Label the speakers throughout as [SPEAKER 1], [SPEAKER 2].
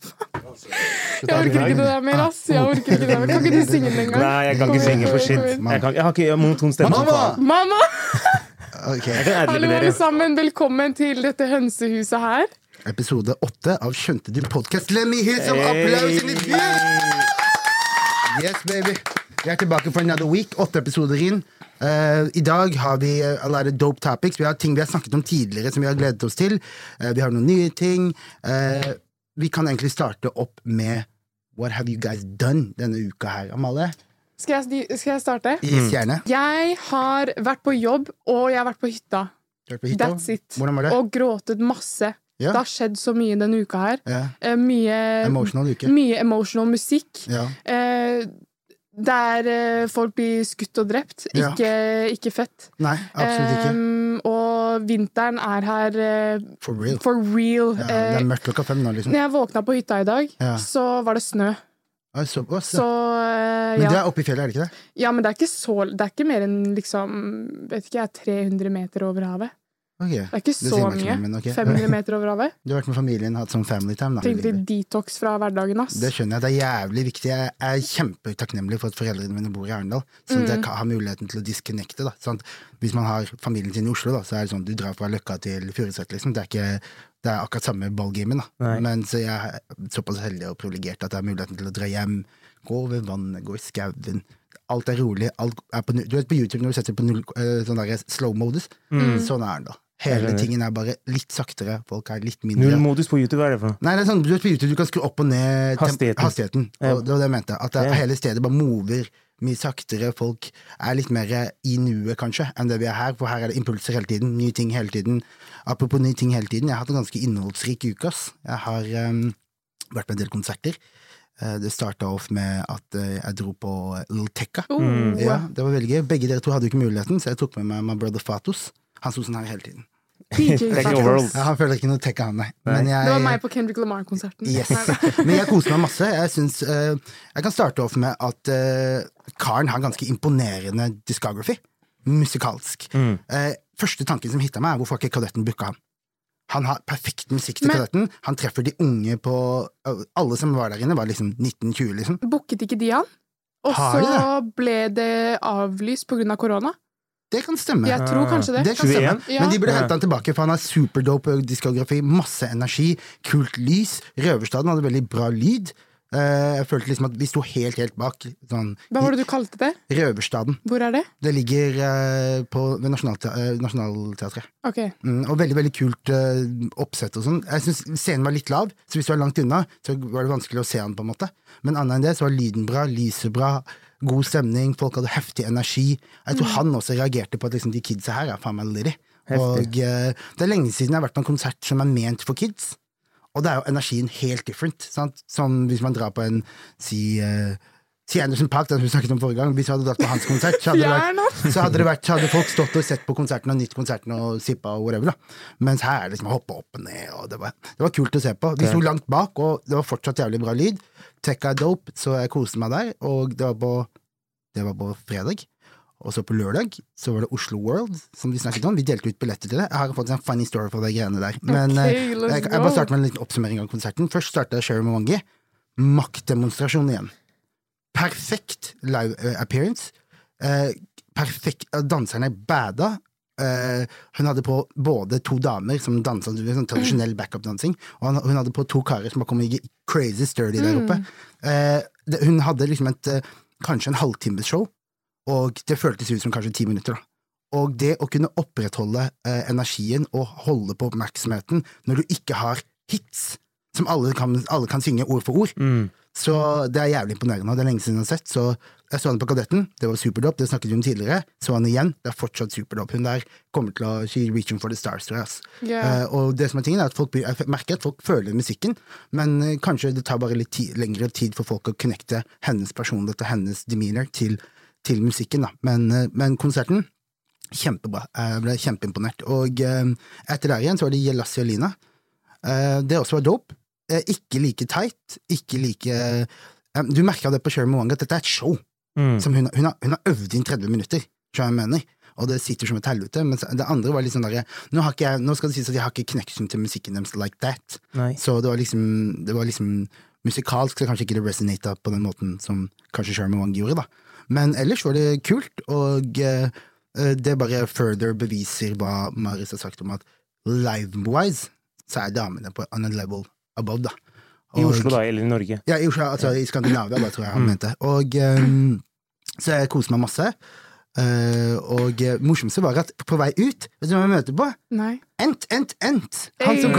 [SPEAKER 1] Jeg orker ikke det der mer, ass. Jeg orker ikke det der. Kan ikke du synge den engang?
[SPEAKER 2] Nei, jeg kan ikke synge for shit. Jeg, kan, jeg har ikke monoton stemme.
[SPEAKER 3] Mamma!
[SPEAKER 1] Mamma!
[SPEAKER 3] Ok,
[SPEAKER 2] Jeg kan
[SPEAKER 1] Hallo, alle
[SPEAKER 2] adlibbe dere.
[SPEAKER 1] sammen. Velkommen til dette hønsehuset her.
[SPEAKER 3] Episode åtte av Skjønte din podkast. Let me hear some applause in it! Yes, baby. Vi er tilbake for another week. Åtte episoder inn. Eh, I dag har vi eh, a lot of dope topics. Vi har ting vi har snakket om tidligere som vi har gledet oss til. Eh, vi har noen nye ting. Eh, vi kan egentlig starte opp med What have you guys done denne uka her, Amalie?
[SPEAKER 1] Skal jeg, sti- skal jeg starte?
[SPEAKER 2] Mm.
[SPEAKER 3] Yes, gjerne.
[SPEAKER 1] Jeg har vært på jobb, og jeg har vært på hytta.
[SPEAKER 3] Du har vært på hytta?
[SPEAKER 1] That's it.
[SPEAKER 3] Hvordan var det?
[SPEAKER 1] Og gråtet masse.
[SPEAKER 3] Ja.
[SPEAKER 1] Det har skjedd så mye denne uka her.
[SPEAKER 3] Ja.
[SPEAKER 1] Eh, Mye
[SPEAKER 3] Emotional uke.
[SPEAKER 1] Mye emotional musikk.
[SPEAKER 3] Ja.
[SPEAKER 1] Eh, der eh, folk blir skutt og drept.
[SPEAKER 3] Ja.
[SPEAKER 1] Ikke, ikke fett.
[SPEAKER 3] Nei, absolutt ikke.
[SPEAKER 1] Em, Ehm, og vinteren er her eh,
[SPEAKER 3] For real.
[SPEAKER 1] for real.
[SPEAKER 3] Ja, det
[SPEAKER 1] Eh,
[SPEAKER 3] er mørkt klokka fem nå, liksom.
[SPEAKER 1] når jeg våkna på hytta i dag,
[SPEAKER 3] Ja.
[SPEAKER 1] så var det snø.
[SPEAKER 3] Ja, såpass, ja.
[SPEAKER 1] Så eh,
[SPEAKER 3] Men det
[SPEAKER 1] ja.
[SPEAKER 3] er oppe i fjellet, er det ikke det?
[SPEAKER 1] ja, men det er ikke så Det er ikke mer enn liksom Vet ikke jeg, 300 meter over havet.
[SPEAKER 3] Ok.
[SPEAKER 1] Det er ikke
[SPEAKER 3] Det
[SPEAKER 1] så
[SPEAKER 3] sier meg ikke
[SPEAKER 1] mye.
[SPEAKER 3] noe, men ok.
[SPEAKER 1] 500 meter over havet.
[SPEAKER 3] Du har vært med familien, hatt sånn family time, da.
[SPEAKER 1] Trengte litt detox fra hverdagen, ass.
[SPEAKER 3] Det skjønner jeg. Det er jævlig viktig. Jeg er kjempetakknemlig for at foreldrene mine bor i Arendal, sånn
[SPEAKER 2] Mm.
[SPEAKER 3] at jeg ka- har muligheten til å disconnecte. Da. Sånn at hvis man har familien sin i Oslo, da, så er det sånn du drar fra Løkka til Furuset, liksom. Det er, ikke, det er akkurat samme ballgamen, da.
[SPEAKER 2] Nei.
[SPEAKER 3] Men så jeg er såpass heldig og privilegert at jeg har muligheten til å dra hjem, gå over vannet, gå i skauen. Alt er rolig. Alt er på, null- du vet på YouTube når du setter på null, eh, sånn der slow-modus? Sånn er den, da. Hele
[SPEAKER 2] Mm. skjønner.
[SPEAKER 3] tingen er bare litt saktere, folk er litt mindre.
[SPEAKER 2] Null modus på YouTube, hva er det for noe?
[SPEAKER 3] Nei, det er sånn, du vet på YouTube, du kan skru opp og ned tem-
[SPEAKER 2] Hastigheten.
[SPEAKER 3] hastigheten.
[SPEAKER 2] Ja.
[SPEAKER 3] Og det var det jeg mente. At det,
[SPEAKER 2] Ja.
[SPEAKER 3] hele stedet bare mover mye saktere. Folk er litt mer i nuet, kanskje, enn det vi er her. For her er det impulser hele tiden. Nye ting hele tiden. Apropos nye ting hele tiden, jeg har hatt en ganske innholdsrik uke, ass. Jeg har em, vært på en del konserter. Eh, det starta off med at eh, jeg dro på Lil Tecca.
[SPEAKER 1] Oh,
[SPEAKER 3] Mm, Ja, det var veldig gøy. Begge dere to hadde jo ikke muligheten, så jeg tok med meg my brother Fatos. Han sto sånn her hele tiden.
[SPEAKER 1] DJ
[SPEAKER 2] Like
[SPEAKER 1] Fatos.
[SPEAKER 2] overall.
[SPEAKER 3] Ja, han føler ikke noe Tecca, han, nei. Men jeg-
[SPEAKER 1] Det var meg på Kendrick Lamar-konserten.
[SPEAKER 3] Yes.
[SPEAKER 1] Nei,
[SPEAKER 3] Men jeg koser meg masse. Jeg, syns, eh, jeg kan starte off med at eh, karen har ganske imponerende discography. Musikalsk.
[SPEAKER 2] Mm,
[SPEAKER 3] Eh, første tanken som hitta meg, er hvorfor har ikke Kadetten booka han? Han har perfekt musikk til
[SPEAKER 1] Men-
[SPEAKER 3] Kadetten. Han treffer de unge på eh, Alle som var der inne, var liksom 1920, liksom.
[SPEAKER 1] Booket ikke de han? Og
[SPEAKER 3] Har de
[SPEAKER 1] så ble det avlyst pga. Av korona.
[SPEAKER 3] Det kan stemme.
[SPEAKER 1] Jeg tror kanskje det.
[SPEAKER 3] Det kan stemme.
[SPEAKER 2] 21?
[SPEAKER 1] Ja.
[SPEAKER 3] Men de burde
[SPEAKER 2] Ja.
[SPEAKER 3] hente han tilbake, for han har superdope diskografi, masse energi, kult lys. Røverstaden hadde veldig bra lyd. Eh, jeg følte liksom at vi sto helt, helt bak. Sånn,
[SPEAKER 1] Hva var det du kalte det?
[SPEAKER 3] Røverstaden.
[SPEAKER 1] Hvor er det?
[SPEAKER 3] Det ligger eh, på, ved Nasjonaltea eh, Nationaltheatret.
[SPEAKER 1] Ok.
[SPEAKER 3] Mm, og veldig veldig kult eh, oppsett og sånn. Jeg syns scenen var litt lav, så hvis du var langt unna, så var det vanskelig å se han, på en måte. Men annet enn det, så var lyden bra, lyset bra, god stemning, folk hadde heftig energi. Jeg tror han også reagerte på at liksom, de kidsa her er faen meg litty. Og eh, det er lenge siden jeg har vært på en konsert som er ment for kids. Og det er jo energien helt different. Sant? Som hvis man drar på en si, eh, si Anderson Park, den vi snakket om forrige gang. Hvis vi hadde dratt på hans konsert, så hadde,
[SPEAKER 1] Fjern
[SPEAKER 3] det vært, så hadde, det vært, så hadde folk stått og sett på konserten og nytt konserten og sippa og whatever. Da. Mens her er det liksom å hoppe opp og ned, og det var, det var kult å se på. Vi sto langt bak, og det var fortsatt jævlig bra lyd. Tekka er dope, så jeg koste meg der. Og det var på, det var på fredag. Og så på lørdag så var det Oslo World, som vi snakket om. Vi delte ut billetter til det. Jeg har fått en funny story for de greiene der. Men
[SPEAKER 1] Ok,
[SPEAKER 3] eh,
[SPEAKER 1] let's
[SPEAKER 3] jeg, jeg bare
[SPEAKER 1] go.
[SPEAKER 3] starter med en liten oppsummering av konserten. Først starta Sherry Mowangi. Maktdemonstrasjon igjen. Perfekt live eh, appearance. Eh, perfekt, eh, danserne bada. Eh, hun hadde på både to damer som dansa du vet, sånn tradisjonell backup-dansing, og han, hun hadde på to karer som bare kom i crazy sturdy der oppe.
[SPEAKER 1] Mm.
[SPEAKER 3] Eh, det, hun hadde liksom et eh, kanskje en halvtimes show, og det føltes ut som kanskje ti minutter. da. Og det å kunne opprettholde eh, energien og holde på oppmerksomheten når du ikke har hits som alle kan, alle kan synge ord for ord, så det er jævlig imponerende. og Det er lenge siden jeg har sett, så Jeg så henne på Kadetten, det var superdop, det snakket vi om tidligere. Så henne igjen, det er fortsatt superdop. Hun der kommer til å She reaching for the stars, tror jeg. ass.
[SPEAKER 1] Ja.
[SPEAKER 3] Eh, og det som er tingen er at folk blir, jeg merker at folk føler musikken, men eh, kanskje det tar bare litt ti, lengre tid for folk å connecte hennes personlighet og hennes demeanor til, til musikken. da. Men, eh, men konserten Kjempebra. Jeg ble kjempeimponert. Og eh, etter der igjen så var det Jelassi og Lina. Eh, det også var dope. Eh, ikke like tight, ikke like eh, Du merka det på Sherry Moanga at dette er et show.
[SPEAKER 2] Mm.
[SPEAKER 3] Som hun, hun, har, hun har øvd inn 30 minutter, skjønner jeg mener. Og det sitter som et helvete. Mens det andre var litt sånn derre nå, har ikke jeg- nå skal det sies at jeg har ikke connection til musikken deres like that.
[SPEAKER 2] Nei.
[SPEAKER 3] Så det var liksom, det var liksom musikalsk, så kanskje ikke det resonata på den måten som kanskje Sherman Wang gjorde, da. Men ellers var det kult, og eh, eh, det bare further beviser hva Marius har sagt om at live-wise så er damene på another level above, da.
[SPEAKER 2] I
[SPEAKER 3] Og-
[SPEAKER 2] Oslo, da, eller i Norge.
[SPEAKER 3] ja, i, Oslo, altså, i Skandinavia, da, tror jeg
[SPEAKER 1] Mm.
[SPEAKER 3] han mente. Og, ehm, så jeg koser meg masse. Eh, og eh, morsomste var at på vei ut, vet du hvem jeg møter på?
[SPEAKER 1] Nei.
[SPEAKER 3] Ent, Ent, Ent! Han som
[SPEAKER 1] Hey.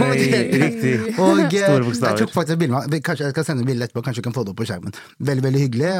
[SPEAKER 3] kommenterte.
[SPEAKER 2] Riktig.
[SPEAKER 3] Og eh,
[SPEAKER 2] Store bokstaver.
[SPEAKER 3] jeg tok faktisk et bilde med han. Kanskje jeg skal sende bilde etterpå, kanskje jeg kan få det opp på skjermen. Veldig, veldig hyggelig.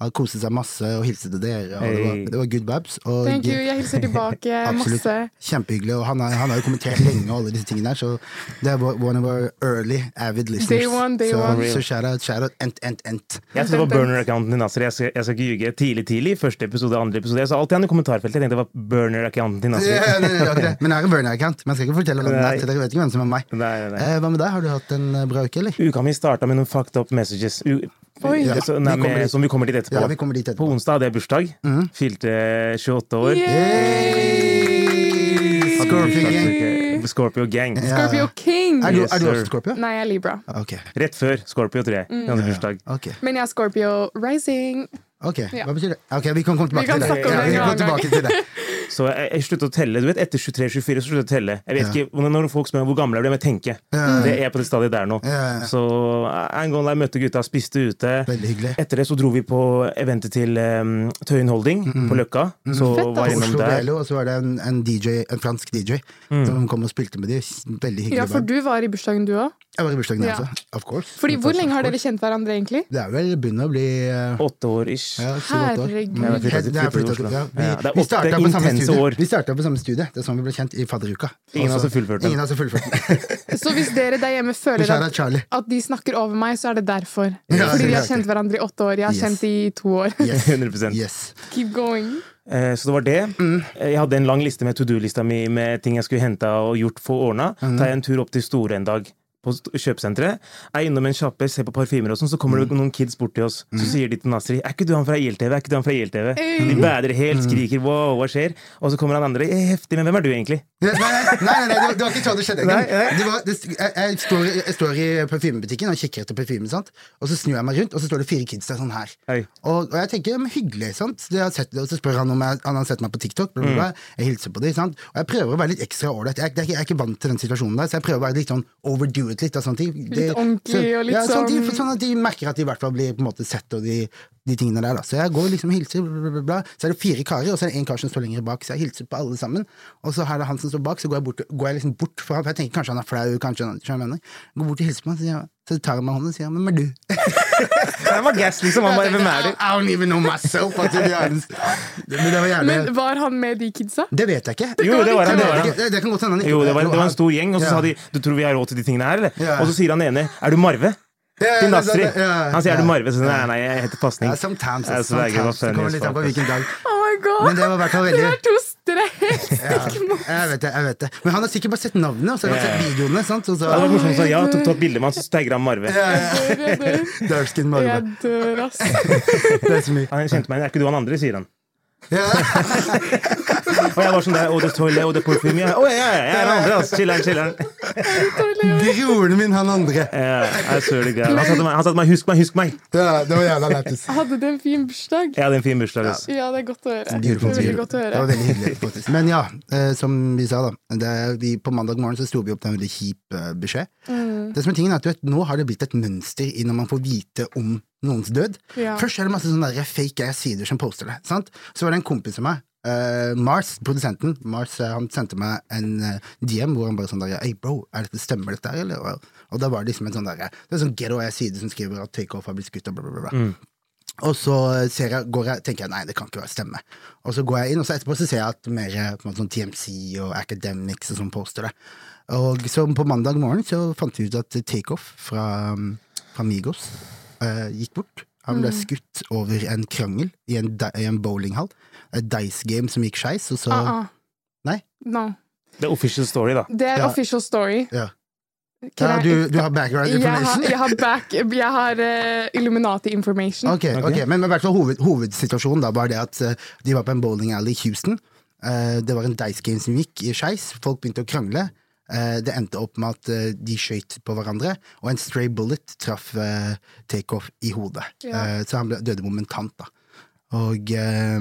[SPEAKER 3] Han uh, koste seg masse og hilste til dere, og det, var,
[SPEAKER 2] Hey.
[SPEAKER 3] det var good babs. Og,
[SPEAKER 1] Thank you. Jeg hilser tilbake
[SPEAKER 3] Absolutt.
[SPEAKER 1] masse.
[SPEAKER 3] Kjempehyggelig, og han, har- han har jo kommentert lenge og alle disse tingene her, så det er one of our early avid listeners.
[SPEAKER 1] Day one, day
[SPEAKER 3] så,
[SPEAKER 1] one.
[SPEAKER 3] Så shout out, shout out, ent, ent, ent.
[SPEAKER 2] Jeg så det var burner-accounten din, Nasser. Jeg skal, jeg skal ikke ljuge. Tidlig, tidlig. Første episode, andre episode. Jeg sa alltid han i kommentarfeltet. Jeg tenkte det var burner-accounten din, Nasser.
[SPEAKER 3] Ja, nei, nei, det var ikke det. Men jeg har en burner-account, men jeg skal ikke fortelle hvem det
[SPEAKER 2] Altså. Nei.
[SPEAKER 3] er. til Dere vet ikke hvem som er meg.
[SPEAKER 2] Nei, nei, nei.
[SPEAKER 3] Eh, hva med deg, har du hatt en eh, bra uke, eller?
[SPEAKER 2] Uka mi starta med noen fucked up messages. U
[SPEAKER 1] Oi.
[SPEAKER 2] Ja, så, nei,
[SPEAKER 3] vi kommer
[SPEAKER 2] med,
[SPEAKER 3] dit.
[SPEAKER 2] som vi kommer dit etterpå.
[SPEAKER 3] Ja, vi kommer dit etterpå. Mm.
[SPEAKER 2] På onsdag hadde jeg bursdag. Fylte 28 år.
[SPEAKER 1] Yay!
[SPEAKER 3] Scorpio gang.
[SPEAKER 2] Scorpio- Scorpio Gang.
[SPEAKER 1] Scorpio King!
[SPEAKER 3] Er du,
[SPEAKER 2] Yes,
[SPEAKER 3] er du
[SPEAKER 2] sir.
[SPEAKER 3] også Scorpio?
[SPEAKER 1] Nei, jeg er Libra.
[SPEAKER 3] Ok,
[SPEAKER 2] Rett før Scorpio, tror jeg.
[SPEAKER 3] Mm.
[SPEAKER 2] Jeg hadde bursdag.
[SPEAKER 3] ok.
[SPEAKER 1] Men jeg er Scorpio Rising.
[SPEAKER 3] ok,
[SPEAKER 1] Ja.
[SPEAKER 3] Hva betyr det? Ok, Vi kan komme tilbake
[SPEAKER 1] kan
[SPEAKER 3] til det.
[SPEAKER 1] snakke om det
[SPEAKER 3] vi
[SPEAKER 1] en
[SPEAKER 3] kan
[SPEAKER 1] annen gang.
[SPEAKER 3] tilbake til det.
[SPEAKER 2] Så jeg, jeg sluttet å telle. Du vet, Etter 23-24 så sluttet jeg å telle. Jeg vet
[SPEAKER 3] Ja.
[SPEAKER 2] ikke når- når folk spør meg hvor gammel jeg ble, men jeg tenker. Det er jeg på det stadiet der nå.
[SPEAKER 3] Ja.
[SPEAKER 2] Så eh, en gang da jeg møtte gutta, spiste ute.
[SPEAKER 3] Veldig hyggelig.
[SPEAKER 2] Etter det så dro vi på eventet til um, Tøyen Holding på Løkka. Så var jeg innom
[SPEAKER 3] Oslo
[SPEAKER 2] der.
[SPEAKER 3] Delo, og så var det en, en DJ, en fransk DJ,
[SPEAKER 2] Mm.
[SPEAKER 3] som kom og spilte med de. Veldig hyggelig.
[SPEAKER 1] Ja, for
[SPEAKER 3] vibe.
[SPEAKER 1] du var i bursdagen, du òg.
[SPEAKER 3] Jeg var i bursdagen, jeg
[SPEAKER 1] Ja.
[SPEAKER 3] også. Of course.
[SPEAKER 1] Fordi
[SPEAKER 3] Of
[SPEAKER 1] hvor
[SPEAKER 3] course,
[SPEAKER 1] lenge
[SPEAKER 3] of
[SPEAKER 1] har dere
[SPEAKER 3] course.
[SPEAKER 1] kjent hverandre, egentlig?
[SPEAKER 3] Det er vel begynner å bli eh,
[SPEAKER 2] Åtte år ish.
[SPEAKER 3] ja, syv-åtte år.
[SPEAKER 2] Ja,
[SPEAKER 1] Herregud.
[SPEAKER 2] fy-
[SPEAKER 3] Det er- det er
[SPEAKER 2] flyttet til
[SPEAKER 3] flyttet-
[SPEAKER 2] Oslo.
[SPEAKER 3] ja,
[SPEAKER 2] Ja,
[SPEAKER 3] vi-
[SPEAKER 2] det er
[SPEAKER 3] vi
[SPEAKER 2] åtte
[SPEAKER 3] startet på samme
[SPEAKER 2] intense
[SPEAKER 3] studie.
[SPEAKER 2] år.
[SPEAKER 3] Vi starta på samme studie. Det er sånn vi ble kjent i fadderuka.
[SPEAKER 2] Ingen av
[SPEAKER 3] Også-
[SPEAKER 2] oss har fullført den.
[SPEAKER 3] Ingen av oss har fullført den.
[SPEAKER 1] Så hvis dere der hjemme føler
[SPEAKER 3] Shout out
[SPEAKER 1] at,
[SPEAKER 3] Charlie.
[SPEAKER 1] at de snakker over meg, så er det derfor.
[SPEAKER 3] Ja,
[SPEAKER 1] Fordi vi har
[SPEAKER 3] det er
[SPEAKER 1] kjent hverandre i åtte år. Jeg har
[SPEAKER 3] Yes.
[SPEAKER 1] kjent de i to år.
[SPEAKER 3] Yes.
[SPEAKER 2] 100
[SPEAKER 3] yes.
[SPEAKER 1] Keep going.
[SPEAKER 2] Eh, Så det var det.
[SPEAKER 3] Mm.
[SPEAKER 2] Eh, Jeg hadde en lang liste med to do-lista mi med ting jeg skulle henta og gjort få ordna.
[SPEAKER 3] Mm.
[SPEAKER 2] Tar jeg en tur opp til Store en dag på st- kjøpesenteret, er innom en sjappe, ser på parfymer og sånn, så kommer
[SPEAKER 3] Mm.
[SPEAKER 2] det noen kids bort til oss. Så sier de til Nasri er ikke du han fra ILTV? er ikke du han fra ILTV? De bærer
[SPEAKER 3] Mm.
[SPEAKER 2] helt, skriker wow, hva skjer? Og så kommer han andre, «Eh, heftig, men hvem er du egentlig?
[SPEAKER 3] Nei, nei, nei, nei, nei, det var- det var ikke sånn det skjedde.
[SPEAKER 2] Nei, nei.
[SPEAKER 3] Det var, det, jeg, jeg, står, i- jeg står i parfymebutikken og kikker etter parfyme, sant? og så snur jeg meg rundt, og så står det fire kids der sånn her.
[SPEAKER 2] Hei.
[SPEAKER 3] Og, og jeg tenker, men hyggelig, sant? De har sett det, og så spør han om jeg, han har sett meg på TikTok, bla, bla, bla.
[SPEAKER 1] Mm.
[SPEAKER 3] jeg hilser på dem, sant? og jeg prøver å være litt ekstra ålreit. Jeg, det er ikke- jeg er ikke vant til den situasjonen der, så jeg prøver å være litt sånn overdo it litt. Da, sånn at de, de,
[SPEAKER 1] Litt ordentlig og litt
[SPEAKER 3] ja, sånn. at de-
[SPEAKER 1] sånn-
[SPEAKER 3] Sånn at de merker at de i hvert fall blir på en måte sett og de, de tingene der, da. Så jeg går liksom og hilser, bla, bla, bla, bla. Så er det fire karer, og så er det en kar som står lenger bak, så jeg hilser på alle sammen. Og så er det han som står bak, så går jeg bort, går jeg liksom bort fra han, for jeg tenker kanskje han er flau, kanskje han skjønner hva jeg mener. Jeg Går bort og hilser på han, så, sier jeg, så tar han meg i hånden og sier han, hvem er du?
[SPEAKER 2] Han var gass, liksom. Han bare, hvem er
[SPEAKER 3] I
[SPEAKER 2] du?
[SPEAKER 3] I don't even know myself. Altså, det, er, men det var gjerne
[SPEAKER 1] Men var han med de kidsa?
[SPEAKER 3] Det vet jeg ikke.
[SPEAKER 2] Jo, det var han, det var han.
[SPEAKER 3] Det, det kan godt hende han ikke
[SPEAKER 2] Jo, det var, det var en stor gjeng, og så
[SPEAKER 3] Ja.
[SPEAKER 2] sa de du tror vi har råd til de tingene her, eller?
[SPEAKER 3] Ja.
[SPEAKER 2] Og så sier han ene er du Marve?
[SPEAKER 3] Ja,
[SPEAKER 2] Til
[SPEAKER 3] ja,
[SPEAKER 2] Nasri.
[SPEAKER 3] ja, ja,
[SPEAKER 2] Han sier er
[SPEAKER 3] ja.
[SPEAKER 2] du Marve? Så nei, nei, jeg heter Pasning.
[SPEAKER 3] Ja, sometimes.
[SPEAKER 2] Ja, så
[SPEAKER 3] altså.
[SPEAKER 2] det er ikke noe
[SPEAKER 3] sometimes. Det kommer litt an på
[SPEAKER 2] funny,
[SPEAKER 3] hvilken dag.
[SPEAKER 1] Oh my god!
[SPEAKER 3] Men det var i hvert fall veldig-
[SPEAKER 1] Dere er to strek!
[SPEAKER 3] Jeg vet det, jeg vet det. Men han har sikkert bare sett navnet, og så har han
[SPEAKER 2] Ja.
[SPEAKER 3] sett videoene. sant? Og så,
[SPEAKER 2] Ja, det var morsomt, så ja, tok, tok bilde med han, så tagget han Marve.
[SPEAKER 1] Jeg dør,
[SPEAKER 3] Dark
[SPEAKER 1] jeg dør.
[SPEAKER 3] skin Marve.
[SPEAKER 1] Jeg dør, ass.
[SPEAKER 3] Det er så mye.
[SPEAKER 2] Han kjente meg igjen. Er ikke du han andre, sier han.
[SPEAKER 3] Ja.
[SPEAKER 2] Og jeg var sånn der, og det toilet, og det parfyme. Ja, å, ja, ja, jeg er han andre, altså. Chiller'n, chiller'n.
[SPEAKER 3] Broren min, han andre.
[SPEAKER 2] Ja, jeg søler greier. Han satte meg, han satte meg, husk meg, husk meg.
[SPEAKER 3] Ja, det var jævla lættis.
[SPEAKER 1] Hadde du en fin bursdag?
[SPEAKER 2] Jeg hadde en fin bursdag, altså.
[SPEAKER 1] Ja, det er godt å høre. Det
[SPEAKER 3] Beautiful,
[SPEAKER 1] er veldig
[SPEAKER 3] beautiful.
[SPEAKER 1] godt å
[SPEAKER 3] Det var
[SPEAKER 1] høre.
[SPEAKER 3] veldig hyggelig. faktisk. Men ja, eh, som vi sa, da. Det, er- vi, på mandag morgen så sto vi opp til en veldig kjip eh, beskjed.
[SPEAKER 1] Mm.
[SPEAKER 3] Det som er tingen er at du vet, Nå har det blitt et mønster i når man får vite om noens død.
[SPEAKER 1] Ja.
[SPEAKER 3] Først er det masse sånne der fake ass-sider som poster det. sant? Så var det en kompis av meg, eh, Mars, produsenten, Mars, eh, han sendte meg en eh, DM hvor han bare sånn der Ei, bro, er dette, stemmer dette her, eller? Og, og da var det liksom en sånn derre Det er sånn ghetto ass-side som skriver at takeoff har blitt skutt, og bla, bla, bla. bla. Og så ser jeg, går jeg, tenker jeg nei, det kan ikke være stemme. Og så går jeg inn, og så etterpå så ser jeg at mer på en måte, sånn TMC og Academics og sånn poster det. Og så på mandag morgen så fant vi ut at Takeoff fra, mm, fra Migos eh, gikk bort. Han
[SPEAKER 1] Mm.
[SPEAKER 3] ble skutt over en krangel i en, di- i en bowlinghall. Et dice game som gikk skeis, og så
[SPEAKER 1] Ah, ah.
[SPEAKER 3] Nei?
[SPEAKER 1] No.
[SPEAKER 2] Det er official story, da.
[SPEAKER 1] Det er
[SPEAKER 3] Ja.
[SPEAKER 1] official story.
[SPEAKER 3] Ja.
[SPEAKER 1] Can
[SPEAKER 3] ja
[SPEAKER 1] I-
[SPEAKER 3] du, du har background
[SPEAKER 1] jeg har,
[SPEAKER 3] information?
[SPEAKER 1] jeg har, back, jeg har eh, Illuminati information.
[SPEAKER 3] Ok, ok,
[SPEAKER 2] Ok.
[SPEAKER 3] Men i hvert fall hoved, hovedsituasjonen da var det at eh, de var på en bowling alley i Houston. Eh, det var en dice game som gikk i skeis. Folk begynte å krangle. Eh, det endte opp med at eh, de skøyt på hverandre, og en stray bullet traff eh, takeoff i hodet.
[SPEAKER 1] Ja.
[SPEAKER 3] Eh, så han ble, døde momentant, da. Og eh,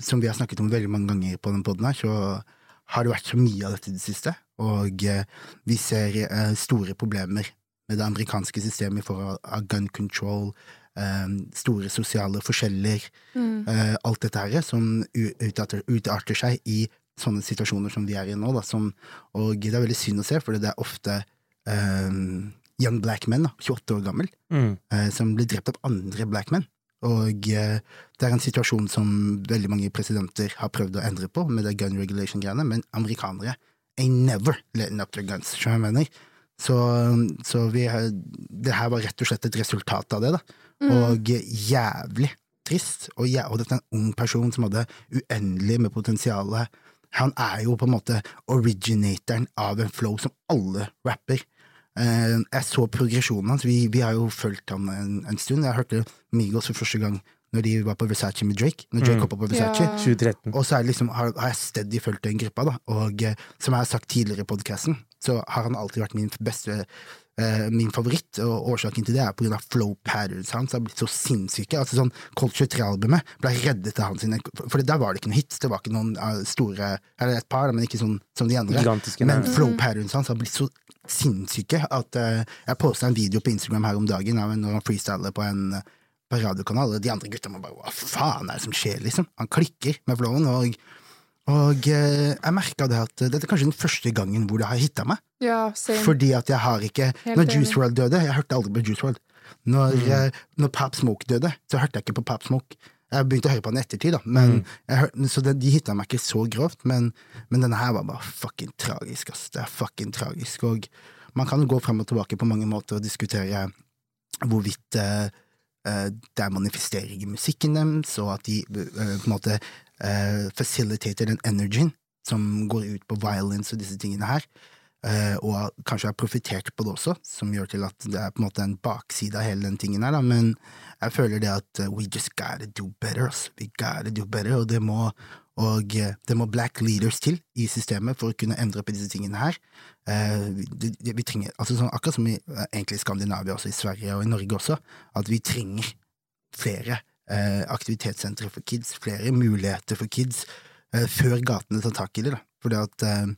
[SPEAKER 3] som vi har snakket om veldig mange ganger på den poden her, så har det vært så mye av dette i det siste. Og eh, vi ser eh, store problemer med det amerikanske systemet i forhold av gun control, eh, store sosiale forskjeller, eh, alt dette her som u- utarter, utarter seg i sånne situasjoner som vi er i nå. Da, som, og det er veldig synd å se, for det er ofte eh, young black men, da, 28 år gammel,
[SPEAKER 2] Mm.
[SPEAKER 3] eh, som blir drept av andre black men. Og eh, det er en situasjon som veldig mange presidenter har prøvd å endre på, med det gun regulation-greiene, men amerikanere they never letting up their guns, skjønner du hva jeg mener. Så, så vi, har- det her var rett og slett et resultat av det, da. Og jævlig trist. Og, jæ og dette er en ung person som hadde uendelig med potensial. Han er jo på en måte originatoren av en flow som alle rapper. Eh, jeg så progresjonen hans. Vi, vi har jo fulgt han en, en stund. Jeg hørte Migos for første gang når de var på Versace med Drake. Når Drake hoppa på Versace.
[SPEAKER 1] Ja.
[SPEAKER 2] 2013.
[SPEAKER 3] Og så er det liksom, har, har jeg steady fulgt den gruppa, da. Og eh, som jeg har sagt tidligere i podkasten, så har han alltid vært min beste eh, Min favoritt, og årsaken til det er på grunn av flow patterns hans. Har blitt så sinnssyke. Altså sånn Colt 23-albumet ble reddet av hans sine For der var det ikke noen hits. Det var ikke noen eh, store Eller et par, da, men ikke sånn som de andre.
[SPEAKER 2] Gigantiske,
[SPEAKER 3] men
[SPEAKER 2] nei.
[SPEAKER 3] flow patterns hans har blitt så sinnssyke at eh, jeg posta en video på Instagram her om dagen av en- når han freestyler på en eh, på radiokanal, og de andre gutta må bare Hva faen er det som skjer, liksom? Han klikker med flowen, og, og eh, jeg merka det at eh, dette er kanskje den første gangen hvor det har hitta meg.
[SPEAKER 1] Ja, same.
[SPEAKER 3] Fordi at jeg har ikke
[SPEAKER 1] Helt
[SPEAKER 3] Når
[SPEAKER 1] enig.
[SPEAKER 3] Juice World døde, jeg hørte aldri på Juice World. Når, eh, når Pap Smoke døde, så hørte jeg ikke på Pap Smoke. Jeg begynte å høre på den i ettertid, da. Men, jeg hør, så det, de hitta meg ikke så grovt, men, men denne her var bare fucking tragisk, ass. Det er fucking tragisk. Og man kan gå frem og tilbake på mange måter og diskutere hvorvidt eh, eh, det er manifestering i musikken deres, og at de eh, på en måte eh, facilitater den energien som går ut på violence og disse tingene her. eh, og kanskje har profittert på det også, som gjør til at det er på en måte en bakside av hele den tingen her, da. Men jeg føler det at eh, we just gotta do better, ass. We gotta do better. Og det må, og, eh, det må black leaders til i systemet for å kunne endre opp i disse tingene her. Eh, vi, det- vi trenger, altså sånn, akkurat som i, eh, egentlig i Skandinavia, også i Sverige og i Norge også, at vi trenger flere eh, aktivitetssentre for kids, flere muligheter for kids, eh, før gatene tar tak i det. da. Fordi at eh,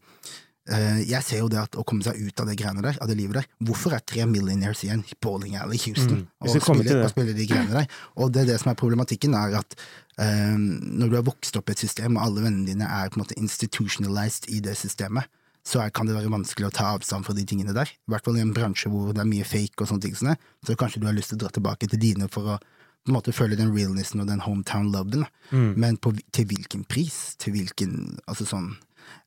[SPEAKER 3] eh, jeg ser jo det at å komme seg ut av det greiene der, av det livet der Hvorfor er tre millionaires igjen i Bowling Alley i Houston
[SPEAKER 2] Mm. Vi
[SPEAKER 3] og,
[SPEAKER 2] skal komme til
[SPEAKER 3] spiller,
[SPEAKER 2] det.
[SPEAKER 3] og spiller de greiene der? Og det er det som er problematikken, er at eh, når du har vokst opp i et system, og alle vennene dine er på en måte institutionalized i det systemet, så er, kan det være vanskelig å ta avstand fra de tingene der. I hvert fall i en bransje hvor det er mye fake og sånne ting. som det. Så kanskje du har lyst til å dra tilbake til dine for å på en måte føle den realnessen og den hometown-loven. da.
[SPEAKER 2] Mm.
[SPEAKER 3] Men på, hvil- til hvilken pris? Til hvilken Altså sånn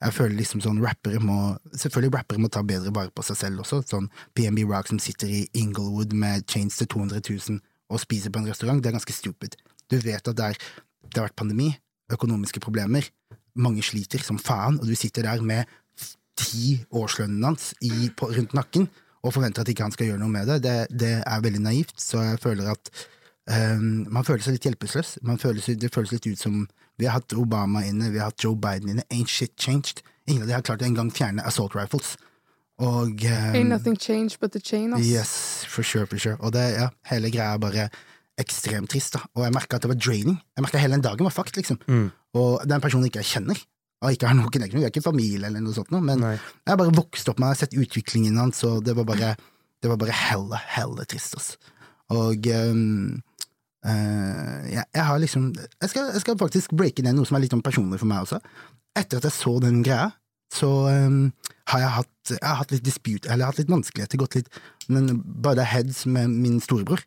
[SPEAKER 3] Jeg føler liksom sånn rappere må Selvfølgelig rappere må ta bedre vare på seg selv også. Sånn PNB Rock som sitter i Inglewood med chains til 200 000 og spiser på en restaurant, det er ganske stupid. Du vet at det, er, det har vært pandemi, økonomiske problemer, mange sliter som faen, og du sitter der med ti årslønnen hans i, på, rundt nakken og forventer at ikke han skal gjøre noe med det. Det, det er veldig naivt, så jeg føler at ehm, man føler seg litt hjelpeløs. Man føler seg, det føles litt ut som vi har hatt Obama inne, vi har hatt Joe Biden inne, ain't shit changed. Ingen av de har klart å engang fjerne assault rifles. Og ehm,
[SPEAKER 1] Ain't nothing changed but the chain, ass.
[SPEAKER 3] Yes, for sure, for sure. Og det, ja, hele greia er bare ekstremt trist, da. Og jeg merka at det var draining. Jeg merka hele den dagen var fucked, liksom. Og det er en person ikke jeg kjenner. Og ikke har noen connection. Vi er ikke familie eller noe sånt, noe, men
[SPEAKER 2] Nei.
[SPEAKER 3] jeg har bare vokst opp med jeg har sett utviklingen hans, og det var bare, det var bare helle, helle trist, ass. Og ehm, eh, jeg, jeg har liksom jeg skal, jeg skal faktisk breake ned noe som er litt sånn personlig for meg også. Etter at jeg så den greia, så ehm, har jeg hatt, jeg har hatt litt dispute, eller jeg har hatt litt vanskeligheter, gått litt men bare heads med min storebror.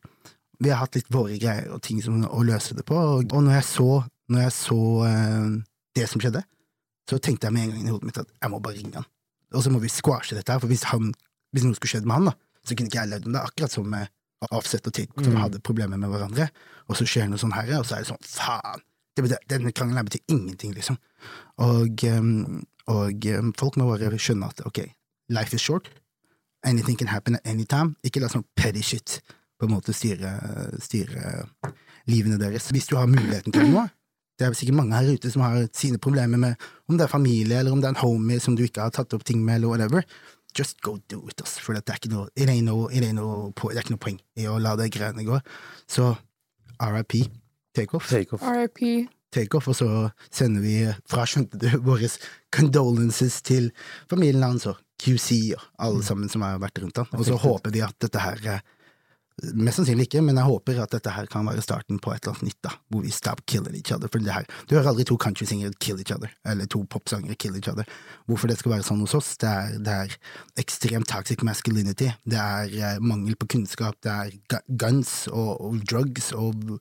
[SPEAKER 3] Vi har hatt litt våre greier og ting som, å løse det på. Og, og når jeg så, når jeg så eh, det som skjedde, så tenkte jeg med en gang i hodet mitt at jeg må bare ringe han. Og så må vi squashe dette her, for hvis, han, hvis noe skulle skjedd med han, da, så kunne ikke jeg levd med det. Akkurat som med Offset og Tate, som hadde problemer med hverandre. Og så skjer noe sånn her, og så er det sånn faen! Det betyr, denne krangelen her betyr ingenting, liksom. Og, ehm, og ehm, folk må bare skjønne at ok, life is short. Anything can happen at any time. Ikke la sånn petty shit på en måte styre, styre livene deres. Hvis du har muligheten til noe. Det er sikkert mange her ute som har sine problemer med om det er familie, eller om det er en homie som du ikke har tatt opp ting med, eller whatever. Just go do it, ass. For det er ikke noe, it ain't no, it ain't no, po- det er ikke noe poeng i å la de greiene gå. Så RIP, take off
[SPEAKER 2] Take off.
[SPEAKER 1] RIP.
[SPEAKER 3] takeoff, og så sender vi eh, fra skjønte du våre condolences til familien hans og QC og alle sammen som har vært rundt han. Og så håper vi at dette her eh, Mest sannsynlig ikke, men jeg håper at dette her kan være starten på et eller annet nytt, da, hvor vi stop killing each other. For det her, du hører aldri to countrysingere kill each other, eller to popsangere kill each other. Hvorfor det skal være sånn hos oss, det er, det er ekstremt toxic masculinity, det er eh, mangel på kunnskap, det er gu- guns og, og drugs og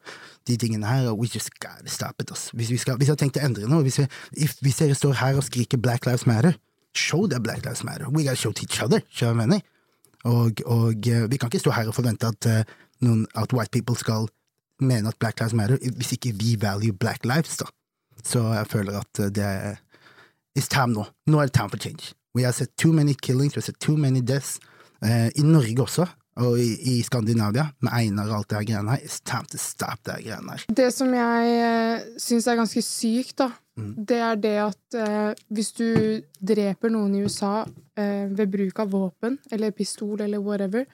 [SPEAKER 3] de tingene her, og we just gotta stop it, ass. Hvis vi, skal, hvis vi har tenkt å endre noe, hvis, vi, if, hvis dere står her og skriker Black Lives Matter, show that Black Lives Matter, we gotta show to each other, skjønner du hva jeg mener? Og, og eh, vi kan ikke stå her og forvente at, eh, noen, at white people skal mene at black lives matter, hvis ikke vi value black lives, da. Så jeg føler at eh, det er It's time nå. Nå er det time for change. We have sett too many killings, we have sett too many deaths. eh, I Norge også, og i, i Skandinavia, med Einar og alt det her greiene her. It's time to stop det her greiene her.
[SPEAKER 1] Det som jeg eh, syns er ganske sykt, da,
[SPEAKER 3] Mm.
[SPEAKER 1] det er det at eh, hvis du dreper noen i USA eh, ved bruk av våpen eller pistol eller whatever,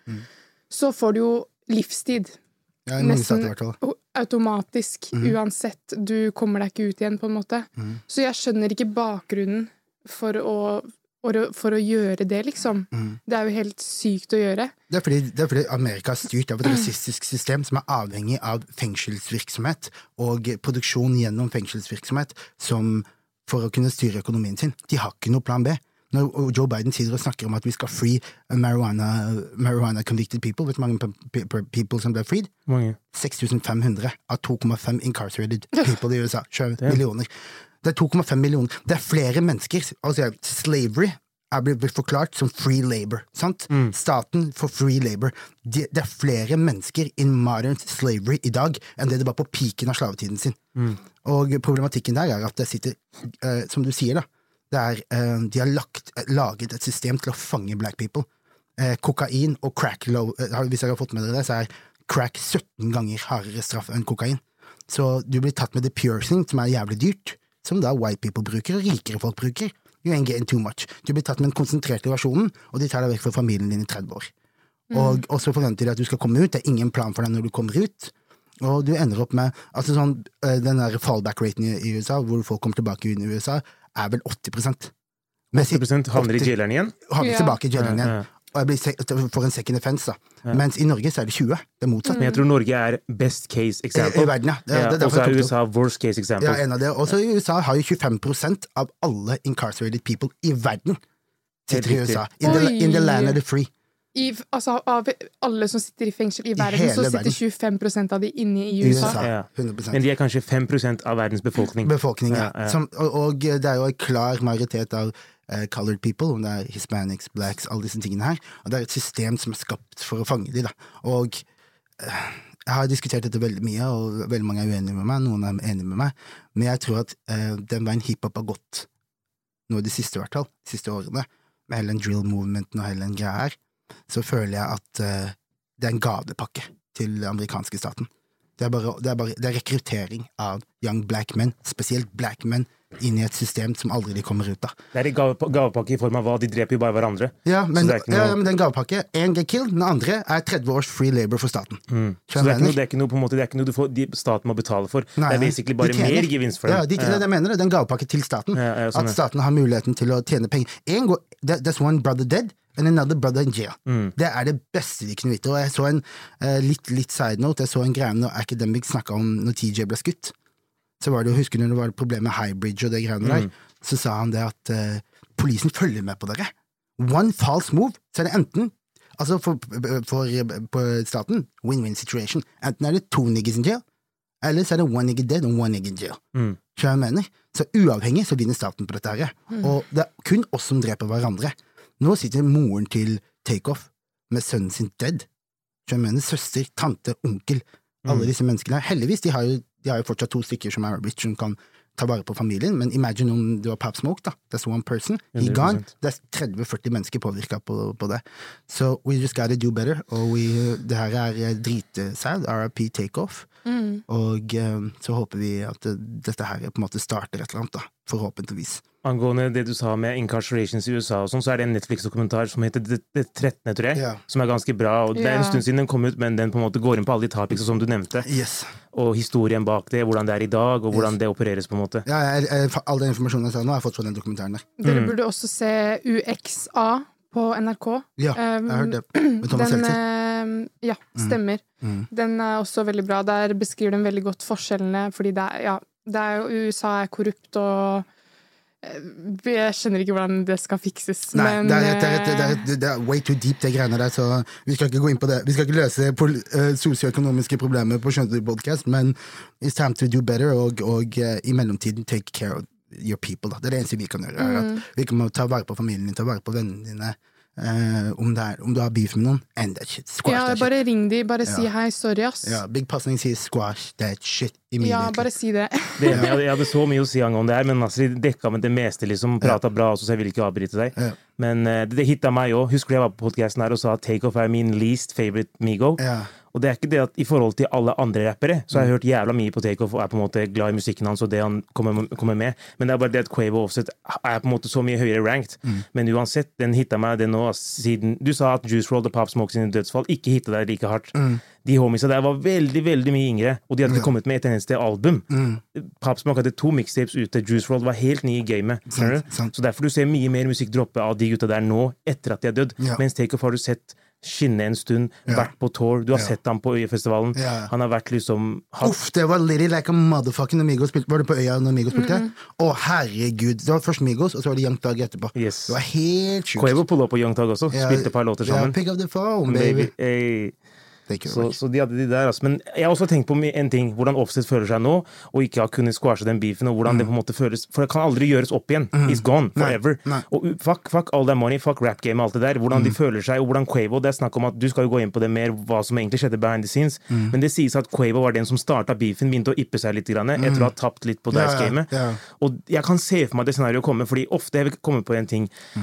[SPEAKER 1] så får du jo livstid.
[SPEAKER 3] Ja, i Mm. mange
[SPEAKER 1] Nesten-
[SPEAKER 3] stater i hvert fall. Mm.
[SPEAKER 1] O- Automatisk. Uansett. Du kommer deg ikke ut igjen, på en måte. Så jeg skjønner ikke bakgrunnen for å, for å, for å gjøre det, liksom.
[SPEAKER 3] Mm.
[SPEAKER 1] Det er jo helt sykt å gjøre.
[SPEAKER 3] Det er, fordi, det er fordi Amerika er styrt av et rasistisk system som er avhengig av fengselsvirksomhet og produksjon gjennom fengselsvirksomhet som for å kunne styre økonomien sin. De har ikke noe plan B. Når og Joe Biden sitter og snakker om at vi skal free marijuana, marijuana convicted people, vet du hvor mange pe- pe- people som ble freed?
[SPEAKER 2] Mange.
[SPEAKER 3] 6500 av 2,5 incarcerated people i USA. 20 millioner. Det er 2,5 millioner. Det er flere mennesker. Altså, slavery er blitt forklart som free labor. Sant? Staten for free labor. Det, det er flere mennesker in modern slavery i dag enn det det var på piken av slavetiden sin. Og problematikken der er at det sitter, eh, som du sier, da, det er, eh, de har lagt, laget et system til å fange black people eh, kokain og crack low, eh, har- hvis dere har fått med dere det, så er crack 17 ganger hardere straff enn kokain. Så du blir tatt med the piercing, som er jævlig dyrt, som da white people bruker, og rikere folk bruker. You ain't getting too much. Du blir tatt med den konsentrerte versjonen, og de tar deg vekk fra familien din i 30 år. Og, og så forventer de at du skal komme ut, det er ingen plan for deg når du kommer ut. Og du ender opp med altså sånn, eh, Den der fallback-raten i, i USA, hvor folk kommer tilbake inn i USA, er vel 80 Med sitt-
[SPEAKER 2] 80 havner i
[SPEAKER 3] 80
[SPEAKER 2] jaileren igjen.
[SPEAKER 3] havner
[SPEAKER 1] Ja.
[SPEAKER 3] tilbake i jailen
[SPEAKER 2] Ja,
[SPEAKER 3] igjen.
[SPEAKER 2] ja.
[SPEAKER 3] Og jeg blir se- får en second offense, da. Mens i Norge så er det 20. Det er motsatt.
[SPEAKER 1] Mm.
[SPEAKER 2] Men jeg tror Norge er best case example.
[SPEAKER 3] Mm. I verden, ja. Det er- det er derfor
[SPEAKER 2] og så
[SPEAKER 3] jeg tok
[SPEAKER 2] er
[SPEAKER 3] det
[SPEAKER 2] USA worst case example.
[SPEAKER 3] Ja, en av det. Også i USA har jo 25 av alle incarcerated people i verden sitter i
[SPEAKER 2] Helt riktig.
[SPEAKER 3] USA. In the,
[SPEAKER 1] Oi.
[SPEAKER 3] in the land of the free.
[SPEAKER 1] I, altså, av alle som sitter i fengsel i verden,
[SPEAKER 3] hele
[SPEAKER 1] så
[SPEAKER 3] verden.
[SPEAKER 1] sitter 25 av de inne i
[SPEAKER 3] I
[SPEAKER 1] USA.
[SPEAKER 3] USA.
[SPEAKER 2] Ja.
[SPEAKER 3] 100
[SPEAKER 2] Men de er kanskje 5 av verdens befolkning.
[SPEAKER 3] Befolkningen.
[SPEAKER 2] Ja, ja.
[SPEAKER 3] Som, og, og det er jo en klar majoritet av eh, colored people, om det er hispanics, blacks, alle disse tingene her. Og det er et system som er skapt for å fange de, da. Og eh, jeg har diskutert dette veldig mye, og veldig mange er uenige med meg, noen er enige med meg, men jeg tror at eh, den veien hiphop har gått nå de siste, i hvert fall, de siste årene, med hele den drill movementen og hele den greia her, så føler jeg at eh, det er en gavepakke til den amerikanske staten. Det er, bare, det, er bare, det er rekruttering av young black men, spesielt black men, inn i et system som aldri de kommer ut av.
[SPEAKER 2] Det er en gave- gavepakke i form av hva de dreper jo bare hverandre.
[SPEAKER 3] Ja, men,
[SPEAKER 2] så det er ikke noe,
[SPEAKER 3] ja, ja, men den gavepakke, én get killed, den andre er 30 års free labor for staten.
[SPEAKER 2] Mm. så det er ikke noe, det er ikke noe, på en måte, det er ikke noe du får, de, staten må betale for. det er basically bare mer gevinst for dem.
[SPEAKER 3] Ja, de, det er det jeg mener det. Det er en gavepakke til staten.
[SPEAKER 2] Ja, ja, sånn
[SPEAKER 3] at
[SPEAKER 2] er.
[SPEAKER 3] staten har muligheten til å tjene penger. En går, that- that's one brother dead, and another brother in jail.
[SPEAKER 2] Mm.
[SPEAKER 3] Det er det beste de kunne vite. Og jeg så en eh, litt, litt side note, jeg så en greie når Academic snakka om når TJ ble skutt. Så var det jo, husker du når det var et problem med Highbridge og det greiene der, så sa han det at eh, politien følger med på dere. One false move, så er det enten Altså, for, for, på staten, win-win situation. Enten er det to niggas in jail, eller så er det one nigger dead and one nigger in jail.
[SPEAKER 2] Mm.
[SPEAKER 3] Så jeg mener, så uavhengig så vinner staten på dette her. Og det er kun oss som dreper hverandre. Nå sitter moren til Takeoff med sønnen sin dead. Så jeg mener, søster, tante, onkel, alle disse menneskene. her. Heldigvis, de har, jo, de har jo fortsatt to stykker som er rich, som kan ta vare på familien, men imagine om du har Pap Smoke, da. That's one person. He
[SPEAKER 2] 100%.
[SPEAKER 3] gone. Det er 30-40 mennesker påvirka på, på det. So we just gotta do better. Og we, det her er eh, dritsad. RIP takeoff. Og eh, så håper vi at eh, dette her på en måte starter et eller annet, da. Forhåpentligvis.
[SPEAKER 2] Angående det du sa med incarcerations i USA, og sånn, så er det en Netflix-dokumentar som heter Det det 13., tror jeg,
[SPEAKER 3] Ja.
[SPEAKER 2] som er ganske bra. og Det er en
[SPEAKER 1] Ja.
[SPEAKER 2] stund siden den kom ut, men den på en måte går inn på alle de topics som du nevnte,
[SPEAKER 3] Yes.
[SPEAKER 2] og historien bak det, hvordan det er i dag, og hvordan
[SPEAKER 3] Yes.
[SPEAKER 2] det opereres. på en måte.
[SPEAKER 3] Ja, jeg, jeg, all den informasjonen jeg sa nå, har jeg fått fra den dokumentaren der.
[SPEAKER 1] Dere
[SPEAKER 2] Mm.
[SPEAKER 1] burde også se UXA på NRK.
[SPEAKER 3] Ja, jeg har hørt det. Med Thomas
[SPEAKER 1] Ehm, den,
[SPEAKER 3] Seltzer. Mm.
[SPEAKER 1] eh, ja, stemmer. Den er også veldig bra. Der beskriver den veldig godt forskjellene, fordi det er, ja, det er jo USA er korrupt og eh, Jeg skjønner ikke hvordan det skal fikses,
[SPEAKER 3] Nei,
[SPEAKER 1] men
[SPEAKER 3] det, er, et- det, er, et- det, er,
[SPEAKER 1] eh,
[SPEAKER 3] et- det er way too deep, det greiene der, så vi skal ikke gå inn på det. Vi skal ikke løse pol eh, sosioøkonomiske problemer på Skjønte du podcast, men it's time to do better, og, og eh, i mellomtiden take care of your people. Da. Det er det eneste vi kan gjøre. Er
[SPEAKER 1] Mm.
[SPEAKER 3] at vi kan ta vare på familien din, ta vare på vennene dine. eh, om, det er, om du har beef med noen, end that shit.
[SPEAKER 1] eh,
[SPEAKER 3] Squash
[SPEAKER 1] ja,
[SPEAKER 3] that shit.
[SPEAKER 1] bare ring de, bare si
[SPEAKER 3] Ja.
[SPEAKER 1] hei, sorry, ass.
[SPEAKER 3] Ja, big pasning sier squash that shit
[SPEAKER 1] Ja,
[SPEAKER 3] immediately.
[SPEAKER 1] bare si det.
[SPEAKER 2] Det, jeg, hadde- jeg hadde så mye å si angående det her, men Nasri dekka med det meste. liksom, Prata bra, også, så jeg ville ikke avbryte deg.
[SPEAKER 3] Ja.
[SPEAKER 2] Men eh, det, det hitta meg òg. Husker du jeg var på podkasten her og sa at takeoff er min least favorite Migo?
[SPEAKER 3] Ja.
[SPEAKER 2] Og det er ikke det at i forhold til alle andre rappere, så har jeg hørt jævla mye på takeoff og er på en måte glad i musikken hans og det han kommer, kommer med, men det er bare det at Quavo og Offset er på en måte så mye høyere ranked.
[SPEAKER 3] Mm.
[SPEAKER 2] Men uansett, den hitta meg, den nå, ass, siden du sa at Juice Roll og Pop Smoke sine dødsfall ikke hitta deg like hardt.
[SPEAKER 3] Mm.
[SPEAKER 2] De homiesa der var veldig, veldig mye yngre, og de hadde ikke kommet med et eneste album.
[SPEAKER 3] Mm.
[SPEAKER 2] Pop Smoke hadde to mixtapes ute, Juice Roll var helt ny i gamet. skjønner du?
[SPEAKER 3] sant.
[SPEAKER 2] Så derfor du ser mye mer musikk droppe av de gutta der nå, etter at de er dødd.
[SPEAKER 3] Ja.
[SPEAKER 2] Mens Takeoff har du sett skinne en stund, vært på tour, du har sett ham på Øyafestivalen.
[SPEAKER 3] Ja.
[SPEAKER 2] Han har vært liksom hatt
[SPEAKER 3] Uff, det var litty like a motherfucking når Migos spilte. Var du på øya når Migos spilte?
[SPEAKER 2] Mm.
[SPEAKER 3] Å, herregud. Det var først Migos, og så var det Young Thug etterpå.
[SPEAKER 2] Yes.
[SPEAKER 3] Det var helt sjukt.
[SPEAKER 2] Quavo pulla på Young Tag også,
[SPEAKER 3] Ja,
[SPEAKER 2] spilte et par låter
[SPEAKER 3] ja,
[SPEAKER 2] sammen.
[SPEAKER 3] pick up the phone, baby.
[SPEAKER 2] Baby. Ey.
[SPEAKER 3] Thank you.
[SPEAKER 2] Så,
[SPEAKER 3] very much.
[SPEAKER 2] så de hadde de der, altså. Men jeg har også tenkt på en ting, hvordan Offset føler seg nå, og ikke har kunnet squashe den beefen, og hvordan det på en måte føles For det kan aldri gjøres opp igjen. It's gone forever.
[SPEAKER 3] Mm. Nei. Mm.
[SPEAKER 2] Og u- fuck, fuck all that money, fuck rap game og alt det der. Hvordan de føler seg, og hvordan Quavo Det er snakk om at du skal jo gå inn på det mer, hva som egentlig skjedde behind the scenes,
[SPEAKER 3] Mm.
[SPEAKER 2] men det sies at Quavo var den som starta beefen, begynte å ippe seg litt grann, etter å ha tapt litt på
[SPEAKER 3] Mm. Ja, ja,
[SPEAKER 2] dice-gamet.
[SPEAKER 3] ja.
[SPEAKER 2] Og jeg kan se for meg det scenarioet komme, fordi ofte jeg vil komme på en ting.
[SPEAKER 3] Mm.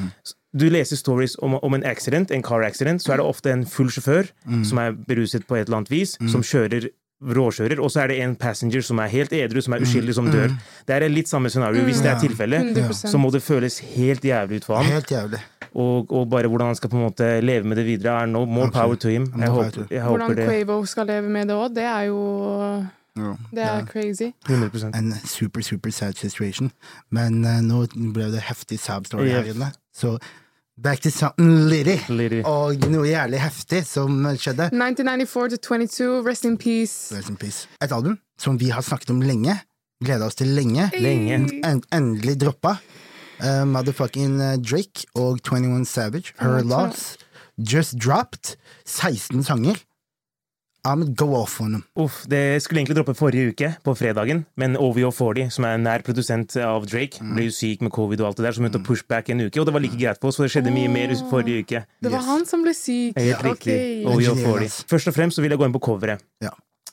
[SPEAKER 2] Du leser stories om, om en accident, en car accident, så er det ofte en full sjåfør
[SPEAKER 3] Mm.
[SPEAKER 2] som er beruset på et eller annet vis, som kjører råkjører, og så er det en passenger som er helt edru,
[SPEAKER 3] Mm.
[SPEAKER 2] som er uskyldig, som dør. Det er litt samme scenario. Hvis det er tilfellet,
[SPEAKER 1] 100%.
[SPEAKER 2] så må det føles helt jævlig ut for ham.
[SPEAKER 3] Helt jævlig.
[SPEAKER 2] Og, og bare hvordan han skal på en måte leve med det videre, er no more power to him. Jeg
[SPEAKER 3] power
[SPEAKER 2] håper,
[SPEAKER 3] to-
[SPEAKER 2] jeg
[SPEAKER 1] Hvordan
[SPEAKER 2] håper det.
[SPEAKER 1] Quavo skal leve med det òg, det er jo Det er crazy.
[SPEAKER 2] 100
[SPEAKER 3] En super, super sad situation. Men eh, nå ble det heftig sad story her
[SPEAKER 2] Yep.
[SPEAKER 3] inne. Så back to something litty.
[SPEAKER 2] Litty.
[SPEAKER 3] Og noe jævlig heftig som
[SPEAKER 2] Mm.
[SPEAKER 3] skjedde.
[SPEAKER 1] 1994 to 22, rest in peace.
[SPEAKER 3] Rest in peace. Et album som vi har snakket om lenge. Gleda oss til lenge.
[SPEAKER 2] Lenge.
[SPEAKER 3] en, endelig droppa. Eh, motherfucking eh, Drake og 21 Savage, Her Loss, Just Dropped. 16 sanger. I'm go off on them.
[SPEAKER 2] Uff, det skulle egentlig droppe forrige uke, på fredagen, men OVO40, som er en nær produsent av Drake,
[SPEAKER 1] Mm.
[SPEAKER 2] ble jo syk med covid og alt det der, så begynte å push back en uke, og det var like greit for oss, for det skjedde mye mer forrige uke.
[SPEAKER 1] Det var han som ble syk. Ok.
[SPEAKER 2] Helt riktig.
[SPEAKER 3] Engineering,
[SPEAKER 2] OVO40.
[SPEAKER 3] ass.
[SPEAKER 2] Først og fremst så vil jeg gå inn på coveret.
[SPEAKER 3] Ja.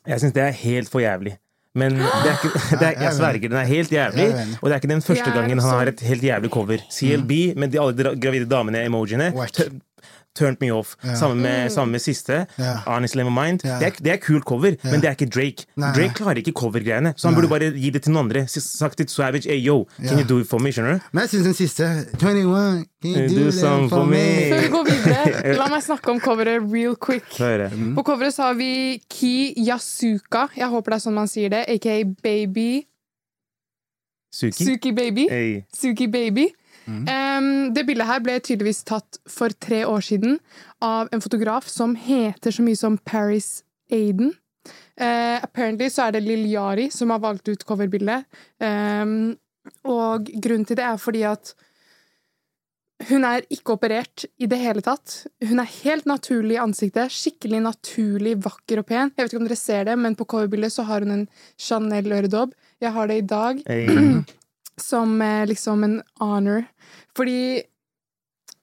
[SPEAKER 2] Jeg syns det er helt for jævlig. Men det er ikke, det er, jeg sverger, den er helt jævlig.
[SPEAKER 3] Jeg Mm. er enig.
[SPEAKER 2] Og det er ikke den første
[SPEAKER 1] Jeg er
[SPEAKER 2] gangen han
[SPEAKER 1] også-
[SPEAKER 2] har et helt jævlig cover. CLB med de, alle de gravide damene-emojiene.
[SPEAKER 3] Whack.
[SPEAKER 2] tu- Turned me off. Samme, med, samme med siste.
[SPEAKER 3] Ja.
[SPEAKER 2] Honest Lame Mind.
[SPEAKER 3] Ja.
[SPEAKER 2] Det, er, det er kult cover, men det er ikke Drake.
[SPEAKER 3] Nei.
[SPEAKER 2] Drake klarer ikke covergreiene, så han burde bare gi det til noen andre. S- Sagt til Savage hey, yo, can
[SPEAKER 3] Ja.
[SPEAKER 2] you do it for me? Skjønner du?
[SPEAKER 3] Men jeg syns den siste 21 Can you do,
[SPEAKER 2] something
[SPEAKER 3] something for me?
[SPEAKER 1] Før vi går videre, la meg snakke om coveret real quick.
[SPEAKER 2] Hør det.
[SPEAKER 3] Mm.
[SPEAKER 1] På coveret så har vi Ki Yasuka, jeg håper det er sånn man sier det, aka Baby.
[SPEAKER 2] Suki.
[SPEAKER 1] Suki Baby.
[SPEAKER 2] Hey.
[SPEAKER 1] Suki Baby. Em, det bildet her ble tydeligvis tatt for tre år siden av en fotograf som heter så mye som Paris Aiden. Eh, apparently så er det Lil Yari som har valgt ut coverbildet. Em, og grunnen til det er fordi at Hun er ikke operert i det hele tatt. Hun er helt naturlig i ansiktet. Skikkelig naturlig vakker og pen. Jeg vet ikke om dere ser det, men på coverbildet så har hun en Chanel-øredobb. Jeg har det i dag
[SPEAKER 2] Hey.
[SPEAKER 1] som eh, liksom en honor. Fordi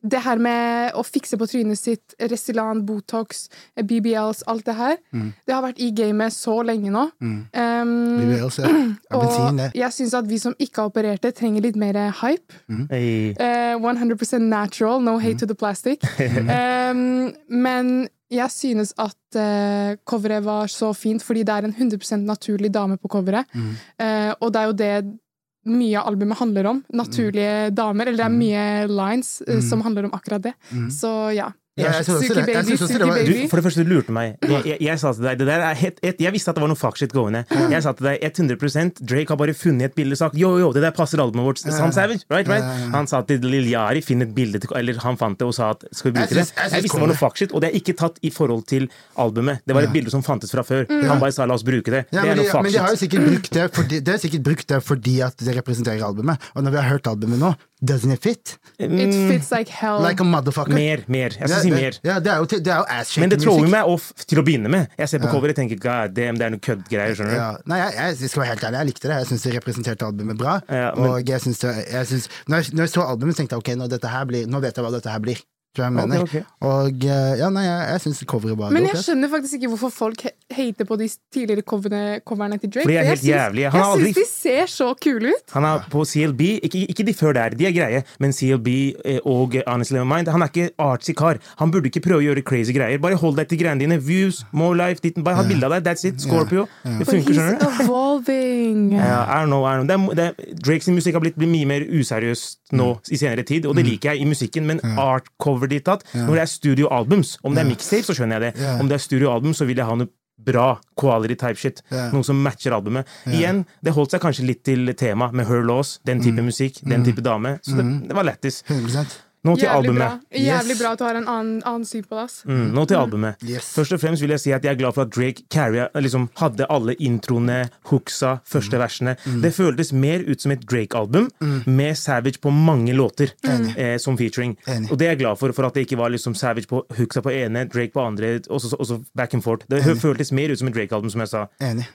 [SPEAKER 1] det her med å fikse på trynet sitt, Resilan, Botox, eh, BBLs, alt det her, det har vært i gamet så lenge nå. Um,
[SPEAKER 3] Mm. Vi vil også, ja. Bensin,
[SPEAKER 1] og
[SPEAKER 3] det.
[SPEAKER 1] jeg syns at vi som ikke har operert det, trenger litt mer eh, hype.
[SPEAKER 2] Hey.
[SPEAKER 1] Eh, 100 natural, no
[SPEAKER 3] Mm.
[SPEAKER 1] hate to the plastic. Ehm, men jeg synes at eh, coveret var så fint, fordi det er en 100 naturlig dame på coveret.
[SPEAKER 3] Mm.
[SPEAKER 1] Eh, og det er jo det mye av albumet handler om. Naturlige
[SPEAKER 3] Mm.
[SPEAKER 1] damer. Eller det er mye lines eh, som handler om akkurat det. Så ja.
[SPEAKER 3] Mm. Ja, jeg synes også
[SPEAKER 1] Suki
[SPEAKER 3] det- jeg
[SPEAKER 1] baby,
[SPEAKER 3] synes også det
[SPEAKER 1] suki
[SPEAKER 3] var-
[SPEAKER 2] Du,
[SPEAKER 1] baby.
[SPEAKER 2] for det første, du lurte meg. Jeg, jeg, jeg sa til deg det der er het, het, Jeg visste at det var noe fuckshit gående. Jeg sa til deg 100 Drake har bare funnet et bilde og sagt yo, yo, det der passer albumet vårt. Sam Savage, right, right? Han sa til Lil Yari finn et bilde til Eller han fant det og sa at skal vi
[SPEAKER 3] Jeg
[SPEAKER 2] bruke det?
[SPEAKER 3] synes- jeg synes
[SPEAKER 2] Jeg visste det
[SPEAKER 3] kom
[SPEAKER 2] var
[SPEAKER 3] det.
[SPEAKER 2] noe fuckshit, og det er ikke tatt i forhold til albumet. Det var et bilde som fantes fra før. Han bare sa la oss bruke det.
[SPEAKER 3] Mm. Ja,
[SPEAKER 2] Det
[SPEAKER 3] men,
[SPEAKER 2] er
[SPEAKER 3] de,
[SPEAKER 2] noe
[SPEAKER 3] men de har jo
[SPEAKER 2] fuckshit.
[SPEAKER 3] sikkert brukt det fordi, de har sikkert brukt det fordi at det representerer albumet. Og når vi har hørt albumet nå, doesn't it fit?
[SPEAKER 1] It fits like hell.
[SPEAKER 3] Like a motherfucker.
[SPEAKER 2] Mer, mer. Jeg skal si
[SPEAKER 3] det,
[SPEAKER 2] mer.
[SPEAKER 3] Ja, det er jo, til- det er jo ass-shaking
[SPEAKER 2] Men det tror jo
[SPEAKER 3] musikk.
[SPEAKER 2] meg off til å begynne med. Jeg ser på coveret og tenker god damn, det er noe køddgreier, skjønner du.
[SPEAKER 3] Ja. Nei, jeg, jeg skal være helt ærlig, jeg likte det. Jeg syns det representerte albumet bra.
[SPEAKER 2] Ja, men-
[SPEAKER 3] Og jeg synes det, jeg synes, når, jeg, når jeg så albumet, tenkte jeg ok, nå, dette her blir, nå vet jeg hva dette her blir. Tror jeg jeg mener.
[SPEAKER 2] Ok, ok.
[SPEAKER 3] Og eh, ja, nei, jeg, jeg syns coveret var
[SPEAKER 1] men
[SPEAKER 3] godt,
[SPEAKER 1] jeg
[SPEAKER 3] ass.
[SPEAKER 1] skjønner faktisk ikke hvorfor folk he- hater på de tidligere coverne, coverne til Drake.
[SPEAKER 2] Fordi de er
[SPEAKER 1] for
[SPEAKER 2] helt
[SPEAKER 1] syns-
[SPEAKER 2] jævlige. Han
[SPEAKER 1] Jeg
[SPEAKER 2] har
[SPEAKER 1] syns
[SPEAKER 2] aldri-
[SPEAKER 1] de ser så kule ut.
[SPEAKER 2] Han er på CLB, ikke, ikke de før der, de er greie, men CLB eh, og Honestly My Mind, han er ikke artsy kar. Han burde ikke prøve å gjøre crazy greier. Bare hold deg til greiene dine. Views, more life, ditt bare ha bilde av deg, that's it. Scorpio. Det
[SPEAKER 1] But
[SPEAKER 2] funker,
[SPEAKER 1] he's
[SPEAKER 2] skjønner du.
[SPEAKER 1] evolving.
[SPEAKER 2] Ja, Eh, I don't know, I don't know. Det er, det er, Drake sin musikk har blitt, blitt mye mer useriøst nå
[SPEAKER 3] Mm.
[SPEAKER 2] i senere tid, og det liker jeg i musikken, men art cover ditt tatt Når det er studioalbums, om det er mixtape, så skjønner jeg det.
[SPEAKER 3] Ja.
[SPEAKER 2] Om det er studioalbum, så vil jeg ha noe bra quality type shit.
[SPEAKER 3] Ja.
[SPEAKER 2] Noe som matcher albumet. Igjen, det holdt seg kanskje litt til temaet med Her Laws, den type
[SPEAKER 3] Mm.
[SPEAKER 2] musikk, den type dame. Så det, det var lættis.
[SPEAKER 3] 100
[SPEAKER 2] Nå til
[SPEAKER 1] Jævlig bra.
[SPEAKER 2] albumet.
[SPEAKER 1] Jævlig
[SPEAKER 3] Yes.
[SPEAKER 1] bra at du har en annen, annen syn på det. ass.
[SPEAKER 2] Mm, nå til albumet.
[SPEAKER 3] Yes.
[SPEAKER 2] Først og fremst vil jeg si at jeg er glad for at Drake carrier, liksom, hadde alle introene, hooksa,
[SPEAKER 3] Mm.
[SPEAKER 2] første versene. Det føltes mer ut som et Drake-album, med Savage på mange låter eh, som featuring.
[SPEAKER 3] Enig.
[SPEAKER 2] Og det er jeg glad for, for at det ikke var liksom Savage på hooksa på ene, Drake på andre, og så- og så back and forth. Det føltes mer ut som et Drake-album, som jeg sa.
[SPEAKER 3] Enig.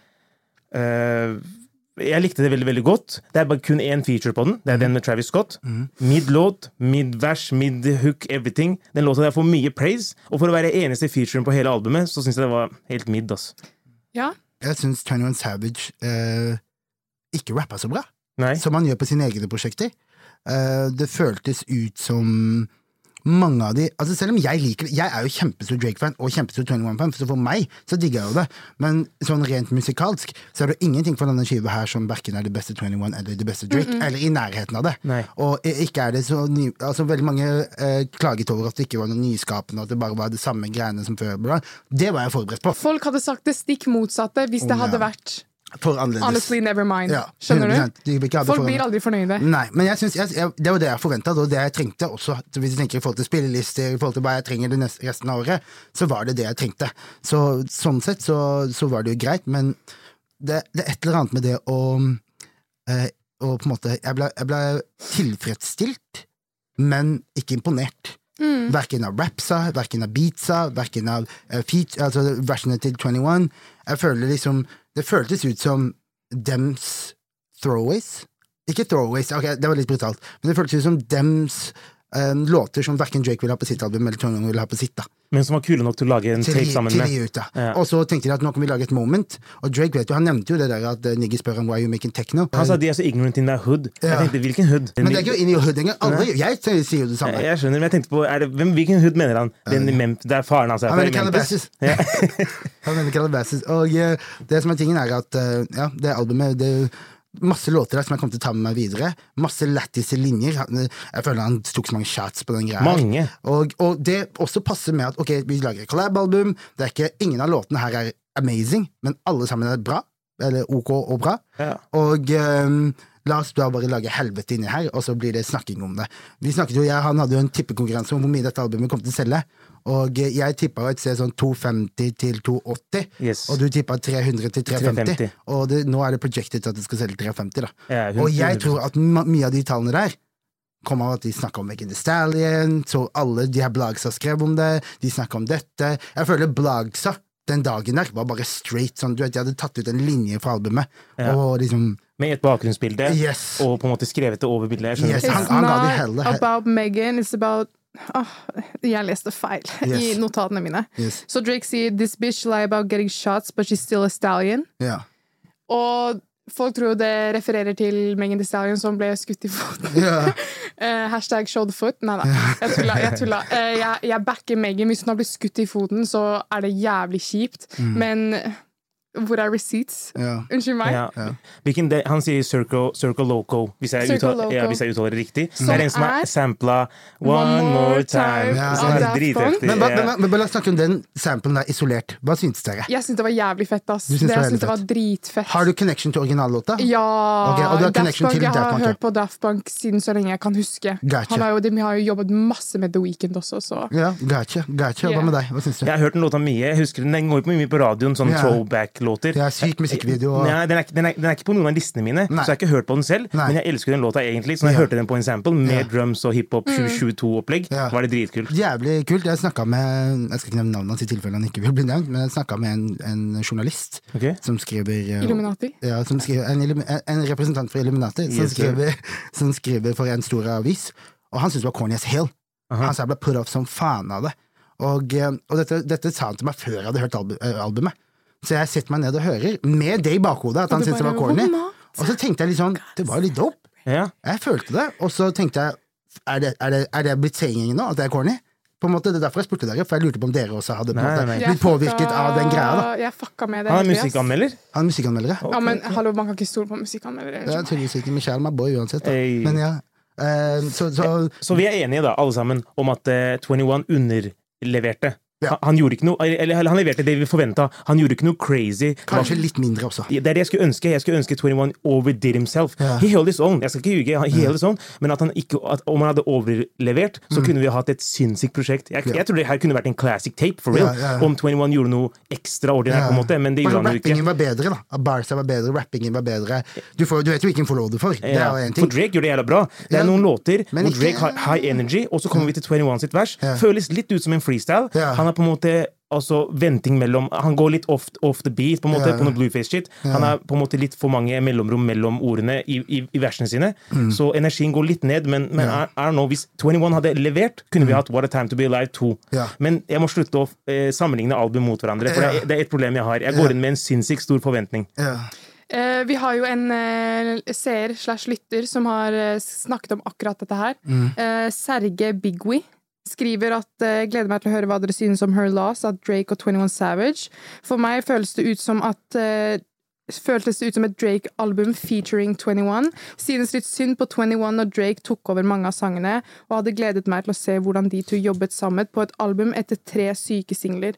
[SPEAKER 2] Eh, jeg likte det veldig veldig godt. Det er bare kun én feature på den. Det er den med Travis Scott.
[SPEAKER 3] Mm.
[SPEAKER 2] Mid-låt, mid-vers, mid-hook, everything. Den låta der får mye praise. Og for å være eneste featuren på hele albumet, så syns jeg det var helt mid. ass.
[SPEAKER 1] Ja.
[SPEAKER 3] Jeg syns 21 Savage eh, ikke rappa så bra.
[SPEAKER 2] Nei?
[SPEAKER 3] som han gjør på sine egne prosjekter. Eh, det føltes ut som mange av de altså Selv om jeg liker det, jeg er jo kjempestor Drake-fan og kjempestor 21-fan, så for meg så digger jeg jo det, men sånn rent musikalsk så er det ingenting for denne skiva her som verken er det beste 21 eller det beste Drake, eller i nærheten av det.
[SPEAKER 2] Nei.
[SPEAKER 3] Og i- ikke er det så ny, altså Veldig mange eh, klaget over at det ikke var noe nyskapende, at det bare var det samme greiene som før. bla. Det var jeg forberedt på.
[SPEAKER 1] Folk hadde sagt det stikk motsatte hvis det
[SPEAKER 3] Om,
[SPEAKER 1] hadde
[SPEAKER 3] ja.
[SPEAKER 1] vært
[SPEAKER 3] For annerledes.
[SPEAKER 1] Honestly, never mind.
[SPEAKER 3] Ja,
[SPEAKER 1] Skjønner
[SPEAKER 3] 100%.
[SPEAKER 1] du?
[SPEAKER 3] De vil ikke ha det
[SPEAKER 1] Folk
[SPEAKER 3] foran-
[SPEAKER 1] blir aldri fornøyde.
[SPEAKER 3] Nei, men jeg synes, jeg, jeg, det var det jeg forventa, og det jeg trengte også. Så Hvis du tenker i forhold til spillelister, i forhold til hva jeg trenger det neste, resten av året, så var det det jeg trengte. Så sånn sett så, så var det jo greit, men det, det er et eller annet med det å eh, å på en måte, jeg ble, jeg ble tilfredsstilt, men ikke imponert. Verken av rapsa, verken av beatsa, verken av eh, feat, altså versene til 21. Jeg føler liksom Det føltes ut som dems throwaways. Ikke throwaways, ok, det var litt brutalt, men det føltes ut som dems eh, låter som verken Drake ville ha på sitt album, eller 21 ville ha på sitt. da
[SPEAKER 2] Men som var kule nok til å lage en
[SPEAKER 3] til,
[SPEAKER 2] tape sammen
[SPEAKER 3] til
[SPEAKER 2] med.
[SPEAKER 3] de ut, da.
[SPEAKER 2] Ja.
[SPEAKER 3] Og så tenkte de at nå kan vi lage et moment, og Drake vet jo, han nevnte jo det der at eh, niggas spør om why you making techno.
[SPEAKER 2] Han sa de er så ignorant in their hood. Jeg
[SPEAKER 3] Ja.
[SPEAKER 2] tenkte, hvilken hood?
[SPEAKER 3] men det er ikke jo in your hood engang. Alle- Jeg sier jo det samme.
[SPEAKER 2] Jeg skjønner, men jeg tenkte på er det, hvem, Hvilken hood mener han? Den i Mem der faren hans er
[SPEAKER 3] Han
[SPEAKER 2] fra i
[SPEAKER 3] mener
[SPEAKER 2] Memphis?
[SPEAKER 3] Calabasas. Han mener Calabasas. Og eh, det som er tingen, er at eh, ja, det albumet det er Masse låter der som jeg kommer til å ta med meg videre. Masse lættis linjer. Han- eh, Jeg føler han tok så mange shots på den greia. her.
[SPEAKER 2] Mange.
[SPEAKER 3] Og, og det også passer med at ok, vi lager et collab-album. Det er ikke, Ingen av låtene her er amazing, men alle sammen er bra. Eller ok og bra.
[SPEAKER 2] Ja.
[SPEAKER 3] Og ehm, la oss da bare lage helvete inni her, og så blir det snakking om det. Vi snakket jo, jeg, Han hadde jo en tippekonkurranse om hvor mye dette albumet kom til å selge. Og eh, jeg tippa et sted sånn 250 til 280,
[SPEAKER 2] Yes.
[SPEAKER 3] og du tippa 300 til 350.
[SPEAKER 2] 350.
[SPEAKER 3] Og det, nå er sånn. det projected at det skal selge 350, da.
[SPEAKER 2] Ja,
[SPEAKER 3] og jeg
[SPEAKER 2] 100%.
[SPEAKER 3] tror at ma mye av de tallene der kom av at de snakka om Megan Thee Stallion, så alle de her blagsa skrev om det, de snakka om dette. Jeg føler blagsa den dagen der var bare straight sånn, du vet, jeg hadde tatt ut en linje fra albumet, og liksom
[SPEAKER 2] Med et bakgrunnsbilde,
[SPEAKER 3] Yes.
[SPEAKER 2] og på en måte skrevet det over bildet. Jeg skjønner.
[SPEAKER 3] Yes.
[SPEAKER 2] ikke.
[SPEAKER 3] han-
[SPEAKER 1] It's
[SPEAKER 3] han ga de
[SPEAKER 1] not
[SPEAKER 3] hele- he-
[SPEAKER 1] about Megan, it's about Åh, jeg leste feil i
[SPEAKER 3] Yes.
[SPEAKER 1] notatene mine.
[SPEAKER 3] Yes.
[SPEAKER 1] Så Drake sier 'This bitch lie about getting shots, but she's still a stallion'.
[SPEAKER 3] Ja.
[SPEAKER 1] Og folk tror jo det refererer til Megan Thee Stallion som ble skutt i foten.
[SPEAKER 3] Ja.
[SPEAKER 1] Eh, hashtag show the foot. Nei da, jeg tulla. Jeg, tulla. Eh, jeg, jeg backer Megan. Hvis hun har blitt skutt i foten, så er det jævlig kjipt. Men hvor er receipts?
[SPEAKER 3] Mm. Ja.
[SPEAKER 1] Unnskyld meg.
[SPEAKER 2] Ja. Hvilken del- han sier Circle, circle Loco, hvis jeg,
[SPEAKER 1] Circle
[SPEAKER 2] uttaler, Ja,
[SPEAKER 1] Loco.
[SPEAKER 2] hvis jeg uttaler det riktig.
[SPEAKER 1] Som
[SPEAKER 2] det er en som er
[SPEAKER 1] er-
[SPEAKER 2] sampla One,
[SPEAKER 1] One
[SPEAKER 2] More
[SPEAKER 1] More
[SPEAKER 2] Time.
[SPEAKER 1] Time
[SPEAKER 2] Ja.
[SPEAKER 3] av
[SPEAKER 2] Som er
[SPEAKER 1] Daft Punk.
[SPEAKER 2] dritreftig.
[SPEAKER 3] Men, ba-
[SPEAKER 2] Ja.
[SPEAKER 3] men, men, men la oss snakke om den samplen der isolert. Hva syns dere?
[SPEAKER 1] Jeg syns det var jævlig fett, ass.
[SPEAKER 3] Du syns
[SPEAKER 1] det,
[SPEAKER 3] det var
[SPEAKER 1] jeg syns
[SPEAKER 3] jævlig
[SPEAKER 1] det var dritfett.
[SPEAKER 3] Har du connection til originallåta?
[SPEAKER 1] Ja!
[SPEAKER 3] Ok, og du har
[SPEAKER 1] Daft
[SPEAKER 3] connection
[SPEAKER 1] Punk,
[SPEAKER 3] til
[SPEAKER 1] jeg
[SPEAKER 3] Daft
[SPEAKER 1] har
[SPEAKER 3] Punk, ja.
[SPEAKER 1] hørt på Daft Punk siden så lenge jeg kan huske.
[SPEAKER 3] Gotcha.
[SPEAKER 1] Han har jo, de har jo jobbet masse med The Weeknd også, så
[SPEAKER 3] Ja, gotcha. gotcha.
[SPEAKER 1] Yeah.
[SPEAKER 3] Hva med deg? Hva syns du?
[SPEAKER 2] Jeg har hørt den låta mye. Jeg husker Den den går jo mye på radioen, sånn
[SPEAKER 3] Ja.
[SPEAKER 2] throwback-låter.
[SPEAKER 3] Det er syk musikkvideo. Og...
[SPEAKER 2] Nei, den, er, ikke- den, er, den er ikke på noen av listene mine,
[SPEAKER 3] Nei.
[SPEAKER 2] så jeg har ikke hørt på den selv.
[SPEAKER 3] Nei.
[SPEAKER 2] Men jeg elsker den låta egentlig, så når jeg hørte den på en sample med drums og hiphop 2022-opplegg,
[SPEAKER 3] Ja.
[SPEAKER 2] var det dritkult.
[SPEAKER 3] Jævlig kult. Jeg snakka med Jeg skal ikke nevne navnet hans i tilfelle han ikke vil bli nevnt, men jeg snakka med en, en journalist
[SPEAKER 2] Ok.
[SPEAKER 3] som skriver eh,
[SPEAKER 1] Illuminati.
[SPEAKER 3] Ja, som skriver, en, illumi- en- en representant for Illuminati som,
[SPEAKER 2] Yes, sir.
[SPEAKER 3] skriver, som skriver for en stor avis, og han syntes det var corny as hell. Han sa jeg ble put off som faen av det. Og, eh, og dette, dette sa han til meg før jeg hadde hørt albu- eh, albumet. Så jeg setter meg ned og hører, med det i bakhodet, at han
[SPEAKER 1] du
[SPEAKER 3] syntes det var
[SPEAKER 1] bare,
[SPEAKER 3] corny.
[SPEAKER 1] "What not?"
[SPEAKER 3] Og så tenkte jeg litt sånn, det var jo litt dope.
[SPEAKER 2] Ja.
[SPEAKER 3] Jeg følte det, og så tenkte jeg Er det, er det, er det blitt saying nå, at det er corny? På en måte, Det er derfor jeg spurte dere, for jeg lurte på om dere også hadde på en
[SPEAKER 2] Nei,
[SPEAKER 3] måte,
[SPEAKER 2] nei.
[SPEAKER 3] blitt påvirket av den greia. da
[SPEAKER 1] Jeg fucka med det.
[SPEAKER 2] Han er
[SPEAKER 1] egentlig, ass.
[SPEAKER 2] musikkanmelder.
[SPEAKER 3] Han er musikkanmeldere.
[SPEAKER 1] Ja, men hallo, man kan ikke stole på musikkanmeldere.
[SPEAKER 3] Jeg er tydeligvis ikke Michelle, my boy, uansett. Da.
[SPEAKER 2] Hey.
[SPEAKER 3] Men ja. Eh, så, så
[SPEAKER 2] Så vi er enige, da, alle sammen, om at eh, 21 underleverte.
[SPEAKER 3] Ja.
[SPEAKER 2] Han, han gjorde ikke noe Eller eller han leverte det vi forventa. Han gjorde ikke noe crazy.
[SPEAKER 3] kanskje litt mindre også.
[SPEAKER 2] Det er det jeg skulle ønske. Jeg skulle ønske 21 overdid himself.
[SPEAKER 3] Ja.
[SPEAKER 2] He held his own. Jeg skal ikke ljuge. He held his own. Men at han ikke, at om han hadde overlevert, så kunne vi hatt et sinnssykt prosjekt. Jeg,
[SPEAKER 3] Mm. Ja.
[SPEAKER 2] jeg tror det her kunne vært en classic tape, for real.
[SPEAKER 3] Ja, ja.
[SPEAKER 2] Om 21 gjorde noe ekstraordinært, på en måte. Men det
[SPEAKER 3] Bare
[SPEAKER 2] gjorde han jo ikke.
[SPEAKER 3] rappingen var bedre, da. Barca var bedre, rappingen var bedre. Du, får, du vet jo hvilken forlov du får. Det
[SPEAKER 2] Ja,
[SPEAKER 3] er jo en
[SPEAKER 2] For
[SPEAKER 3] ting.
[SPEAKER 2] Drake gjør det jævla bra. Det er
[SPEAKER 3] Ja,
[SPEAKER 2] noen låter
[SPEAKER 3] men
[SPEAKER 2] hvor
[SPEAKER 3] ikke-
[SPEAKER 2] Drake har high energy, og så kommer vi til 21 sitt vers. Føles litt ut som en freestyle.
[SPEAKER 3] Ja.
[SPEAKER 2] Han er på en måte altså, venting mellom Han går litt off, off the beat, på en måte,
[SPEAKER 3] Ja.
[SPEAKER 2] på noe blueface-shit. Han er på en måte litt for mange mellomrom mellom ordene i, i, i versene sine.
[SPEAKER 3] Mm.
[SPEAKER 2] Så energien går litt ned, men, men I, I don't know, hvis 21 hadde levert, kunne vi hatt What a Time To Be Alive 2.
[SPEAKER 3] Mm. Ja.
[SPEAKER 2] Men jeg må slutte å eh, sammenligne album mot hverandre, for det, er, det er et problem jeg har. Jeg går inn med en sinnssykt stor forventning.
[SPEAKER 3] Ja.
[SPEAKER 1] Eh, vi har jo en eh, seer slash lytter som har eh, snakket om akkurat dette her. Eh, Serge Bigwi skriver at eh, gleder meg til å høre hva dere synes om Her Loss av Drake og 21 Savage. For meg føles det ut som at eh, Føltes det ut som et Drake-album featuring 21. Synes litt synd på 21 når Drake tok over mange av sangene, og hadde gledet meg til å se hvordan de to jobbet sammen på et album etter tre syke singler.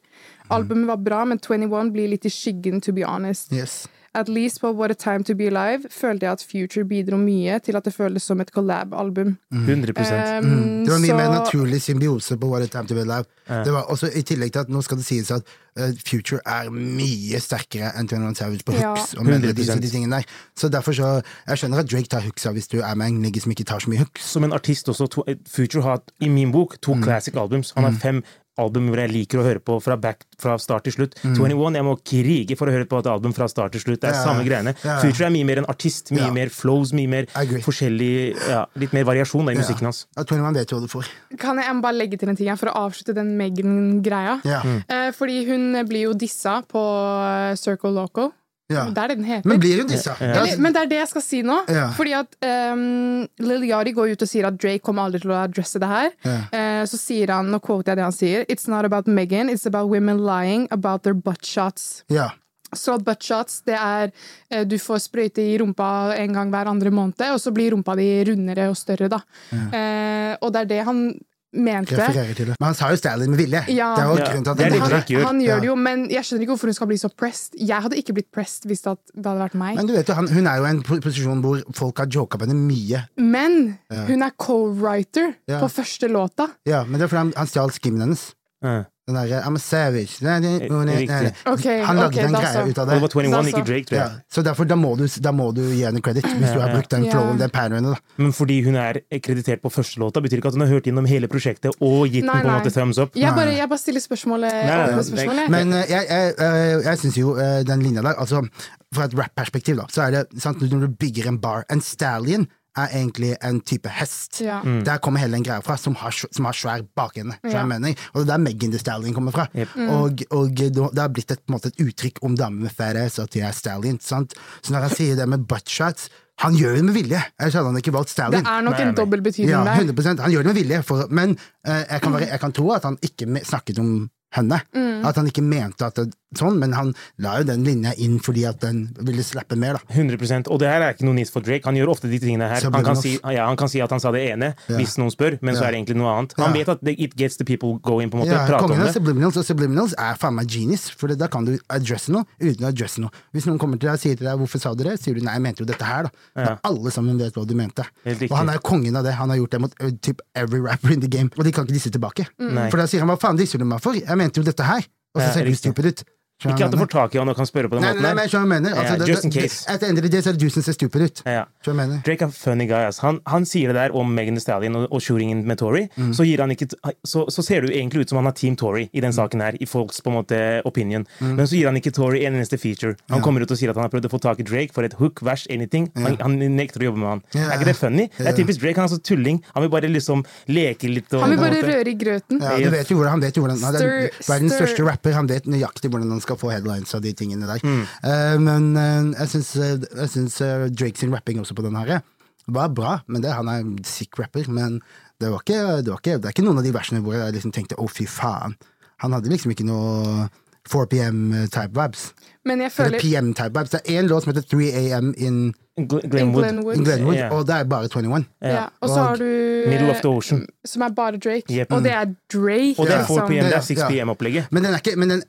[SPEAKER 1] Albumet var bra, men 21 blir litt i skyggen, to be honest.
[SPEAKER 3] Yes.
[SPEAKER 1] At least på What a Time To Be Alive følte jeg at Future bidro mye til at det føles som et collab-album.
[SPEAKER 2] 100
[SPEAKER 1] Um,
[SPEAKER 3] Mm. Det var mye
[SPEAKER 1] så-
[SPEAKER 3] mer naturlig symbiose på What a Time To Be Alive. Det var også I tillegg til at nå skal det sies at eh, Future er mye sterkere enn 21 Savage på
[SPEAKER 1] Ja.
[SPEAKER 3] hooks. Og melodies
[SPEAKER 2] 100%.
[SPEAKER 3] og de tingene der. Så derfor så Jeg skjønner at Drake tar hooksa hvis du er med en nigger som ikke tar så mye hooks.
[SPEAKER 2] som en artist også, to, Future har i min bok to
[SPEAKER 3] Mm.
[SPEAKER 2] classic albums. Han har fem album hvor jeg liker å høre på fra, back, fra start til slutt. 21, jeg må krige for å høre på et album fra start til slutt. Det er
[SPEAKER 3] Mm. Ja,
[SPEAKER 2] samme greiene.
[SPEAKER 3] ja.
[SPEAKER 2] Future er mye mer en artist, mye
[SPEAKER 3] Ja.
[SPEAKER 2] mer flows, mye mer
[SPEAKER 3] I agree.
[SPEAKER 2] forskjellig ja, Litt mer variasjon da, i musikken hans.
[SPEAKER 3] Ja, 21 vet jo hva du får.
[SPEAKER 1] Kan jeg bare legge til en ting her for å avslutte den Megan-greia?
[SPEAKER 3] Ja.
[SPEAKER 2] Mm.
[SPEAKER 1] Eh, fordi hun blir jo dissa på eh, Circle Loco.
[SPEAKER 3] Ja.
[SPEAKER 1] Det er det den heter.
[SPEAKER 3] Men blir hun disse?
[SPEAKER 1] Eller, men det er det jeg skal si nå.
[SPEAKER 3] Ja.
[SPEAKER 1] Fordi at um, Lil Yari går ut og sier at Drake kommer aldri til å adresse det her. Eh, så sier han, nå quoter jeg det han sier, It's not about Megan, it's about women lying about their butt shots.
[SPEAKER 3] Ja.
[SPEAKER 1] Salt butt shots, det er eh, du får sprøyte i rumpa en gang hver andre måned, og så blir rumpa di rundere og større, da. Eh, og det er det han mente.
[SPEAKER 3] Refererer til det. Men han sa jo Stalin med vilje.
[SPEAKER 1] Ja.
[SPEAKER 3] Det er jo
[SPEAKER 2] Ja.
[SPEAKER 3] grunnen til at
[SPEAKER 2] Det er
[SPEAKER 3] han
[SPEAKER 2] det
[SPEAKER 3] gjorde
[SPEAKER 2] Drake
[SPEAKER 3] det.
[SPEAKER 2] gjør.
[SPEAKER 1] Han
[SPEAKER 3] Ja.
[SPEAKER 1] gjør det jo, men jeg skjønner ikke hvorfor hun skal bli så pressed. Jeg hadde ikke blitt pressed hvis det hadde det hadde vært meg.
[SPEAKER 3] Men du vet jo, han, hun er jo i en po- posisjon hvor folk har joka på henne mye.
[SPEAKER 1] Men hun er co-writer
[SPEAKER 3] Ja.
[SPEAKER 1] på første låta.
[SPEAKER 3] Ja, men det er fordi han, han stjal skimmen hennes.
[SPEAKER 2] Ja.
[SPEAKER 3] Den derre I'm a savage nei, nei, nei, nei, nei.
[SPEAKER 1] Ok,
[SPEAKER 3] Han lagde
[SPEAKER 1] ok,
[SPEAKER 3] den
[SPEAKER 1] da
[SPEAKER 3] greia
[SPEAKER 1] så.
[SPEAKER 3] ut
[SPEAKER 2] Og
[SPEAKER 3] av det.
[SPEAKER 2] det var 21,
[SPEAKER 1] Altså.
[SPEAKER 2] ikke Drake, tror
[SPEAKER 3] Ja,
[SPEAKER 2] jeg.
[SPEAKER 3] så derfor, da må, du, da må du gi henne kreditt, hvis du har brukt den
[SPEAKER 1] Ja.
[SPEAKER 3] flowen, den paranoien. Da.
[SPEAKER 2] Men fordi hun er kreditert på første låta, betyr ikke at hun har hørt gjennom hele prosjektet og gitt
[SPEAKER 1] Nei,
[SPEAKER 2] den på en
[SPEAKER 1] nei.
[SPEAKER 2] måte thumbs up.
[SPEAKER 1] Jeg bare, jeg bare stiller spørsmålet.
[SPEAKER 2] nei, nei,
[SPEAKER 1] åpne
[SPEAKER 2] det-
[SPEAKER 1] spørsmålet.
[SPEAKER 3] Men eh, jeg, jeg, eh, jeg syns jo eh, den linja der altså, Fra et rap-perspektiv, da, så er det sant, når du bygger en bar En stallion er egentlig en type hest.
[SPEAKER 1] Ja.
[SPEAKER 3] Der kommer hele den greia fra, som har, sv- som har svær bakende. Svær
[SPEAKER 1] Ja. Mm.
[SPEAKER 3] mening. Og det er der Megan the Stallion kommer fra.
[SPEAKER 2] Jep.
[SPEAKER 3] Og, og det det har blitt et, på en måte, et uttrykk om damer med fat ass, at de er stallion. Sant? Så når han sier det med buttshots Han gjør det med vilje! Ellers hadde han ikke valgt
[SPEAKER 1] Det
[SPEAKER 3] stallion.
[SPEAKER 1] er nok
[SPEAKER 2] Nei,
[SPEAKER 1] en
[SPEAKER 2] nei.
[SPEAKER 1] dobbel betydning
[SPEAKER 3] Ja,
[SPEAKER 1] der.
[SPEAKER 3] 100 Han gjør det med vilje, for, men eh, jeg, kan være, jeg kan tro at han ikke me- snakket om henne. At han ikke mente at det sånn, men han la jo den linja inn fordi at den ville slappe mer, da.
[SPEAKER 2] 100 Og det her er ikke noe nytt for Drake. Han gjør ofte de tingene her.
[SPEAKER 3] Så blir
[SPEAKER 2] Han kan,
[SPEAKER 3] det
[SPEAKER 2] si, ja, han kan si at han sa det ene, hvis noen spør, men så
[SPEAKER 3] Ja.
[SPEAKER 2] er det egentlig noe annet. Han
[SPEAKER 3] Ja.
[SPEAKER 2] vet at det- it gets the people going, på en måte.
[SPEAKER 3] Ja,
[SPEAKER 2] Prate om
[SPEAKER 3] kongen
[SPEAKER 2] det.
[SPEAKER 3] av subliminals og subliminals er faen meg genius, for da kan du adresse noe uten å adresse noe. Hvis noen kommer til deg og sier til deg 'hvorfor sa du det', sier du 'nei, jeg mente jo dette her', da. Men alle sammen vet hva du mente.
[SPEAKER 2] Helt riktig.
[SPEAKER 3] Og han er jo kongen av det. Han har gjort det mot ø, typ every rapper in the game, og de kan ikke disse tilbake.
[SPEAKER 2] Nei.
[SPEAKER 3] For da sier han 'hva faen disser du meg for', jeg mente jo dette her', og
[SPEAKER 2] Ja,
[SPEAKER 3] så ser du
[SPEAKER 2] riktig.
[SPEAKER 3] stupid ut. Skjønner du
[SPEAKER 2] Ikke
[SPEAKER 3] hva jeg
[SPEAKER 2] at du
[SPEAKER 3] mener?
[SPEAKER 2] får tak i han og kan spørre på den
[SPEAKER 3] Nei,
[SPEAKER 2] måten.
[SPEAKER 3] nei, nei,
[SPEAKER 2] her.
[SPEAKER 3] men jeg skjønner hva jeg mener. Altså,
[SPEAKER 2] Ja,
[SPEAKER 3] det-
[SPEAKER 2] just in
[SPEAKER 3] det-
[SPEAKER 2] case.
[SPEAKER 3] Etter endelig det, så er det du som ser stupid ut.
[SPEAKER 2] Ja, ja.
[SPEAKER 3] Skjønner du hva jeg mener.
[SPEAKER 2] Drake er funny guy. ass. Han, han sier det der om Megan Thee Stallion og, og shooringen med Tory.
[SPEAKER 3] Mm.
[SPEAKER 2] Så, gir han ikke, t- ah, så, så ser det jo egentlig ut som han har Team Tory i
[SPEAKER 3] Mm.
[SPEAKER 2] den saken her, i folks på en måte opinion. Men så gir han ikke Tory en eneste feature. Han kommer ut og sier at han har prøvd å få tak i Drake for et hook, vers, anything. Han, han nekter å jobbe med han.
[SPEAKER 3] Ja.
[SPEAKER 2] Er ikke det funny? Det er typisk Drake. Han er så tulling. Han vil bare liksom leke litt. Og,
[SPEAKER 1] Han vil
[SPEAKER 2] på en
[SPEAKER 1] bare
[SPEAKER 2] måte-
[SPEAKER 1] røre i grøten.
[SPEAKER 3] Ja, du vet jo hvordan, han vet jo hvordan han er den
[SPEAKER 1] Stir-
[SPEAKER 3] verdens
[SPEAKER 1] stir-
[SPEAKER 3] største rapper. Han vet nøyaktig hvordan han skal få headlines av de tingene der.
[SPEAKER 2] Mm.
[SPEAKER 3] Eh, men eh, jeg syns, eh, jeg syns eh, Drake sin rapping også på den her eh, var bra. Men det, Han er en sick rapper, men det, var ikke, det, var ikke, det er ikke noen av de versene hvor jeg liksom tenkte 'å, fy faen'. Han hadde liksom ikke noe 4 PM-type eh, vibes.
[SPEAKER 1] Men jeg
[SPEAKER 3] Eller
[SPEAKER 1] føler
[SPEAKER 3] PM-type vibes. Det er én låt som heter 3 AM in,
[SPEAKER 2] Gl- Glenwood.
[SPEAKER 1] Glenwood.
[SPEAKER 3] in Glenwood,
[SPEAKER 2] Ja.
[SPEAKER 3] og det er bare 21.
[SPEAKER 1] ja. Og så har du
[SPEAKER 2] Middle of the
[SPEAKER 1] eh,
[SPEAKER 2] ocean.
[SPEAKER 1] som er bare Drake,
[SPEAKER 2] Yep.
[SPEAKER 1] og det er Drake.
[SPEAKER 2] Og det er
[SPEAKER 3] Ja.
[SPEAKER 2] 4 PM, det er 6
[SPEAKER 3] Ja.
[SPEAKER 2] PM-opplegget.
[SPEAKER 3] Men, den er ikke, men den,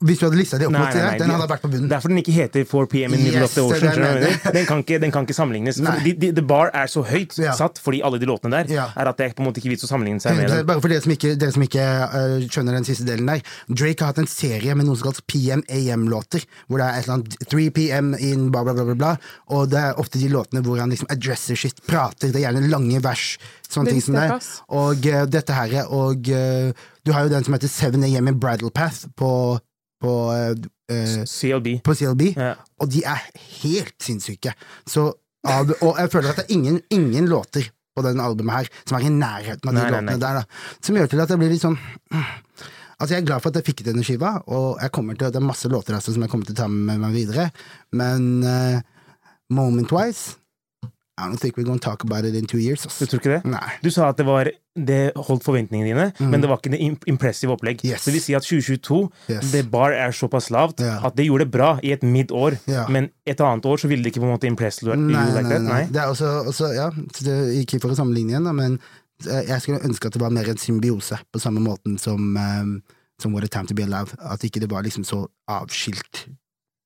[SPEAKER 3] hvis du hadde lista det opp mot det, der, den hadde vært på bunnen.
[SPEAKER 2] Derfor den ikke heter 4 PM in Middle
[SPEAKER 3] Yes,
[SPEAKER 2] of the
[SPEAKER 3] det er
[SPEAKER 2] Ocean.
[SPEAKER 3] det jeg
[SPEAKER 2] skjønner du hva jeg
[SPEAKER 3] mener.
[SPEAKER 2] mener? Den kan ikke, den kan ikke sammenlignes.
[SPEAKER 3] Nei.
[SPEAKER 2] Fordi de, de, the bar er så høyt
[SPEAKER 3] Ja.
[SPEAKER 2] satt fordi alle de låtene der
[SPEAKER 3] Ja.
[SPEAKER 2] er at det er på en måte ikke vits å sammenligne seg med den.
[SPEAKER 3] Bare for dere som ikke, dere som ikke øh, skjønner den siste delen der. Drake har hatt en serie med noe som kalles PM-AM-låter. Hvor det er et eller annet 3 PM in bla, bla, bla, bla, bla. Og det er ofte de låtene hvor han liksom addresser shit, prater. Det er gjerne lange vers. Sånne
[SPEAKER 1] Det
[SPEAKER 3] ting
[SPEAKER 1] visste
[SPEAKER 3] som det.
[SPEAKER 1] jeg
[SPEAKER 3] er.
[SPEAKER 1] ikke, ass.
[SPEAKER 3] Og øh, dette her Og øh, du har jo den som heter 7 AM in Bridal Path på, på, øh, øh,
[SPEAKER 2] CLB.
[SPEAKER 3] på CLB.
[SPEAKER 2] Ja.
[SPEAKER 3] Og de er helt sinnssyke. Så, av- og jeg føler at det er ingen, ingen låter på den albumet her som er i nærheten av de
[SPEAKER 2] Nei, nei,
[SPEAKER 3] låtene
[SPEAKER 2] nei.
[SPEAKER 3] der. Da. Som gjør til at jeg blir litt sånn Altså Jeg er glad for at jeg fikk ut denne skiva, og jeg kommer til, det er masse låter altså, som jeg kommer til å ta med meg videre, men eh, moment-wise I don't think we're gonna talk about it in two years. Ass.
[SPEAKER 2] Du tror ikke det?
[SPEAKER 3] Nei. Mm.
[SPEAKER 2] Du sa at det, var, det holdt forventningene dine, men det var ikke det imp- impressive opplegg.
[SPEAKER 3] Yes.
[SPEAKER 2] Det vil si at 2022,
[SPEAKER 3] Yes.
[SPEAKER 2] det bar er såpass lavt
[SPEAKER 3] Ja.
[SPEAKER 2] at det gjorde det bra i et middår,
[SPEAKER 3] Ja.
[SPEAKER 2] men et annet år så ville det ikke på en måte impresse you
[SPEAKER 3] Nei,
[SPEAKER 2] like
[SPEAKER 3] nei,
[SPEAKER 2] that.
[SPEAKER 3] nei. Det er også, også ja, så det gikk for å sammenligne igjen, da, men eh, jeg skulle ønske at det var mer en symbiose, på samme måten som, um, som What a Time To Be Alive. At ikke det var liksom så avskilt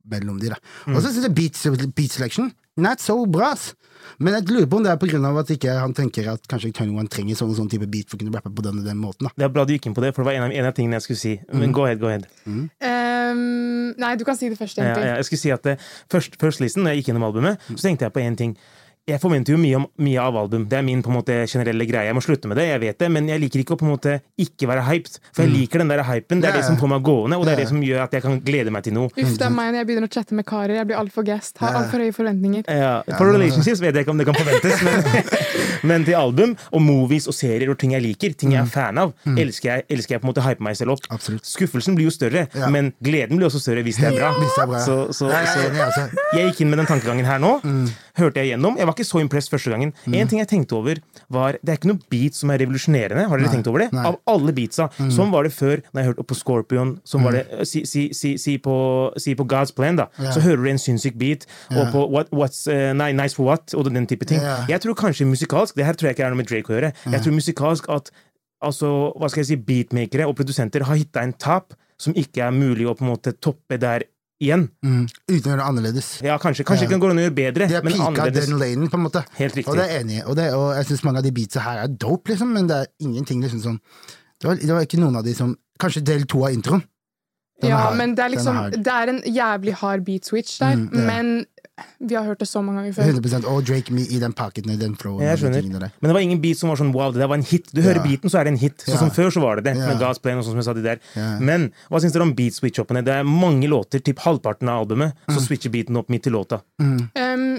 [SPEAKER 3] mellom de, da. Og så syns jeg beat, beat selection not so bra, ass. Men jeg lurer på om det er på grunn av at ikke han tenker at kanskje Tony One trenger sånn og sånn type beat for å kunne rappe på den og den måten, da.
[SPEAKER 2] Det er bra du gikk inn på det, for det var en av, en av tingene jeg skulle si.
[SPEAKER 3] Mm.
[SPEAKER 2] Men go ahead, go ahead.
[SPEAKER 1] Ehm, nei, du kan si det først,
[SPEAKER 2] Ja,
[SPEAKER 1] egentlig.
[SPEAKER 2] ja, jeg skulle si at eh, først, først listen, når jeg gikk gjennom albumet, så tenkte jeg på én ting. Jeg forventer jo mye, om, mye av album. Det er min på en måte generelle greie. Jeg må slutte med det, jeg vet det, men jeg liker ikke å på en måte ikke være hyped. For jeg liker den der hypen. Det er
[SPEAKER 3] Mm. Ja,
[SPEAKER 2] det
[SPEAKER 3] ja.
[SPEAKER 2] som får meg gående, og det er det som gjør at jeg kan glede meg til noe.
[SPEAKER 1] Uff, det er meg når jeg begynner å chatte med karer. Jeg blir altfor gassed. Har altfor høye forventninger.
[SPEAKER 2] Ja, for relationships vet jeg ikke om det kan forventes, men, men til album og movies og serier og ting jeg liker, ting jeg er fan av, elsker, jeg, elsker jeg på en måte å hype meg selv opp.
[SPEAKER 3] Mm. Absolutt.
[SPEAKER 2] Skuffelsen blir jo større,
[SPEAKER 3] Ja.
[SPEAKER 2] men gleden blir også større hvis det er bra.
[SPEAKER 3] Hvis det er bra.
[SPEAKER 2] Så, så,
[SPEAKER 3] Nei, jeg
[SPEAKER 2] så,
[SPEAKER 3] er enig, altså.
[SPEAKER 2] Jeg gikk inn med den tankegangen her nå.
[SPEAKER 3] Mm.
[SPEAKER 2] Hørte jeg gjennom. Jeg var ikke så impressed første gangen. En ting jeg tenkte over, var Det er ikke noe beat som er revolusjonerende. Har dere tenkt over det?
[SPEAKER 3] nei. Mm.
[SPEAKER 2] Av alle beatsa. Sånn var det før, når jeg hørte på Scorpion. Sånn var det eh, Si, si, si, si, på, si på God's Plan, da.
[SPEAKER 3] Ja.
[SPEAKER 2] Så hører du en sinnssyk beat, og på what, What's eh, Nei, Nice for What, og den type ting.
[SPEAKER 3] Ja.
[SPEAKER 2] Jeg tror kanskje musikalsk Det her tror jeg ikke er noe med Drake å gjøre. Jeg tror musikalsk at altså, hva skal jeg si, beatmakere og produsenter har hitta en tap som ikke er mulig å på en måte toppe der igjen.
[SPEAKER 3] Mm. Uten å gjøre det annerledes.
[SPEAKER 2] Ja, kanskje. Kanskje ikke går an å gjøre bedre,
[SPEAKER 3] De har
[SPEAKER 2] men
[SPEAKER 3] pika
[SPEAKER 2] annerledes.
[SPEAKER 3] den lanen, på en måte.
[SPEAKER 2] Helt riktig.
[SPEAKER 3] Og det er jeg enig i. Og, det- og jeg syns mange av de beatsa her er dope, liksom, men det er ingenting liksom sånn Det var, det var ikke noen av de som Kanskje del to av introen. Den er
[SPEAKER 1] Ja,
[SPEAKER 3] hard.
[SPEAKER 1] men det er
[SPEAKER 3] Den
[SPEAKER 1] liksom
[SPEAKER 3] hard.
[SPEAKER 1] Det er en jævlig hard beat switch der,
[SPEAKER 3] Mm, det er.
[SPEAKER 1] men vi har hørt det så mange ganger før.
[SPEAKER 3] 100 Og Drake Me i den pocketen i den flowen.
[SPEAKER 2] Jeg
[SPEAKER 3] og de
[SPEAKER 2] skjønner.
[SPEAKER 3] tingene der.
[SPEAKER 2] Men det var ingen beat som var sånn wow, det der var en hit. Du hører
[SPEAKER 3] Ja.
[SPEAKER 2] beaten, så er det en hit. Så
[SPEAKER 3] Ja.
[SPEAKER 2] Som før så var det det.
[SPEAKER 3] Ja.
[SPEAKER 2] Med God's Plan og sånn som jeg sa de der.
[SPEAKER 3] Ja.
[SPEAKER 2] Men hva syns dere om beat switch-upene? Det er mange låter, typ halvparten av albumet,
[SPEAKER 3] Mm.
[SPEAKER 2] så switcher beaten opp midt i låta.
[SPEAKER 1] Um,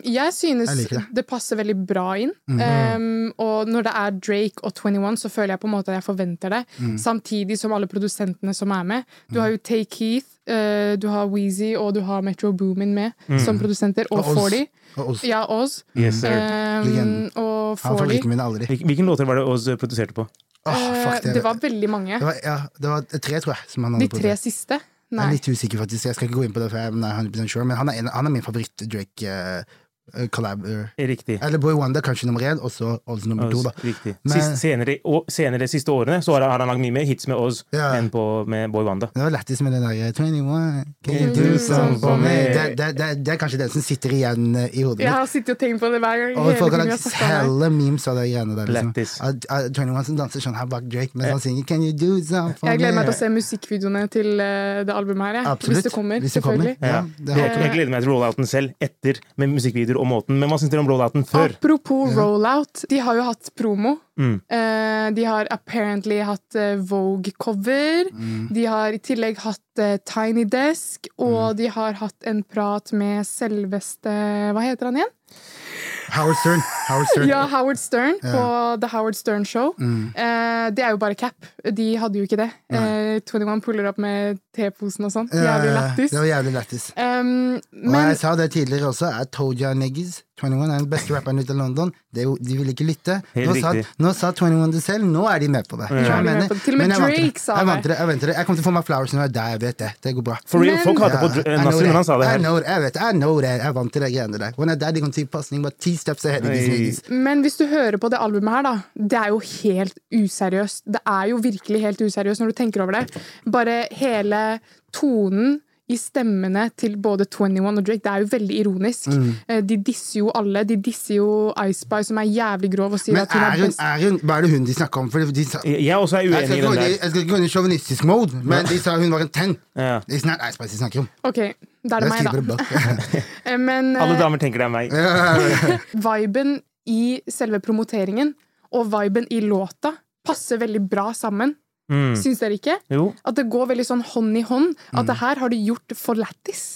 [SPEAKER 1] jeg synes
[SPEAKER 3] Jeg liker
[SPEAKER 1] det.
[SPEAKER 3] det. Mhm.
[SPEAKER 1] passer veldig bra inn. Um, og når det er Drake og 21, så føler jeg på en måte at jeg forventer det.
[SPEAKER 3] Mhm.
[SPEAKER 1] Samtidig som alle produsentene som er med. Du har jo Tay Keith, eh, du har Weezy og du har Metro Boomin med som produsenter. Og,
[SPEAKER 3] Og Mhm. Oz.
[SPEAKER 1] 40.
[SPEAKER 3] Og Oz.
[SPEAKER 1] Ja, Oz.
[SPEAKER 2] Yes, sir.
[SPEAKER 1] Um,
[SPEAKER 3] Legenden.
[SPEAKER 1] og
[SPEAKER 3] Han får
[SPEAKER 1] 40.
[SPEAKER 3] like mine aldri.
[SPEAKER 2] Mm. Hvil- Hvilken låter var det Oz produserte på?
[SPEAKER 3] Åh, Ah, fuck
[SPEAKER 1] Eh,
[SPEAKER 3] det.
[SPEAKER 1] det var veldig mange.
[SPEAKER 3] det, var, ja, det var tre, tror jeg. Som han hadde
[SPEAKER 1] De
[SPEAKER 3] på
[SPEAKER 1] tre
[SPEAKER 3] det.
[SPEAKER 1] siste?
[SPEAKER 3] Jeg er
[SPEAKER 1] Nei.
[SPEAKER 3] litt usikker, faktisk. Jeg skal ikke gå inn på det, for jeg er 100 sure, men han er, en, han er min eh, favoritt-Drake-collab.
[SPEAKER 2] Riktig.
[SPEAKER 3] eh, Eller Boy Wonder, kanskje nummer én, og så Oz nummer to,
[SPEAKER 2] Oz,
[SPEAKER 3] da.
[SPEAKER 2] riktig.
[SPEAKER 3] Men-
[SPEAKER 2] Sist, senere, og, senere siste årene så har han, har han lagd mye mer hits med Oz
[SPEAKER 3] Ja.
[SPEAKER 2] enn på, med Boy Wanda.
[SPEAKER 3] Det var lættis med den der eh, 21, can you
[SPEAKER 2] Mm.
[SPEAKER 3] do something for me?
[SPEAKER 2] Mm.
[SPEAKER 3] Det, det, det, det er kanskje den som sitter igjen eh, i hodet
[SPEAKER 1] Jeg
[SPEAKER 3] mitt.
[SPEAKER 1] har sittet og tenkt på det hver gang.
[SPEAKER 3] Og
[SPEAKER 1] hele
[SPEAKER 3] folk har
[SPEAKER 1] tiden vi
[SPEAKER 3] lagt
[SPEAKER 1] snakket om det.
[SPEAKER 3] helle memes av de greiene der. Liksom.
[SPEAKER 2] Lættis.
[SPEAKER 3] At- at 21 som danser sånn her bak Drake, mens han synger 'Can you do something for me?'
[SPEAKER 1] Jeg gleder meg til å se musikkvideoene til eh, det albumet her. jeg.
[SPEAKER 3] Absolutt.
[SPEAKER 1] Hvis det kommer,
[SPEAKER 3] Hvis det kommer.
[SPEAKER 1] selvfølgelig.
[SPEAKER 3] Ja, det har
[SPEAKER 2] jeg, jeg gleder meg til rollouten selv, etter, med musikkvideoer og måten. Men hva syns dere om rollouten før?
[SPEAKER 1] Apropos rollout, de har jo hatt promo.
[SPEAKER 2] Mm.
[SPEAKER 1] Eh, de har apparently hatt eh, Vogue-cover. De har i tillegg hatt eh, Tiny Desk, og de har hatt en prat med selveste Hva heter han igjen?
[SPEAKER 3] Howard Stern. Howard Stern.
[SPEAKER 1] Ja, Howard Stern på The Howard Stern Show. Eh, det er jo bare cap. De hadde jo ikke det. Eh, 21 puller opp med teposen og sånn. Jævlig lættis.
[SPEAKER 3] Eh, Det var jævlig lættis.
[SPEAKER 1] Um,
[SPEAKER 3] Og
[SPEAKER 1] men
[SPEAKER 3] jeg sa det tidligere også, I told you niggas. 21 er den beste rapperen ut av London. De, de ville ikke lytte.
[SPEAKER 2] Helt
[SPEAKER 3] Nå sa,
[SPEAKER 2] riktig.
[SPEAKER 3] nå sa 21 det selv, nå er de med på det. Skjønner du hva
[SPEAKER 1] Nå er de med
[SPEAKER 3] mener?
[SPEAKER 1] på det. Til og med
[SPEAKER 3] Men jeg vant
[SPEAKER 1] Drake
[SPEAKER 3] det.
[SPEAKER 1] sa
[SPEAKER 3] jeg
[SPEAKER 1] det.
[SPEAKER 3] vant det. Jeg vant det. Jeg kommer til å få meg flowers når jeg er der, jeg vet det. Det går bra.
[SPEAKER 2] For real,
[SPEAKER 1] Men-
[SPEAKER 2] Folk hater
[SPEAKER 3] Ja,
[SPEAKER 2] på
[SPEAKER 3] I
[SPEAKER 2] Dr-
[SPEAKER 3] know
[SPEAKER 2] Nasri
[SPEAKER 3] that.
[SPEAKER 2] når han sa det
[SPEAKER 3] I
[SPEAKER 2] her.
[SPEAKER 3] know it, jeg vet det. I know det. Jeg vant til de greiene der. When I died, de kom til pasning, bare ti steps ahead of these
[SPEAKER 2] Hey.
[SPEAKER 3] niggas.
[SPEAKER 1] Men hvis du hører på det albumet her, da. Det er jo helt useriøst. Det er jo virkelig helt useriøst når du tenker over det. Bare hele tonen i stemmene til både 21 og Drake, det er jo veldig ironisk.
[SPEAKER 3] Mm.
[SPEAKER 1] Eh, De disser jo alle. De disser jo Ice Spy, som er jævlig grov og sier
[SPEAKER 3] Men
[SPEAKER 1] at hun
[SPEAKER 3] er
[SPEAKER 1] er
[SPEAKER 3] hun,
[SPEAKER 1] best.
[SPEAKER 3] er hun Hva er det hun de snakker om? For de sa
[SPEAKER 2] Jeg, jeg også er
[SPEAKER 3] jeg
[SPEAKER 2] uenig
[SPEAKER 3] skal,
[SPEAKER 2] i
[SPEAKER 3] ikke gå
[SPEAKER 2] den
[SPEAKER 3] inn i-
[SPEAKER 2] der.
[SPEAKER 3] jeg skal ikke gå inn i sjåvinistisk mode, men de sa hun var en ten.
[SPEAKER 2] Ja.
[SPEAKER 3] Det er snart Ice Spice de snakker om.
[SPEAKER 1] Ok, da er
[SPEAKER 3] Jeg
[SPEAKER 1] det meg,
[SPEAKER 3] skriver det
[SPEAKER 1] da.
[SPEAKER 3] bak.
[SPEAKER 1] Eh, Men eh,
[SPEAKER 2] Alle damer tenker det er meg.
[SPEAKER 1] viben i selve promoteringen og viben i låta passer veldig bra sammen.
[SPEAKER 2] Mm.
[SPEAKER 1] Syns dere ikke?
[SPEAKER 2] Jo.
[SPEAKER 1] At det går veldig sånn hånd i hånd. At det her har de gjort for lættis.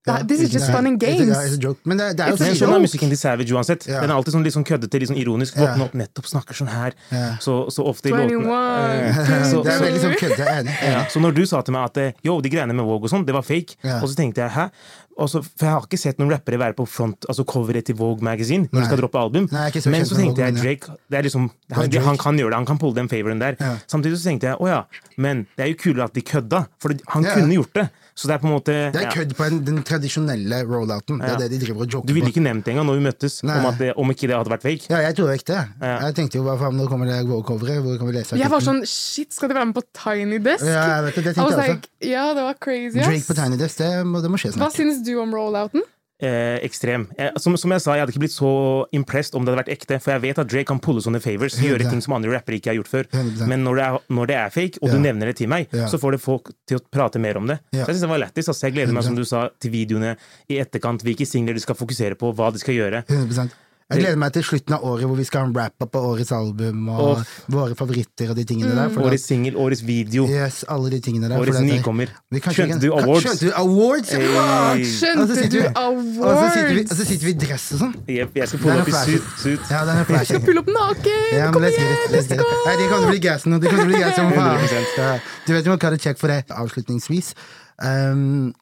[SPEAKER 1] Det er-
[SPEAKER 3] Mm. Ja,
[SPEAKER 1] This is
[SPEAKER 3] ikke
[SPEAKER 1] just
[SPEAKER 3] det.
[SPEAKER 1] fun and
[SPEAKER 3] It's a- it's
[SPEAKER 1] games.
[SPEAKER 3] a joke. Men det, det er jo
[SPEAKER 1] It's a
[SPEAKER 2] Men
[SPEAKER 3] sikkert-
[SPEAKER 2] sånn er
[SPEAKER 1] joke.
[SPEAKER 2] musikken til Savage uansett.
[SPEAKER 3] Ja.
[SPEAKER 2] Den er alltid sånn litt sånn køddete, litt sånn ironisk.
[SPEAKER 3] Ja.
[SPEAKER 2] Våkne opp, nettopp, snakker sånn her.
[SPEAKER 3] Ja.
[SPEAKER 2] Så, så ofte i
[SPEAKER 1] 21,
[SPEAKER 2] låtene Eh, så,
[SPEAKER 3] Det er veldig
[SPEAKER 2] så,
[SPEAKER 3] sånn kødde. jeg er Enig.
[SPEAKER 2] ja. Så når du sa til meg at eh, yo, de greiene med Vogue og sånn, det var fake,
[SPEAKER 3] Ja.
[SPEAKER 2] og så tenkte jeg hæ? Og så, for jeg har ikke sett noen rappere være på front, altså coveret til Vogue Magazine når
[SPEAKER 3] Nei.
[SPEAKER 2] de skal droppe album.
[SPEAKER 3] Nei, jeg er ikke så
[SPEAKER 2] Men
[SPEAKER 3] kjent
[SPEAKER 2] så
[SPEAKER 3] med
[SPEAKER 2] tenkte jeg
[SPEAKER 3] Vogue, men ja.
[SPEAKER 2] Drake det er liksom, han,
[SPEAKER 3] Drake.
[SPEAKER 2] han kan gjøre det, han kan pulle den favoren der.
[SPEAKER 3] Ja.
[SPEAKER 2] Samtidig så tenkte jeg å ja, men det er jo kulere at de kødda, for han
[SPEAKER 3] Ja.
[SPEAKER 2] kunne gjort det. Så det er på en måte
[SPEAKER 3] Det er
[SPEAKER 2] ja.
[SPEAKER 3] kødd på en, den tradisjonelle rollouten. Det
[SPEAKER 2] Ja.
[SPEAKER 3] er det de driver og joker
[SPEAKER 2] Du ville
[SPEAKER 3] på.
[SPEAKER 2] ikke nevnt det engang når vi møttes,
[SPEAKER 3] Nei.
[SPEAKER 2] om, at det, om ikke det hadde vært fake.
[SPEAKER 3] Ja, jeg tror ikke det. Jeg tenkte jo hva faen, nå kommer det Vogue-coveret, hvor kan vi lese
[SPEAKER 1] Jeg var
[SPEAKER 3] artikkelen?
[SPEAKER 1] sånn Shit, skal de være med på Tiny Desk?
[SPEAKER 3] Ja, jeg vet det, det
[SPEAKER 1] I was
[SPEAKER 3] tenkte jeg også.
[SPEAKER 1] like, ja, det var crazy. ass.
[SPEAKER 3] Drake på Tiny Desk, det må, det må skje
[SPEAKER 1] Hva
[SPEAKER 3] snart.
[SPEAKER 1] syns du om rollouten?
[SPEAKER 2] Eh, ekstrem. Eh, som, som jeg sa, jeg hadde ikke blitt så impressed om det hadde vært ekte, for jeg vet at Drake kan pulle sånne favors, gjøre
[SPEAKER 3] 100%.
[SPEAKER 2] ting som andre rappere ikke har gjort før.
[SPEAKER 3] 100%.
[SPEAKER 2] Men når det er, når det er fake, og
[SPEAKER 3] Ja.
[SPEAKER 2] du nevner det til meg,
[SPEAKER 3] Ja.
[SPEAKER 2] så får det folk til å prate mer om det. Så
[SPEAKER 3] Ja.
[SPEAKER 2] jeg synes det var lættis. Altså, jeg gleder meg, som du sa, til videoene i etterkant, hvilke singler de skal fokusere på, hva de skal gjøre.
[SPEAKER 3] 100 Jeg gleder meg til slutten av året, hvor vi skal ha en wrap-up av årets album, og
[SPEAKER 2] Åh.
[SPEAKER 3] våre favoritter og de tingene
[SPEAKER 1] Mm.
[SPEAKER 3] der. For
[SPEAKER 2] Årets singel, årets video,
[SPEAKER 3] da, yes, alle de tingene der. for
[SPEAKER 2] årets
[SPEAKER 3] da-
[SPEAKER 2] nykommer.
[SPEAKER 3] Vi kanskje
[SPEAKER 2] Skjønte
[SPEAKER 3] kan-
[SPEAKER 2] du
[SPEAKER 3] kan-
[SPEAKER 2] awards?
[SPEAKER 3] Skjønte du awards? Ja!
[SPEAKER 2] Hey.
[SPEAKER 3] Og så
[SPEAKER 1] Skjønte
[SPEAKER 3] sitter
[SPEAKER 1] du
[SPEAKER 3] vi- Og så sitter vi- og
[SPEAKER 1] awards?
[SPEAKER 3] så sitter vi i dress og sånn.
[SPEAKER 2] Jepp, jeg skal
[SPEAKER 3] Det er
[SPEAKER 2] pulle
[SPEAKER 3] en
[SPEAKER 2] opp i
[SPEAKER 3] flash.
[SPEAKER 2] suit. suit.
[SPEAKER 3] Ja, det er en flash.
[SPEAKER 1] Pull opp naken!
[SPEAKER 3] Ja, men
[SPEAKER 1] Kom
[SPEAKER 3] let's get
[SPEAKER 1] igjen,
[SPEAKER 3] it, let's
[SPEAKER 1] let's
[SPEAKER 3] get
[SPEAKER 1] go!
[SPEAKER 3] it. Nei, de kommer til å bli gassen, og de kommer til å bli gassen, faen.
[SPEAKER 2] 100%.
[SPEAKER 3] Ja, Du vet jo hva det check for det. Avslutningsvis. Um,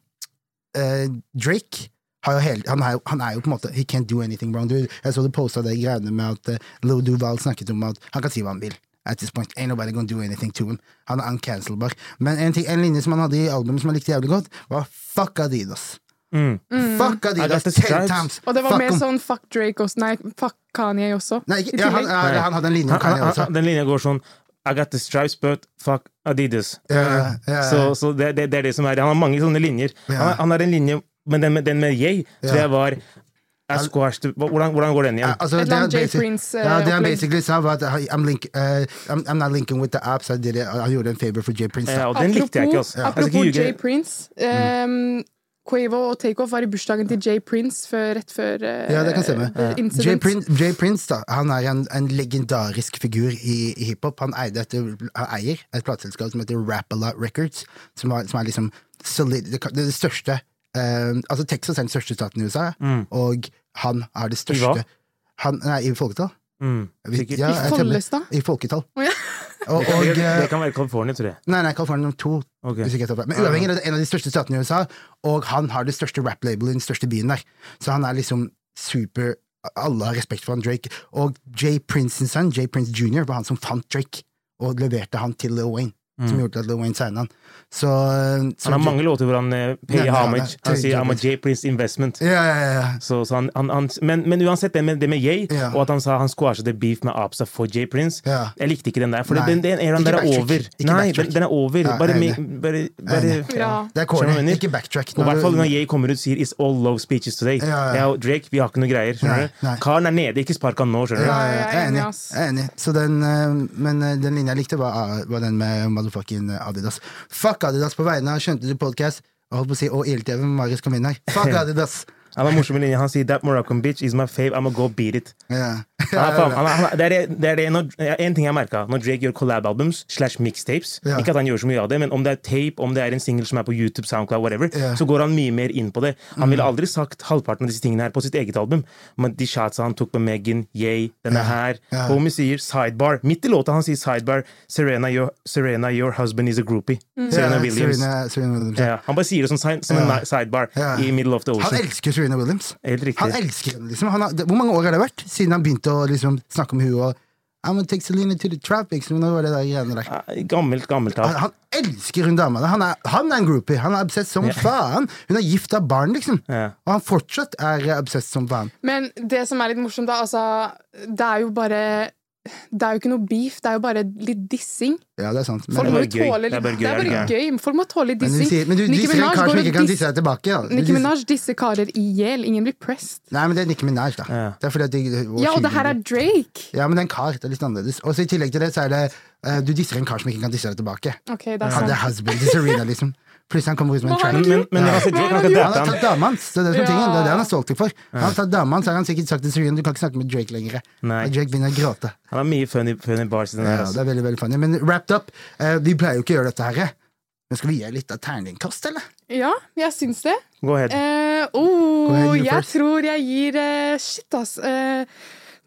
[SPEAKER 3] eh, Drake har jo hele, han, er jo, han er jo på en måte He can't do anything wrong. Du, jeg så du posta de greiene med at uh, Lou Duval snakket om at han kan si hva han vil. At this point, ain't nobody gonna do anything to him. Han er uncancelbar. Men en, ting, en linje som han hadde i albumet som han likte jævlig godt, var fuck Adidas.
[SPEAKER 2] Mm.
[SPEAKER 3] Fuck Adidas
[SPEAKER 2] the
[SPEAKER 3] ten
[SPEAKER 2] stripes.
[SPEAKER 3] times!
[SPEAKER 1] Mm. Og det var
[SPEAKER 3] Fuck
[SPEAKER 1] mer
[SPEAKER 3] em.
[SPEAKER 1] sånn fuck Drake også. Nei, fuck Kanye også.
[SPEAKER 3] Nei,
[SPEAKER 1] I
[SPEAKER 3] ikke, ja, han,
[SPEAKER 1] tillegg.
[SPEAKER 3] ja, han hadde en linje om
[SPEAKER 2] Han, han,
[SPEAKER 3] Kanye også.
[SPEAKER 2] han, den linja går sånn I got the stripes, but fuck Adidas.
[SPEAKER 3] Ja, ja,
[SPEAKER 2] Eh, Så, så det, det, det er det som er Han har mange sånne linjer. Han, han har en linje, men den med, den med Yay tror jeg var Er squash det- hvordan, hvordan går den
[SPEAKER 3] Uh,
[SPEAKER 2] igjen?
[SPEAKER 3] also
[SPEAKER 1] Et eller
[SPEAKER 3] they
[SPEAKER 1] annet J.
[SPEAKER 3] basic-
[SPEAKER 1] Prince, eh,
[SPEAKER 3] ja, det
[SPEAKER 1] opplegg.
[SPEAKER 3] han basically sa, var at uh, I'm, link, uh, I'm, I'm not linking with the apps. I did it. Han gjorde en favor for J. Prince.
[SPEAKER 2] Ja,
[SPEAKER 3] da.
[SPEAKER 2] Eh, og den likte jeg ikke, altså. Jeg skal ikke
[SPEAKER 1] apropos J.
[SPEAKER 2] ljuge. Mm.
[SPEAKER 1] Prince. ehm, Quavo og Takeoff var i bursdagen til J. Prince før, rett før eh,
[SPEAKER 3] Ja, det kan stemme.
[SPEAKER 1] The Incident.
[SPEAKER 3] J. Prince, J. Prince da, han er en, en legendarisk figur i, i hiphop. Han, eide et, han eier et plateselskap som heter Rappala Records, som, var, som er liksom solid, det, kan- det, er det største eh, Altså Texas er den største staten i USA, og han er det
[SPEAKER 2] Mm. I hva?
[SPEAKER 3] største han, Nei, i folketall.
[SPEAKER 2] Mm,
[SPEAKER 3] Vi-
[SPEAKER 2] sikkert.
[SPEAKER 3] ja,
[SPEAKER 1] I
[SPEAKER 3] jeg stemmer.
[SPEAKER 1] Follestad?
[SPEAKER 3] I folketall.
[SPEAKER 1] Å, ja.
[SPEAKER 3] Og,
[SPEAKER 2] Det kan-
[SPEAKER 3] og, eh,
[SPEAKER 2] det kan være California, tror jeg.
[SPEAKER 3] Nei, nei, California nummer to.
[SPEAKER 2] Ok.
[SPEAKER 3] Hvis ikke jeg tar feil. Men uavhengig er det en av de største statene i USA, og han har det største rap-labelet i den største byen der. Så han er liksom super Alle har respekt for han Drake. Og Jay Prince's sønn, Jay Prince jr., var han som fant Drake, og leverte han til Lil Wayne. Som gjorde at Lil Wayne signa han. Så, så
[SPEAKER 2] Mm. Han har mange låter hvor han eh, pay
[SPEAKER 3] Nei, nei,
[SPEAKER 2] homage.
[SPEAKER 3] nei,
[SPEAKER 2] Han
[SPEAKER 3] til
[SPEAKER 2] sier I'm a
[SPEAKER 3] J.
[SPEAKER 2] J. Prince investment.
[SPEAKER 3] Ja, ja, ja. ja.
[SPEAKER 2] Så, så han, han, han, men, men uansett, det med, det med Ye,
[SPEAKER 3] Ja.
[SPEAKER 2] og at han sa han squashet the beef med Apsa for J. Prince
[SPEAKER 3] Ja.
[SPEAKER 2] Jeg likte ikke den der, for
[SPEAKER 3] Nei.
[SPEAKER 2] den, den eraen
[SPEAKER 3] Ikke
[SPEAKER 2] der er
[SPEAKER 3] backtrack.
[SPEAKER 2] over.
[SPEAKER 3] Ikke
[SPEAKER 2] Nei,
[SPEAKER 3] backtrack.
[SPEAKER 2] den, den er over.
[SPEAKER 3] Ja,
[SPEAKER 2] bare,
[SPEAKER 3] jeg er
[SPEAKER 2] mi- bare, bare
[SPEAKER 3] Jeg er enig.
[SPEAKER 1] Ja.
[SPEAKER 2] Skjønner du hva
[SPEAKER 3] Det er
[SPEAKER 2] jeg
[SPEAKER 3] corny.
[SPEAKER 2] mener?
[SPEAKER 3] Ikke backtrack.
[SPEAKER 2] Og i hvert fall
[SPEAKER 3] du-
[SPEAKER 2] når Ye kommer ut og sier 'It's all love speeches today'.
[SPEAKER 3] Ja, ja.
[SPEAKER 2] Jeg og Drake, vi har ikke noe greier.
[SPEAKER 3] Nei,
[SPEAKER 2] skjønner du?
[SPEAKER 3] nei.
[SPEAKER 2] Karen er nede, ikke spark han nå, skjønner du.
[SPEAKER 3] Ja,
[SPEAKER 1] Nei,
[SPEAKER 3] ja, jeg er enig. Jeg er enig. Så den, eh, men eh, den linja jeg likte, var, eh, var den med motherfucking eh, Adidas. Fuck Adidas på vegne av Skjønte du podcast? Jeg holdt på å si Og ILTV, men Marius kom inn her. Fuck Adidas!
[SPEAKER 2] Han har morsomme linjer. Han sier 'That Moroccan bitch is my fave, I'ma go beat it'.
[SPEAKER 3] Ja.
[SPEAKER 2] Han er faen- han er- han er- Det er det- det er det når- ja, en ting jeg merka når Drake gjør collab-albums slash mixtapes.
[SPEAKER 3] Ja.
[SPEAKER 2] Ikke at han gjør så mye av det, men om det er tape, om det er en singel som er på YouTube, Soundcloud, whatever,
[SPEAKER 3] Ja. Mm.
[SPEAKER 2] så går han mye mer inn på det. Han ville aldri sagt halvparten av disse tingene her på sitt eget album, men de shotsa han tok med Megan, Yay, denne her
[SPEAKER 3] Ja.
[SPEAKER 2] Homie sier sidebar. Midt i låta han sier sidebar. Serena, your, Serena, your husband is a groupie. Serena
[SPEAKER 3] Ja,
[SPEAKER 2] Williams.
[SPEAKER 3] Serena, Serena Williams.
[SPEAKER 2] Ja, han bare sier det som, si- som en sidebar
[SPEAKER 3] Ja.
[SPEAKER 2] i middle of the
[SPEAKER 3] Han
[SPEAKER 2] ocean.
[SPEAKER 3] elsker Serena Williams.
[SPEAKER 2] Helt riktig.
[SPEAKER 3] Han elsker henne, liksom. Han har, det, hvor mange år har det vært siden han begynte å liksom, snakke om henne og I'm gonna take Selena to the tropics? Men det var det der greiene der.
[SPEAKER 2] Ja, Gammelt, gammelt av.
[SPEAKER 3] Han, han elsker hun dama. Han er, han er en groupie. Han er obsess som faen. Hun er gift av barn, liksom.
[SPEAKER 2] Ja.
[SPEAKER 3] Og han fortsatt er eh, obsess som faen.
[SPEAKER 1] Men det som er litt morsomt, da, altså Det er jo bare Det er jo ikke noe beef, det er jo bare litt dissing.
[SPEAKER 3] Ja, det er sant.
[SPEAKER 1] Folk
[SPEAKER 2] Det er
[SPEAKER 1] må
[SPEAKER 2] bare
[SPEAKER 1] jo
[SPEAKER 2] gøy.
[SPEAKER 1] tåle
[SPEAKER 2] Det er
[SPEAKER 1] litt
[SPEAKER 2] bare gøy,
[SPEAKER 1] Det er
[SPEAKER 2] er det
[SPEAKER 1] bare gøy. Folk må tåle litt
[SPEAKER 3] Men du,
[SPEAKER 1] dissing.
[SPEAKER 3] sier, men du
[SPEAKER 1] Nicki
[SPEAKER 3] disser en
[SPEAKER 1] Minaj
[SPEAKER 3] kar
[SPEAKER 1] går
[SPEAKER 3] som
[SPEAKER 1] og
[SPEAKER 3] ikke kan disse
[SPEAKER 1] disser-
[SPEAKER 3] deg tilbake. Da. Du
[SPEAKER 1] Nicki
[SPEAKER 3] disser-
[SPEAKER 1] Minaj disser karer i hjel. Ingen blir pressed.
[SPEAKER 3] Nei, men det er Nicki Minaj, da.
[SPEAKER 2] Ja.
[SPEAKER 3] Det er fordi at de,
[SPEAKER 1] Ja, og det her er Drake!
[SPEAKER 3] Ja, men det er en kar. Det er litt annerledes. Og så i tillegg til det, så er det eh, Du disser en kar som ikke kan disse deg tilbake.
[SPEAKER 1] Ok, det er
[SPEAKER 3] Han
[SPEAKER 1] sant.
[SPEAKER 3] er husband til Serena, liksom. Plutselig han kommer ut med en
[SPEAKER 1] Hva har han
[SPEAKER 3] track.
[SPEAKER 2] Men, men, men altså, Drake han kan
[SPEAKER 3] Han
[SPEAKER 2] date
[SPEAKER 3] har
[SPEAKER 2] han.
[SPEAKER 3] tatt dama hans. Det er det som er
[SPEAKER 1] Ja.
[SPEAKER 3] tingen. Det er det han er stolt for. Han har tatt dama hans, så har han sikkert sagt til Serena du kan ikke snakke med Drake lenger.
[SPEAKER 2] Nei.
[SPEAKER 3] Og Drake begynner å gråte.
[SPEAKER 2] Han har mye funny, funny bars i den her.
[SPEAKER 3] Ja,
[SPEAKER 2] Altså.
[SPEAKER 3] det er veldig, veldig funny. Men wrapped up, eh, vi pleier jo ikke å gjøre dette her. eh. Men skal vi gi litt av terningkast, eller?
[SPEAKER 1] Ja, jeg syns det.
[SPEAKER 2] Go ahead.
[SPEAKER 1] Eh, oh,
[SPEAKER 3] ahead, you
[SPEAKER 1] jeg
[SPEAKER 3] first.
[SPEAKER 1] tror jeg gir eh, Shit, ass. Eh,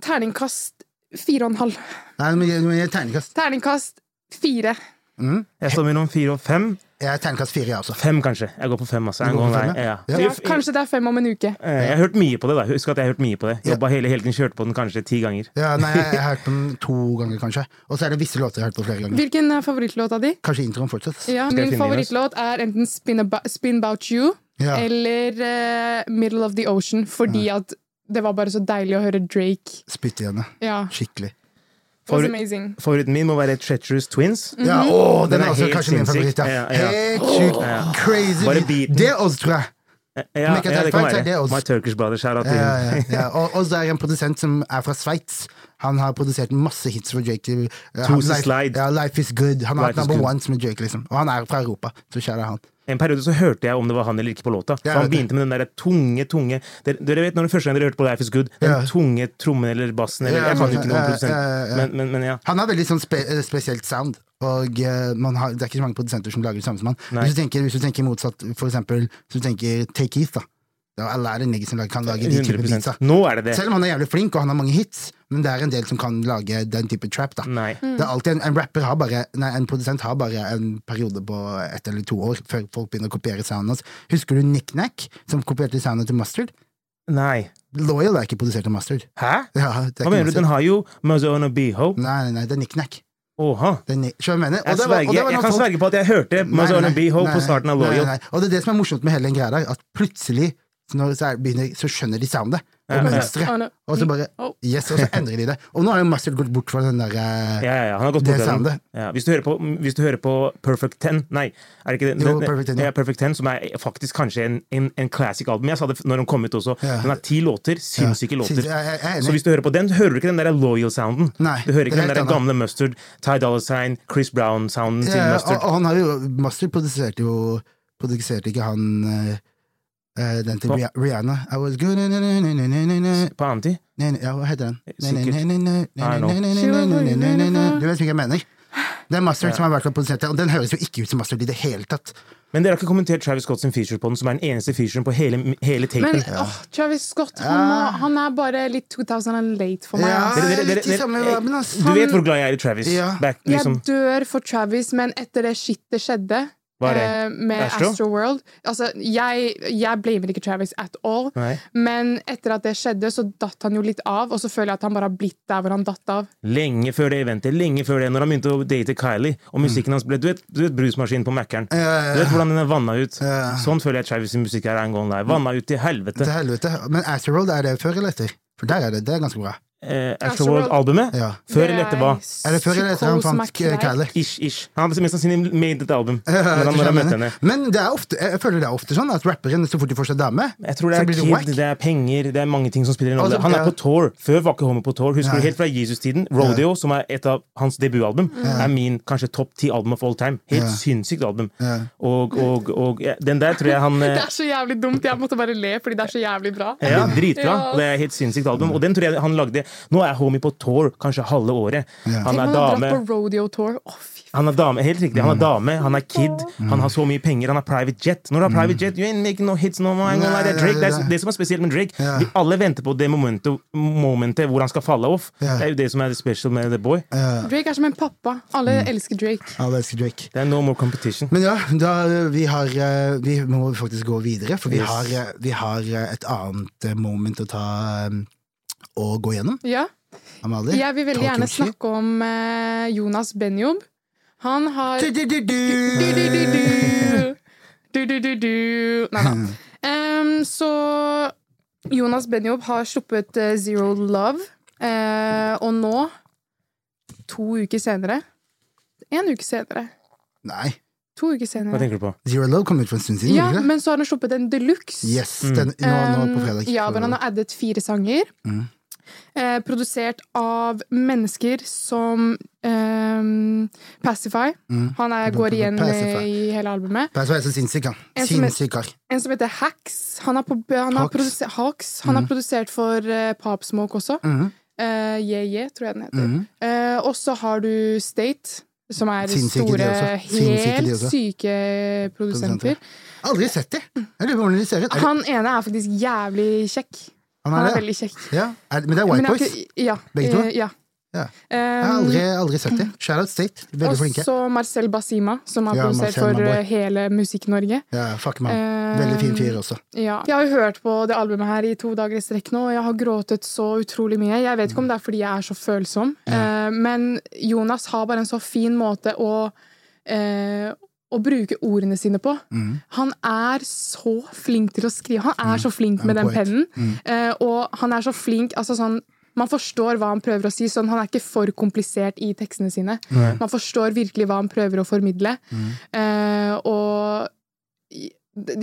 [SPEAKER 1] terningkast fire og en halv.
[SPEAKER 3] Nei, men gi- men gi terningkast.
[SPEAKER 1] Terningkast fire.
[SPEAKER 2] Jeg står mellom fire og fem.
[SPEAKER 3] Jeg er terningkast fire, jeg også.
[SPEAKER 2] Fem, kanskje. Jeg går på fem. Altså.
[SPEAKER 3] Du
[SPEAKER 2] Jeg,
[SPEAKER 3] går
[SPEAKER 2] går
[SPEAKER 3] på
[SPEAKER 2] nei,
[SPEAKER 3] fem, ja?
[SPEAKER 2] ja.
[SPEAKER 3] Ja.
[SPEAKER 1] Ja,
[SPEAKER 2] If-
[SPEAKER 1] kanskje det er fem om en uke.
[SPEAKER 2] eh, jeg har hørt mye på det. da Husk at jeg har hørt mye på det. Jobba hele helgen, kjørte på den kanskje ti ganger.
[SPEAKER 3] Ja, nei, jeg har hørt på den to ganger, kanskje. Og så er det visse låter jeg har hørt på flere ganger.
[SPEAKER 1] Hvilken eh, er favorittlåta di?
[SPEAKER 3] Kanskje introen fortsatt.
[SPEAKER 1] Ja, min
[SPEAKER 2] Skal jeg finne den, ass?
[SPEAKER 1] favorittlåt er enten Spin About, Spin About You
[SPEAKER 3] Ja.
[SPEAKER 1] eller eh, Middle of the Ocean, fordi at det var bare så deilig å høre Drake.
[SPEAKER 3] Spytte i henne.
[SPEAKER 1] Ja, it
[SPEAKER 3] Skikkelig.
[SPEAKER 1] was
[SPEAKER 2] Favori-
[SPEAKER 1] amazing.
[SPEAKER 2] Favoritten min må være Treacherous Twins.
[SPEAKER 3] Ja, å, den,
[SPEAKER 2] Den er
[SPEAKER 3] er også
[SPEAKER 2] helt
[SPEAKER 3] kanskje min
[SPEAKER 2] sinnssyk.
[SPEAKER 3] favoritt. Ja.
[SPEAKER 2] Ja, ja.
[SPEAKER 3] Helt sjukt.
[SPEAKER 2] Ja.
[SPEAKER 3] Crazy.
[SPEAKER 2] Bare beaten.
[SPEAKER 3] Det er oss, tror jeg.
[SPEAKER 2] Eh, Ja,
[SPEAKER 3] Make a
[SPEAKER 2] ja, det kan
[SPEAKER 3] Sacrifice, er det
[SPEAKER 2] være.
[SPEAKER 3] også?
[SPEAKER 2] My Turkish Brother. Shout out til
[SPEAKER 3] Ja,
[SPEAKER 2] henne.
[SPEAKER 3] ja, ja. Og Oz er en produsent som er fra Sveits. Han har produsert masse hits for Jake. til- Ja, han-
[SPEAKER 2] Toes is Slide.
[SPEAKER 3] Life, ja, Life is Good. Han har
[SPEAKER 2] Life
[SPEAKER 3] hatt
[SPEAKER 2] is
[SPEAKER 3] number
[SPEAKER 2] Good.
[SPEAKER 3] ones med Jake, liksom. Og han er fra Europa, så kjære han.
[SPEAKER 2] En periode så hørte jeg om det var han eller ikke på låta. For
[SPEAKER 3] Ja,
[SPEAKER 2] han
[SPEAKER 3] vet det.
[SPEAKER 2] begynte med den der tunge, tunge Dere, dere vet når det første gang dere hørte på Life is Good? Den
[SPEAKER 3] Ja.
[SPEAKER 2] tunge trommen eller bassen eller
[SPEAKER 3] Ja,
[SPEAKER 2] Jeg kan jo ikke noen
[SPEAKER 3] ja,
[SPEAKER 2] produsent,
[SPEAKER 3] ja, ja.
[SPEAKER 2] men, men, men ja.
[SPEAKER 3] Han har veldig sånn spe eh, spesielt sound, og eh, man har, det er ikke så mange produsenter som lager det samme som han.
[SPEAKER 2] Nei.
[SPEAKER 3] Hvis du, tenker, hvis du tenker motsatt, for eksempel, hvis du tenker Take Heath, da. Det er alle er en nigger som lager- kan lage de type
[SPEAKER 2] 100
[SPEAKER 3] beatsa.
[SPEAKER 2] Nå er det det.
[SPEAKER 3] Selv om han er jævlig flink og han har mange hits, men det er en del som kan lage den type trap. da
[SPEAKER 2] Nei.
[SPEAKER 3] Det er alltid en, en rapper har bare Nei, en produsent har bare en periode på ett eller to år før folk begynner å kopiere soundet hans. Husker du Nick Nack, som kopierte soundet til Mustard?
[SPEAKER 2] Nei.
[SPEAKER 3] Loyal er ikke produsert av Mustard.
[SPEAKER 2] Hæ?
[SPEAKER 3] Ja, det
[SPEAKER 2] Hva
[SPEAKER 3] er ikke
[SPEAKER 2] mener du?
[SPEAKER 3] Mustard.
[SPEAKER 2] Den har jo Mazona Biho.
[SPEAKER 3] Nei, nei, nei, det er Nick Nack.
[SPEAKER 2] Åha.
[SPEAKER 3] Det er Nick, skjønner du hva jeg mener?
[SPEAKER 2] Jeg,
[SPEAKER 3] Og det var- og
[SPEAKER 2] sverger,
[SPEAKER 3] det var
[SPEAKER 2] jeg
[SPEAKER 3] når
[SPEAKER 2] kan
[SPEAKER 3] folk-
[SPEAKER 2] sverge på at jeg hørte
[SPEAKER 3] Nei, nei,
[SPEAKER 2] Mazona
[SPEAKER 3] nei.
[SPEAKER 2] Biho
[SPEAKER 3] Nei,
[SPEAKER 2] på starten av
[SPEAKER 3] nei,
[SPEAKER 2] Loyal.
[SPEAKER 3] nei, nei. Og det er det som er morsomt med hele den greia der, at plutselig Så når det er- begynner, så skjønner de soundet på
[SPEAKER 2] Ja, ja.
[SPEAKER 3] mønsteret. Og så bare
[SPEAKER 1] Oh.
[SPEAKER 3] Yes, og så endrer de det. Og nå har jo Mustard gått bort fra den der
[SPEAKER 2] Ja,
[SPEAKER 3] eh,
[SPEAKER 2] ja, ja, han har gått
[SPEAKER 3] Det
[SPEAKER 2] bort fra den.
[SPEAKER 3] soundet.
[SPEAKER 2] Ja, hvis, du hører på, hvis du hører på Perfect Ten Nei, er det ikke det?
[SPEAKER 3] Jo,
[SPEAKER 2] Den- den-
[SPEAKER 3] Perfect 10, ja.
[SPEAKER 2] ja. Perfect 10, som er faktisk kanskje en, en, en classic album. Jeg sa det f- når den kom ut også.
[SPEAKER 3] Ja.
[SPEAKER 2] Den har ti låter. Sinnssyke
[SPEAKER 3] Ja,
[SPEAKER 2] låter.
[SPEAKER 3] sinnssyke, jeg- jeg er enig.
[SPEAKER 2] Så hvis du hører på den, hører du ikke den der Loyal-sounden.
[SPEAKER 3] Nei,
[SPEAKER 2] Du hører
[SPEAKER 3] det er
[SPEAKER 2] ikke den
[SPEAKER 3] helt
[SPEAKER 2] der
[SPEAKER 3] annet.
[SPEAKER 2] gamle Mustard, Ty Dolla Sign, Chris Brown-sounden til
[SPEAKER 3] ja, og,
[SPEAKER 2] Mustard.
[SPEAKER 3] og han har jo Mustard produserte jo Produserte ikke han eh, eh, den til
[SPEAKER 2] Hva?
[SPEAKER 3] Rih- Rihanna? I was good na, na, na, na, na, na, na, na.
[SPEAKER 2] På Anti?
[SPEAKER 3] Nei, nei, ja, hva heter den? Nei, nei,
[SPEAKER 2] Sikkert.
[SPEAKER 3] nei, nei, nei,
[SPEAKER 2] I
[SPEAKER 3] nei,
[SPEAKER 2] know.
[SPEAKER 3] nei, nei, nei, nei, nei, nei, nei, nei. Du vet hvilken jeg mener. Det er Mustard som har vært med og produsert det, og den høres jo ikke ut som Mustard i det hele tatt.
[SPEAKER 2] Men dere har ikke kommentert Travis Scott sin feature på den, som er den eneste featuren på hele, hele tapen.
[SPEAKER 1] Men åh, Travis Scott, han, må, han er bare litt 2000 and late for meg.
[SPEAKER 3] Ja,
[SPEAKER 1] ass.
[SPEAKER 2] Dere- dere-
[SPEAKER 3] litt i
[SPEAKER 2] dere-
[SPEAKER 3] samme
[SPEAKER 2] dere- eh,
[SPEAKER 3] viben, ass.
[SPEAKER 2] Du vet hvor glad jeg er i Travis.
[SPEAKER 3] Ja.
[SPEAKER 2] Back, liksom.
[SPEAKER 1] Jeg dør for Travis, men etter det shitet skjedde
[SPEAKER 2] Hva er det?
[SPEAKER 1] eh, med
[SPEAKER 2] Astro?
[SPEAKER 1] Astroworld Altså, jeg, jeg blamer ikke Travis at all,
[SPEAKER 2] Nei.
[SPEAKER 1] men etter at det skjedde, så datt han jo litt av, og så føler jeg at han bare har blitt der hvor han datt av.
[SPEAKER 2] Lenge før det eventet, lenge før det, når han begynte å date Kylie, og musikken hans ble Du vet, du vet brusmaskinen på Mækkern? Du vet hvordan den er vanna ut? Sånn føler jeg Travis' sin musikk er angående
[SPEAKER 3] Mm.
[SPEAKER 2] her. Vanna ut til helvete.
[SPEAKER 3] Til helvete. Men Astroworld, er det før eller etter? For der er det, det er ganske bra.
[SPEAKER 2] Eh,
[SPEAKER 1] Astroworld.
[SPEAKER 2] Astroworld-albumet?
[SPEAKER 3] Ja.
[SPEAKER 2] Før eller etter hva?
[SPEAKER 3] Er det før eller etter han fant eh, Kylie?
[SPEAKER 2] Ish, ish. Han hadde mest sannsynlig made et album
[SPEAKER 3] Ja,
[SPEAKER 2] når
[SPEAKER 3] jeg
[SPEAKER 2] han, når
[SPEAKER 3] tror
[SPEAKER 2] han
[SPEAKER 3] jeg
[SPEAKER 2] møtte
[SPEAKER 3] mener.
[SPEAKER 2] henne.
[SPEAKER 3] Men det er ofte, jeg føler det er ofte sånn at rapperen, så fort de får seg dame
[SPEAKER 2] Jeg tror det
[SPEAKER 3] så
[SPEAKER 2] er
[SPEAKER 3] blir det
[SPEAKER 2] kid,
[SPEAKER 3] whack.
[SPEAKER 2] det er penger, det er mange ting som spiller en rolle.
[SPEAKER 3] Altså,
[SPEAKER 2] Han er
[SPEAKER 3] ja.
[SPEAKER 2] på tour. Før var ikke Homo på tour. Husker du
[SPEAKER 3] Nei.
[SPEAKER 2] helt fra Jesus-tiden? Rodeo, som er et av hans debutalbum, er min kanskje topp ti album of all time. Helt sinnssykt album. Og, og, og ja, den der tror jeg han
[SPEAKER 1] Det
[SPEAKER 2] eh,
[SPEAKER 1] er så jævlig dumt. Jeg måtte bare le fordi det er så jævlig bra.
[SPEAKER 2] ja, Dritbra.
[SPEAKER 1] Ja.
[SPEAKER 2] Og det er et helt sinnssykt album. Og den tror jeg han lagde. Nå er Homie på tour kanskje halve året.
[SPEAKER 1] Tenk
[SPEAKER 2] Han
[SPEAKER 1] om
[SPEAKER 2] er
[SPEAKER 1] han har
[SPEAKER 2] dame.
[SPEAKER 1] dratt på rodeo tour. Å, fy faen.
[SPEAKER 2] Han er dame, helt riktig.
[SPEAKER 3] Mm.
[SPEAKER 2] Han er dame, han er kid, han har så mye penger, han har private jet. Når du har
[SPEAKER 3] Mm.
[SPEAKER 2] private jet, you ain't making no hits no more.
[SPEAKER 3] Nei,
[SPEAKER 2] det, er Drake. Det,
[SPEAKER 3] det er
[SPEAKER 2] er,
[SPEAKER 3] det.
[SPEAKER 2] det som er spesielt med Drake, vi alle venter på det momentet, momentet hvor han skal falle off.
[SPEAKER 3] Ja.
[SPEAKER 2] Det er jo det som er det special med The Boy.
[SPEAKER 1] Drake er som en pappa. Alle
[SPEAKER 3] Mm.
[SPEAKER 1] elsker Drake.
[SPEAKER 3] Ja, det elsker Drake.
[SPEAKER 2] Det er no more competition.
[SPEAKER 3] Men ja, da, eh, vi, har, eh, vi må faktisk gå videre, for vi har, eh, vi har eh, et annet eh, moment å ta eh, å gå gjennom.
[SPEAKER 1] Ja.
[SPEAKER 3] Amalie?
[SPEAKER 1] Jeg vil veldig gjerne snakke om eh, Jonas Benjob. Han har Du-du-du-du. Du-du-du-du. Nei da. Em, så Jonas Benjob har sluppet eh, Zero Love, eh, og nå, to uker senere Én uke senere.
[SPEAKER 3] Nei.
[SPEAKER 1] To uker
[SPEAKER 2] Hva
[SPEAKER 1] senere.
[SPEAKER 2] tenker du på?
[SPEAKER 3] Zero Love kom ut for en stund siden,
[SPEAKER 1] Ja,
[SPEAKER 3] gjorde det?
[SPEAKER 1] men så har han sluppet en deluxe.
[SPEAKER 3] Yes, den, nå, nå på
[SPEAKER 1] Um,
[SPEAKER 3] fredag.
[SPEAKER 1] Ja, hvor han har addet fire sanger.
[SPEAKER 3] Mm.
[SPEAKER 1] Eh, produsert av mennesker som ehm, Pacify.
[SPEAKER 3] Mm.
[SPEAKER 1] Han er, går igjen eh,
[SPEAKER 3] Pacify.
[SPEAKER 1] i hele albumet.
[SPEAKER 3] Pass på, jeg er så sinnssyk, han.
[SPEAKER 1] En som er-
[SPEAKER 3] Sinnssyk kar.
[SPEAKER 1] En som heter Hacks. Han har, på, han har,
[SPEAKER 3] Hacks. Mm.
[SPEAKER 1] produse- Hacks. Han har produsert for eh, Pop Smoke også.
[SPEAKER 3] Mhm.
[SPEAKER 1] Eh, Yeah Yeah, tror jeg den heter.
[SPEAKER 3] Mhm.
[SPEAKER 1] Eh, og så har du State. Som er
[SPEAKER 3] Sinnssyke de
[SPEAKER 1] store,
[SPEAKER 3] også. Sinnssyke de
[SPEAKER 1] helt
[SPEAKER 3] også.
[SPEAKER 1] syke produsenter.
[SPEAKER 3] Aldri sett dem! Jeg lurer på hvordan de ser ut. Er det-
[SPEAKER 1] Han ene er faktisk jævlig kjekk.
[SPEAKER 3] han
[SPEAKER 1] Han
[SPEAKER 3] er
[SPEAKER 1] er
[SPEAKER 3] det.
[SPEAKER 1] veldig kjekk.
[SPEAKER 3] Ja. Er, det- men det er
[SPEAKER 1] Men
[SPEAKER 3] White
[SPEAKER 1] jeg har
[SPEAKER 3] Boys.
[SPEAKER 1] ikke- Ja.
[SPEAKER 3] Begge to?
[SPEAKER 1] eh, ja.
[SPEAKER 3] Ja. Jeg har
[SPEAKER 1] Um,
[SPEAKER 3] aldri, aldri sett dem. Shout-out State. Veldig flinke.
[SPEAKER 1] Og så Marcel Basima, som har
[SPEAKER 3] Ja,
[SPEAKER 1] produsert
[SPEAKER 3] Marcel, my
[SPEAKER 1] for
[SPEAKER 3] boy.
[SPEAKER 1] eh, hele Musikk-Norge.
[SPEAKER 3] Ja, fuck med han.
[SPEAKER 1] Eh,
[SPEAKER 3] Veldig fin fyr også.
[SPEAKER 1] Ja. Jeg har jo hørt på det albumet her i to dager i strekk nå, og jeg har gråtet så utrolig mye. Jeg vet ikke om det er fordi jeg er så følsom, eh, men Jonas har bare en så fin måte å eh, å bruke ordene sine på.
[SPEAKER 3] Mm.
[SPEAKER 1] Han er så flink til å skrive. Han er så flink med
[SPEAKER 3] Han
[SPEAKER 1] den
[SPEAKER 3] er poet. Mm.
[SPEAKER 1] pennen. eh, Og han er så flink altså sånn, Man forstår hva han prøver å si. Sånn, han er ikke for komplisert i tekstene sine. Man forstår virkelig hva han prøver å formidle. Eh, og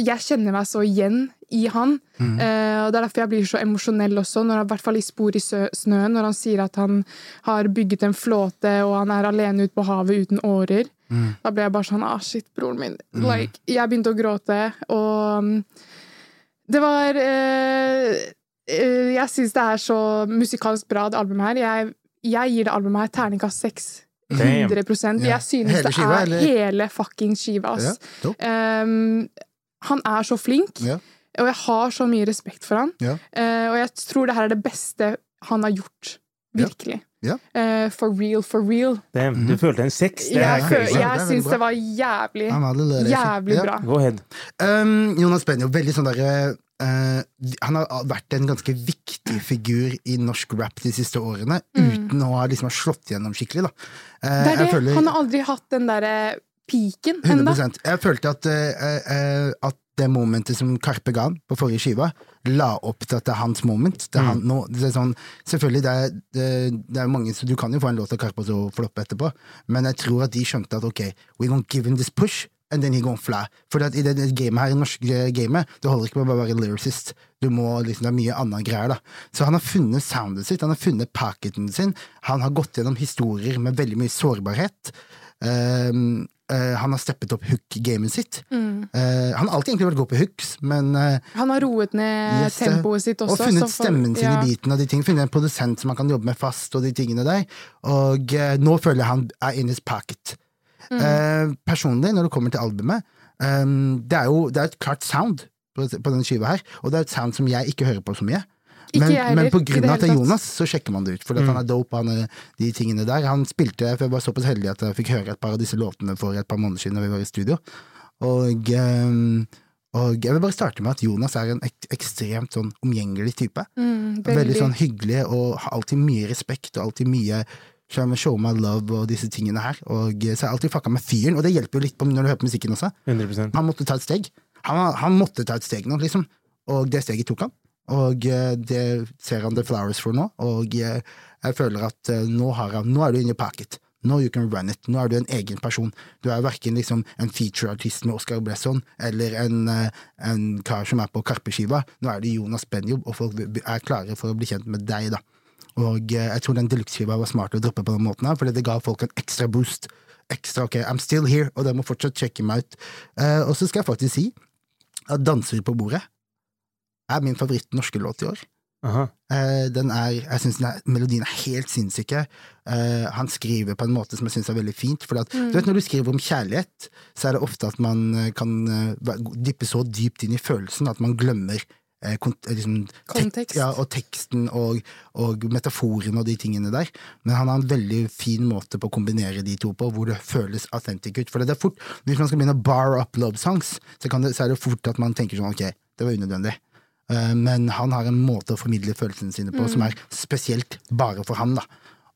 [SPEAKER 1] jeg kjenner meg så igjen i han. Eh, og Det er derfor jeg blir så emosjonell også, når han, i hvert fall i Spor i sø- snøen, når han sier at han har bygget en flåte og han er alene ute på havet uten årer. Da ble jeg bare sånn ah, shit, broren min. Like, jeg begynte å gråte, og mm, det var eh, eh, Jeg syns det er så musikalsk bra, det albumet her. Jeg, jeg gir det albumet her terningkast seks.
[SPEAKER 2] Damn.
[SPEAKER 1] 100
[SPEAKER 3] Ja.
[SPEAKER 1] Jeg synes
[SPEAKER 3] Hele
[SPEAKER 1] det
[SPEAKER 3] skiva,
[SPEAKER 1] er
[SPEAKER 3] eller?
[SPEAKER 1] hele fucking skiva, ass.
[SPEAKER 3] Ja, topp.
[SPEAKER 1] Ehm, han er så flink,
[SPEAKER 3] Ja.
[SPEAKER 1] og jeg har så mye respekt for han.
[SPEAKER 3] Ja.
[SPEAKER 1] Eh, og jeg tror det her er det beste han har gjort.
[SPEAKER 3] Ja.
[SPEAKER 1] Virkelig.
[SPEAKER 3] Ja.
[SPEAKER 1] Eh, for real, for real.
[SPEAKER 2] Damn,
[SPEAKER 3] Mm.
[SPEAKER 2] du følte en sex? Det
[SPEAKER 1] Jeg,
[SPEAKER 2] er
[SPEAKER 3] ja,
[SPEAKER 1] føl-
[SPEAKER 3] det er
[SPEAKER 2] crazy.
[SPEAKER 1] jeg
[SPEAKER 3] veldig
[SPEAKER 1] syns
[SPEAKER 3] bra.
[SPEAKER 1] det var jævlig,
[SPEAKER 3] Han var litt løs.
[SPEAKER 1] jævlig
[SPEAKER 3] Ja.
[SPEAKER 1] bra.
[SPEAKER 2] Go ahead.
[SPEAKER 3] Um, Jonas Benjo, veldig sånn derre eh, Han har vært en ganske viktig figur i norsk rap de siste årene, uten å ha liksom ha slått gjennom skikkelig, da. Eh,
[SPEAKER 1] Mm. Det er det.
[SPEAKER 3] jeg føler-
[SPEAKER 1] Han har aldri hatt den derre eh, piken ennå.
[SPEAKER 3] 100 Jeg følte at, eh, eh, at det momentet som Karpe ga han på forrige skiva, la opp til at det er hans moment. Det er han, nå, det er sånn, selvfølgelig, det er, det, det er mange, så du kan jo få en låt av Karpe og så floppe etterpå, men jeg tror at de skjønte at ok, we're gonna give him this push, and then he gonna fly. For at i det, det gamet her, det norske gamet, det holder ikke med å bare være lyricist. Du må, liksom, det er mye annet greier, da. Så han har funnet soundet sitt, han har funnet pocketen sin, han har gått gjennom historier med veldig mye sårbarhet. Ehm, eh, han har steppet opp hook-gamet sitt.
[SPEAKER 1] Mm.
[SPEAKER 3] Eh, han har alltid egentlig vært god på hooks, men eh,
[SPEAKER 1] Han har roet ned
[SPEAKER 3] Yes, det.
[SPEAKER 1] tempoet sitt også.
[SPEAKER 3] Og funnet
[SPEAKER 1] så for-
[SPEAKER 3] stemmen sin
[SPEAKER 1] ja.
[SPEAKER 3] i biten og de tingene. Funnet en produsent som han kan jobbe med fast, og de tingene der. Og eh, nå føler jeg han er in his pocket.
[SPEAKER 1] Mm.
[SPEAKER 3] Eh, personlig, når det kommer til albumet, eh, det er jo det er et klart sound på, på denne skiva her, og det er et sound som jeg ikke hører på så mye.
[SPEAKER 1] Ikke
[SPEAKER 3] Men,
[SPEAKER 1] jeg heller,
[SPEAKER 3] men på
[SPEAKER 1] ikke i
[SPEAKER 3] grunn
[SPEAKER 1] det
[SPEAKER 3] av at det er
[SPEAKER 1] hele tatt. Mm.
[SPEAKER 3] Jonas, så sjekker man det ut. Fordi at han er dope, han er de tingene der. Han spilte, for jeg var såpass heldig at jeg fikk høre et par av disse låtene for et par måneder siden da vi var i studio. Og, ehm, og jeg vil bare starte med at Jonas er en ek ekstremt sånn omgjengelig type.
[SPEAKER 1] Mm,
[SPEAKER 3] Veldig.
[SPEAKER 1] veldig.
[SPEAKER 3] sånn hyggelig og har alltid mye respekt og alltid mye show me- show my love og disse tingene her. Og eh, så har jeg alltid fucka med fyren, og det hjelper jo litt på når du hører på musikken også.
[SPEAKER 2] 100
[SPEAKER 3] Han måtte ta et steg. Han, han måtte ta et steg nå, liksom. Og det steget tok han. Og eh, det ser han The Flowers for nå. Og eh, jeg føler at eh, nå, har han, nå er du inne i pocket. Nå you can run it. Nå er du en egen person. Du er verken liksom en feature-artist med Oscar Bresson eller en, eh, en kar som er på Karpe-skiva. Nå er du Jonas Benjob, og folk er klare for å bli kjent med deg, da. Og eh, jeg tror den deluxe-skiva var smart å droppe på den måten, her, fordi det ga folk en ekstra boost. Ekstra, ok, I'm still here, og dere må fortsatt sjekke meg ut. Eh, og så skal jeg faktisk si at Danser på bordet er min favoritt norske låt i år.
[SPEAKER 2] Aha.
[SPEAKER 3] Eh, den er, jeg synes den er, Melodien er helt sinnssyke. Eh, han skriver på en måte som jeg syns er veldig fint. For at, du vet, Når du skriver om kjærlighet, så er det ofte at man eh, kan eh, væ- dyppe så dypt inn i følelsen at man glemmer eh, kont eh, liksom, tek-
[SPEAKER 1] Kontekst.
[SPEAKER 3] Ja, og teksten og, og metaforene og de tingene der. Men han har en veldig fin måte på å kombinere de to på, hvor det føles authentic ut. For det er fort, Hvis man skal begynne å bar up love songs, så, kan det, så er det fort at man tenker sånn ok, det var unødvendig. Eh, Men han har en måte å formidle følelsene sine på som er spesielt bare for han. da.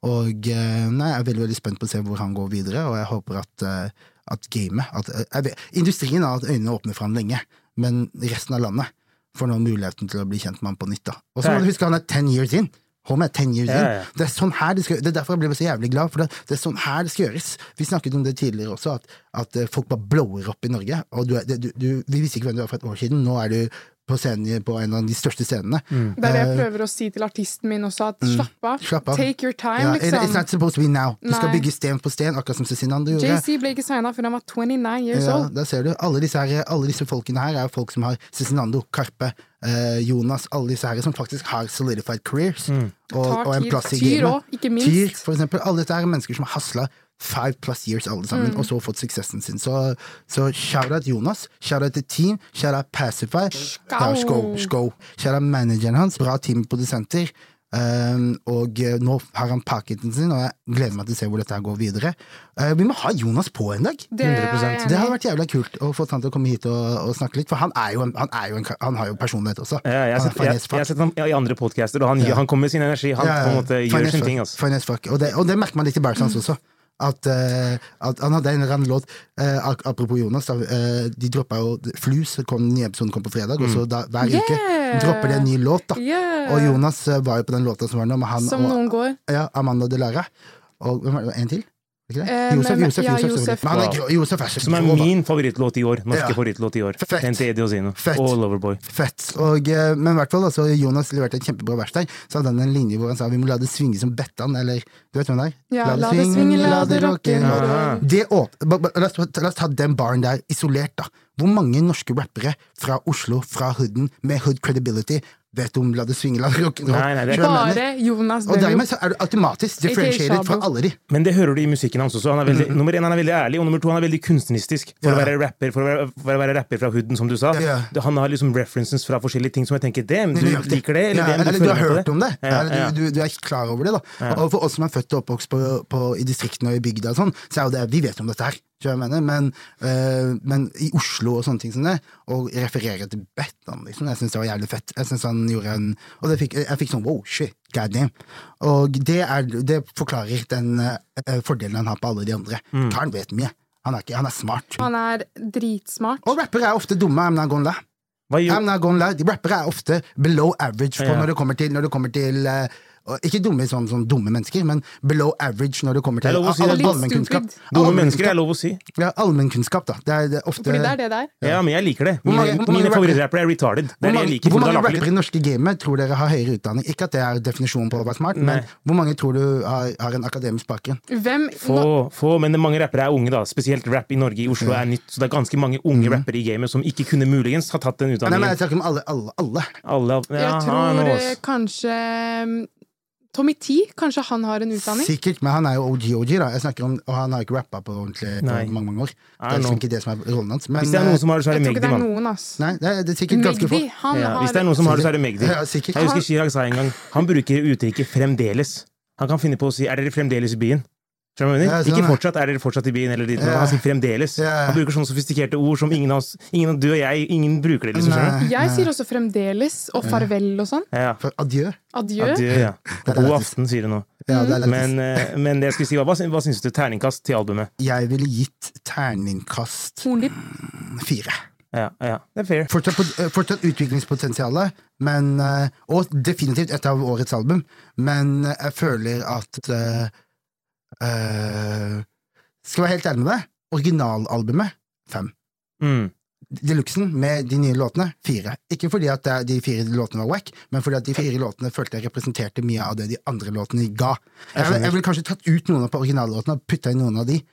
[SPEAKER 3] Og eh, nei, jeg er veldig veldig spent på å se hvor han går videre, og jeg håper at, eh, at gamet at, eh, jeg vet, Industrien har hatt øynene åpne for han lenge, men resten av landet får nå muligheten til å bli kjent med han på nytt. da. Og så må
[SPEAKER 2] Ja.
[SPEAKER 3] du huske han er ten years in. Holm er 10 years
[SPEAKER 2] Ja,
[SPEAKER 3] in.
[SPEAKER 2] ja.
[SPEAKER 3] Det er sånn her det skal Det er derfor jeg ble så jævlig glad, for det, det er sånn her det skal gjøres. Vi snakket om det tidligere også, at, at eh, folk bare blower opp i Norge. Og du, er- det- du, du, vi visste ikke hvem du var for et år siden, nå er du på scenen på en av de største scenene.
[SPEAKER 2] Mm.
[SPEAKER 1] Det er det jeg prøver å si til artisten min også, at slapp av.
[SPEAKER 3] Eh, mm. Slapp av.
[SPEAKER 1] Take your time,
[SPEAKER 3] Ja, it- It's
[SPEAKER 1] liksom.
[SPEAKER 3] not supposed to be now. Du skal
[SPEAKER 1] Nei.
[SPEAKER 3] bygge sten på sten, akkurat som Cezinando gjorde.
[SPEAKER 1] JC ble ikke signa før han var 29 years
[SPEAKER 3] Ja,
[SPEAKER 1] old.
[SPEAKER 3] der ser du. Alle disse, her, alle disse folkene her er folk som har Cezinando, Karpe, eh, Jonas, alle disse her som faktisk har solidified careers. Og,
[SPEAKER 1] Tar
[SPEAKER 3] og en
[SPEAKER 1] tid.
[SPEAKER 3] plass i
[SPEAKER 1] Tyr
[SPEAKER 3] gamet.
[SPEAKER 1] også, ikke minst.
[SPEAKER 3] Tyr, for eksempel. Alle dette her er mennesker som har hasla five plus years alle sammen,
[SPEAKER 1] Mm.
[SPEAKER 3] og så fått suksessen sin. Så, så shout-out Jonas, shout-out til Team, shout-out Pacify. Ja, Skål, skål. Shout-out manageren hans, bra team med produsenter. Um, og eh, nå har han pakketen sin, og jeg gleder meg til å se hvor dette her går videre. Eh, vi må ha Jonas på en dag!
[SPEAKER 1] Det er jeg
[SPEAKER 2] 100%.
[SPEAKER 1] enig i.
[SPEAKER 3] Det hadde vært jævla kult å få han til å komme hit og, og snakke litt, for han, er jo en, han, er jo en, kar- han har jo personlighet også.
[SPEAKER 2] Ja, jeg har
[SPEAKER 3] Han er
[SPEAKER 2] sett, jeg,
[SPEAKER 3] finesse
[SPEAKER 2] jeg har
[SPEAKER 3] fuck.
[SPEAKER 2] sett ham i andre podcaster, og han,
[SPEAKER 3] Ah, Ja.
[SPEAKER 2] han kommer med sin energi. Han
[SPEAKER 3] Ja, ja,
[SPEAKER 2] på en måte gjør
[SPEAKER 3] finesse
[SPEAKER 2] sin
[SPEAKER 3] fuck,
[SPEAKER 2] ting. Altså.
[SPEAKER 3] finesse fuck. Og, det, og det merker man litt i Bæsj hans også. At, eh, at han hadde en eller annen låt eh, ak- Apropos Jonas, da, eh, de droppa jo Flus, så kom den nye episoden kom på fredag, og så da, hver
[SPEAKER 1] Yeah.
[SPEAKER 3] uke dropper de en ny låt. da
[SPEAKER 1] Yeah.
[SPEAKER 3] Og Jonas eh, var jo på den låta som var nå, med han
[SPEAKER 1] Som
[SPEAKER 3] og
[SPEAKER 1] noen går.
[SPEAKER 3] ja, Amanda Delara. Og hvem var det, en til? Var det Ikke
[SPEAKER 1] Eh,
[SPEAKER 3] det? Josef,
[SPEAKER 1] men-
[SPEAKER 3] Josef,
[SPEAKER 1] ja,
[SPEAKER 3] Josef,
[SPEAKER 1] Josef.
[SPEAKER 3] selvfølgelig. Men han er grå- Josef er så
[SPEAKER 2] Som er
[SPEAKER 3] grov, da.
[SPEAKER 2] min favorittlåt i år. Norske
[SPEAKER 3] Ja.
[SPEAKER 2] favorittlåt i år. E
[SPEAKER 3] Fett.
[SPEAKER 2] Den til Eddie Ozino.
[SPEAKER 3] Fett.
[SPEAKER 2] Og Loverboy.
[SPEAKER 3] Fett. Og, eh, men i hvert fall, altså, Jonas leverte et kjempebra vers der. Så hadde han en linje hvor han sa vi må la det svinge som Bettan, eller du vet hvem det er?
[SPEAKER 1] Ja, la det svinge, la det rocke.
[SPEAKER 2] rock'n'roll.
[SPEAKER 3] Det åp- ba- ba- la, oss, ta- la oss ta den baren der isolert, da. Hvor mange norske rappere fra Oslo, fra hooden, med hood credibility, vet om la det svinge, la det rock'n'roll?
[SPEAKER 2] Nei, nei, det er-
[SPEAKER 3] Skjønner du hva jeg mener?
[SPEAKER 1] Bare Jonas
[SPEAKER 3] Og dermed
[SPEAKER 1] Benjo.
[SPEAKER 3] så er du automatisk differentiated
[SPEAKER 1] Shabo.
[SPEAKER 3] fra alle de.
[SPEAKER 2] Men det hører du i musikken hans også. Han er veldig, Nummer én, han er veldig ærlig, og nummer to, han er veldig kunstneristisk. For, å,
[SPEAKER 3] Mm-hmm. Ja.
[SPEAKER 2] være rapper, for, å, være, for å være rapper fra hooden, som du sa.
[SPEAKER 3] Ja.
[SPEAKER 2] Det- Han har liksom references fra forskjellige ting som jeg tenker Damn, du
[SPEAKER 3] Nøyaktig.
[SPEAKER 2] liker det? Eller,
[SPEAKER 3] ja,
[SPEAKER 2] det, men
[SPEAKER 3] eller du har
[SPEAKER 2] føler
[SPEAKER 3] hørt
[SPEAKER 2] på
[SPEAKER 3] om det.
[SPEAKER 2] Ja,
[SPEAKER 3] eller
[SPEAKER 2] ja.
[SPEAKER 3] Du, du, du er ikke klar over det. da Og for oss som er født og oppvokst på, på, i distriktene og i bygda, og sånn, så er jo det vi vet om dette her. skjønner du hva Jeg mener. Men, øh, men i Oslo og sånne ting som det, å referere til Bettan, liksom, jeg syns det var jævlig fett. Jeg synes han gjorde en Og det fikk, jeg fikk sånn wow, shit, god damn. eh,
[SPEAKER 2] Mm.
[SPEAKER 3] Og det, er, det forklarer den øh, øh, fordelen han har på alle de andre. Karen vet mye. Han er, ikke, han er smart.
[SPEAKER 1] Han er dritsmart.
[SPEAKER 3] Og rappere er ofte dumme. I'm not gonna lie.
[SPEAKER 2] Hva gjør
[SPEAKER 3] I'm not gonna lie. De Rappere er ofte below average på
[SPEAKER 2] Ja.
[SPEAKER 3] når det kommer til, når det kommer til eh, og Ikke dumme sånn, sånn dumme mennesker, men below average når det kommer
[SPEAKER 2] Det
[SPEAKER 3] til
[SPEAKER 2] er lov å si
[SPEAKER 3] all-
[SPEAKER 2] det.
[SPEAKER 3] allmennkunnskap.
[SPEAKER 1] Litt stupid.
[SPEAKER 2] Dumme
[SPEAKER 3] Allmennkunnskap.
[SPEAKER 2] mennesker er lov å si.
[SPEAKER 3] Ja, allmennkunnskap, da. Det er, det er ofte
[SPEAKER 1] Fordi det er det der.
[SPEAKER 2] Ja, men jeg liker det.
[SPEAKER 3] Hvor mange-
[SPEAKER 2] Mine,
[SPEAKER 3] hvor mange
[SPEAKER 2] mine
[SPEAKER 3] rappere-
[SPEAKER 2] favorittrappere er retarded. Det
[SPEAKER 3] Hvor
[SPEAKER 2] er det
[SPEAKER 3] mange,
[SPEAKER 2] jeg liker.
[SPEAKER 3] hvor
[SPEAKER 2] men det er
[SPEAKER 3] mange
[SPEAKER 2] lagt
[SPEAKER 3] rappere
[SPEAKER 2] litt-
[SPEAKER 3] i norske gamet tror dere har høyere utdanning? Ikke at det er definisjonen på å være smart,
[SPEAKER 2] Nei.
[SPEAKER 3] men hvor mange tror du har, har en akademisk bakgrunn?
[SPEAKER 1] Hvem
[SPEAKER 2] Få, få, men mange rappere er unge, da. Spesielt rap i Norge. I Oslo er nytt, så det er ganske mange unge rappere i gamet som ikke kunne muligens ha tatt den
[SPEAKER 3] Mm-hmm. Nei, men altså- jeg
[SPEAKER 2] utdanningen.
[SPEAKER 3] snakker om alle, alle, alle.
[SPEAKER 2] Alle, ja,
[SPEAKER 1] Jeg
[SPEAKER 2] ah,
[SPEAKER 1] tror
[SPEAKER 2] nå,
[SPEAKER 1] eh,
[SPEAKER 2] ass.
[SPEAKER 1] kanskje mm, Tommy T, kanskje han har en utdanning?
[SPEAKER 3] Sikkert, men han er jo OG-OG, da. Jeg snakker om, Og han har ikke rappa på ordentlig på
[SPEAKER 2] Nei.
[SPEAKER 3] mange mange år. Det
[SPEAKER 2] I
[SPEAKER 3] er
[SPEAKER 2] know.
[SPEAKER 3] liksom ikke det som er rollen hans. Men eh,
[SPEAKER 2] Hvis det er noen som har det, så er
[SPEAKER 1] Jeg
[SPEAKER 2] det
[SPEAKER 1] tror ikke
[SPEAKER 2] Magdi,
[SPEAKER 1] det er
[SPEAKER 2] mann.
[SPEAKER 1] noen, ass.
[SPEAKER 3] nei, det, er, det er sikkert ganske få.
[SPEAKER 1] Magdi, han
[SPEAKER 2] Ja, hvis det er
[SPEAKER 1] har
[SPEAKER 2] noen som har det, så er det Magdi.
[SPEAKER 3] Ja, sikkert.
[SPEAKER 2] Jeg husker Chirag sa en gang Han bruker uttrykket 'fremdeles'. Han kan finne på å si 'er dere fremdeles i byen'? Skjønner du hva jeg
[SPEAKER 3] Ja,
[SPEAKER 2] mener? Ikke
[SPEAKER 3] sånn, ja.
[SPEAKER 2] fortsatt 'er dere fortsatt i byen' eller dit, men
[SPEAKER 3] Ja.
[SPEAKER 2] han sier 'fremdeles'.
[SPEAKER 3] Ja.
[SPEAKER 2] Han bruker sånne sofistikerte ord som ingen av oss, ingen av du og jeg, ingen bruker det, liksom. skjønner du?
[SPEAKER 1] Jeg sier også fremdeles og farvel og sånn.
[SPEAKER 2] Ja.
[SPEAKER 3] For adjø.
[SPEAKER 1] Adjø.
[SPEAKER 2] Adjø, ja.
[SPEAKER 3] er
[SPEAKER 2] Og god
[SPEAKER 3] lættis.
[SPEAKER 2] aften, sier du nå.
[SPEAKER 3] Ja, det er lættis.
[SPEAKER 2] Men, eh, men det jeg skulle si, var, hva, syn- hva syns du? Terningkast til albumet.
[SPEAKER 3] Jeg ville gitt terningkast
[SPEAKER 1] Hornlipp.
[SPEAKER 3] fire.
[SPEAKER 2] Ja, ja. Det er fair.
[SPEAKER 3] Fortsatt, pot- eh, fortsatt utviklingspotensialet, men, eh, og definitivt et av årets album, men eh, jeg føler at eh, eh, Skal være helt ærlig med deg, originalalbumet fem.
[SPEAKER 2] Mm.
[SPEAKER 3] Deluxen med de nye låtene fire. Ikke fordi at det er- de fire låtene var wack, men fordi at de fire låtene følte jeg representerte mye av det de andre låtene ga. Jeg, vil- jeg ville kanskje tatt ut noen av på originallåtene og putta inn noen av de.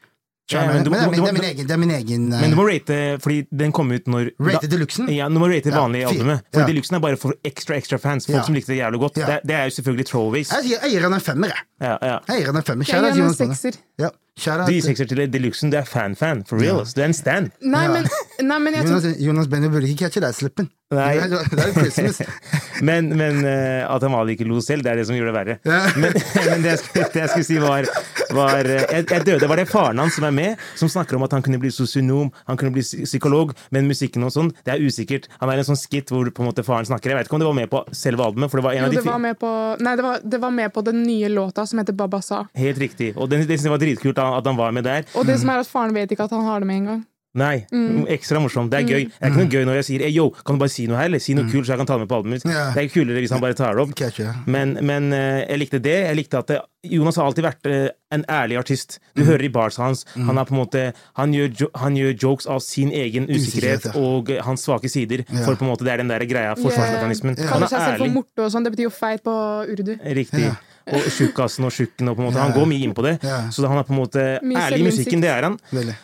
[SPEAKER 2] Ja, men
[SPEAKER 3] men,
[SPEAKER 2] du-
[SPEAKER 3] det, er min,
[SPEAKER 2] du-
[SPEAKER 3] det er min egen, det er min egen eh,
[SPEAKER 2] Men du må rate, fordi den kom ut når
[SPEAKER 3] Rate
[SPEAKER 2] da-
[SPEAKER 3] Deluxen?
[SPEAKER 2] Ja, du må rate
[SPEAKER 3] Ja,
[SPEAKER 2] vanlige
[SPEAKER 3] fire.
[SPEAKER 2] albumet. For
[SPEAKER 3] Ja.
[SPEAKER 2] Deluxen er bare for ekstra, ekstra fans. Folk
[SPEAKER 3] Ja.
[SPEAKER 2] som likte det jævlig godt.
[SPEAKER 3] Ja.
[SPEAKER 2] Det, det er jo selvfølgelig throwaways.
[SPEAKER 3] eh, Jeg sier- jeg gir han en femmer, jeg.
[SPEAKER 2] Ja, ja.
[SPEAKER 3] Jeg gir han en femmer.
[SPEAKER 1] Jeg
[SPEAKER 3] Kjære
[SPEAKER 1] gir han en
[SPEAKER 3] Jonas Bonde.
[SPEAKER 1] sekser.
[SPEAKER 3] Ja, kjære
[SPEAKER 2] Du gir sekser til Deluxen. Du er fan-fan. For real. ass. Du er en stan.
[SPEAKER 1] Nei, men, nei, men jeg tror
[SPEAKER 3] Jonas, Jonas Benny burde ikke catche deg slippen.
[SPEAKER 2] Nei.
[SPEAKER 3] Det er- det er Christmas.
[SPEAKER 2] Men, men eh, at han var ikke lo selv, det er det som gjorde det verre.
[SPEAKER 3] Ja.
[SPEAKER 2] Men, men det, jeg skulle, det jeg skulle si, var, var eh, jeg, jeg døde. Var det faren hans som er med, som snakker om at han kunne bli sosionom, han kunne bli psy- psykolog, men musikken og sånn, det er usikkert. Han er en sånn skit hvor på en måte faren snakker. Jeg vet ikke om det var med på selve albumet, for det var en
[SPEAKER 1] jo,
[SPEAKER 2] av de
[SPEAKER 1] det
[SPEAKER 2] fi-
[SPEAKER 1] var med på Nei, det var, det var med på den nye låta som heter Baba Sa.
[SPEAKER 2] Helt riktig. Og det, det synes jeg var dritkult da- at han var med der.
[SPEAKER 1] Og det som er at faren vet ikke at han har det med en gang.
[SPEAKER 2] Nei, ekstra morsomt. Det er gøy. Det er ikke noe gøy når jeg sier hey, yo, kan du bare si noe her, eller si noe kult, så jeg kan ta det med på albumet mitt.
[SPEAKER 3] Ja.
[SPEAKER 2] Det er kulere hvis han bare tar det opp.
[SPEAKER 3] Catcher, ja.
[SPEAKER 2] Men, men eh, jeg likte det. Jeg likte at det, Jonas har alltid vært eh, en ærlig artist. Du hører i bars hans. Han, er på en måte, han, gjør jo, han gjør jokes av sin egen usikkerhet
[SPEAKER 3] Usikkerhet, ja.
[SPEAKER 2] og eh, hans svake sider.
[SPEAKER 3] Ja.
[SPEAKER 2] For på en måte det er den der greia, forsvarsmekanismen.
[SPEAKER 1] Jeg
[SPEAKER 2] Han
[SPEAKER 1] Kaller seg
[SPEAKER 2] er
[SPEAKER 1] selv for
[SPEAKER 2] ærlig.
[SPEAKER 1] morte og sånn. Det betyr jo feit på urdu.
[SPEAKER 2] Riktig. Og tjukkasen og tjukken og på en måte. Han
[SPEAKER 3] Ja.
[SPEAKER 2] går mye inn på det.
[SPEAKER 3] Ja.
[SPEAKER 2] Så han er på en måte
[SPEAKER 1] Mye
[SPEAKER 2] ærlig i
[SPEAKER 1] selvinnsikt.
[SPEAKER 2] musikken. Det er han.
[SPEAKER 3] Veldig.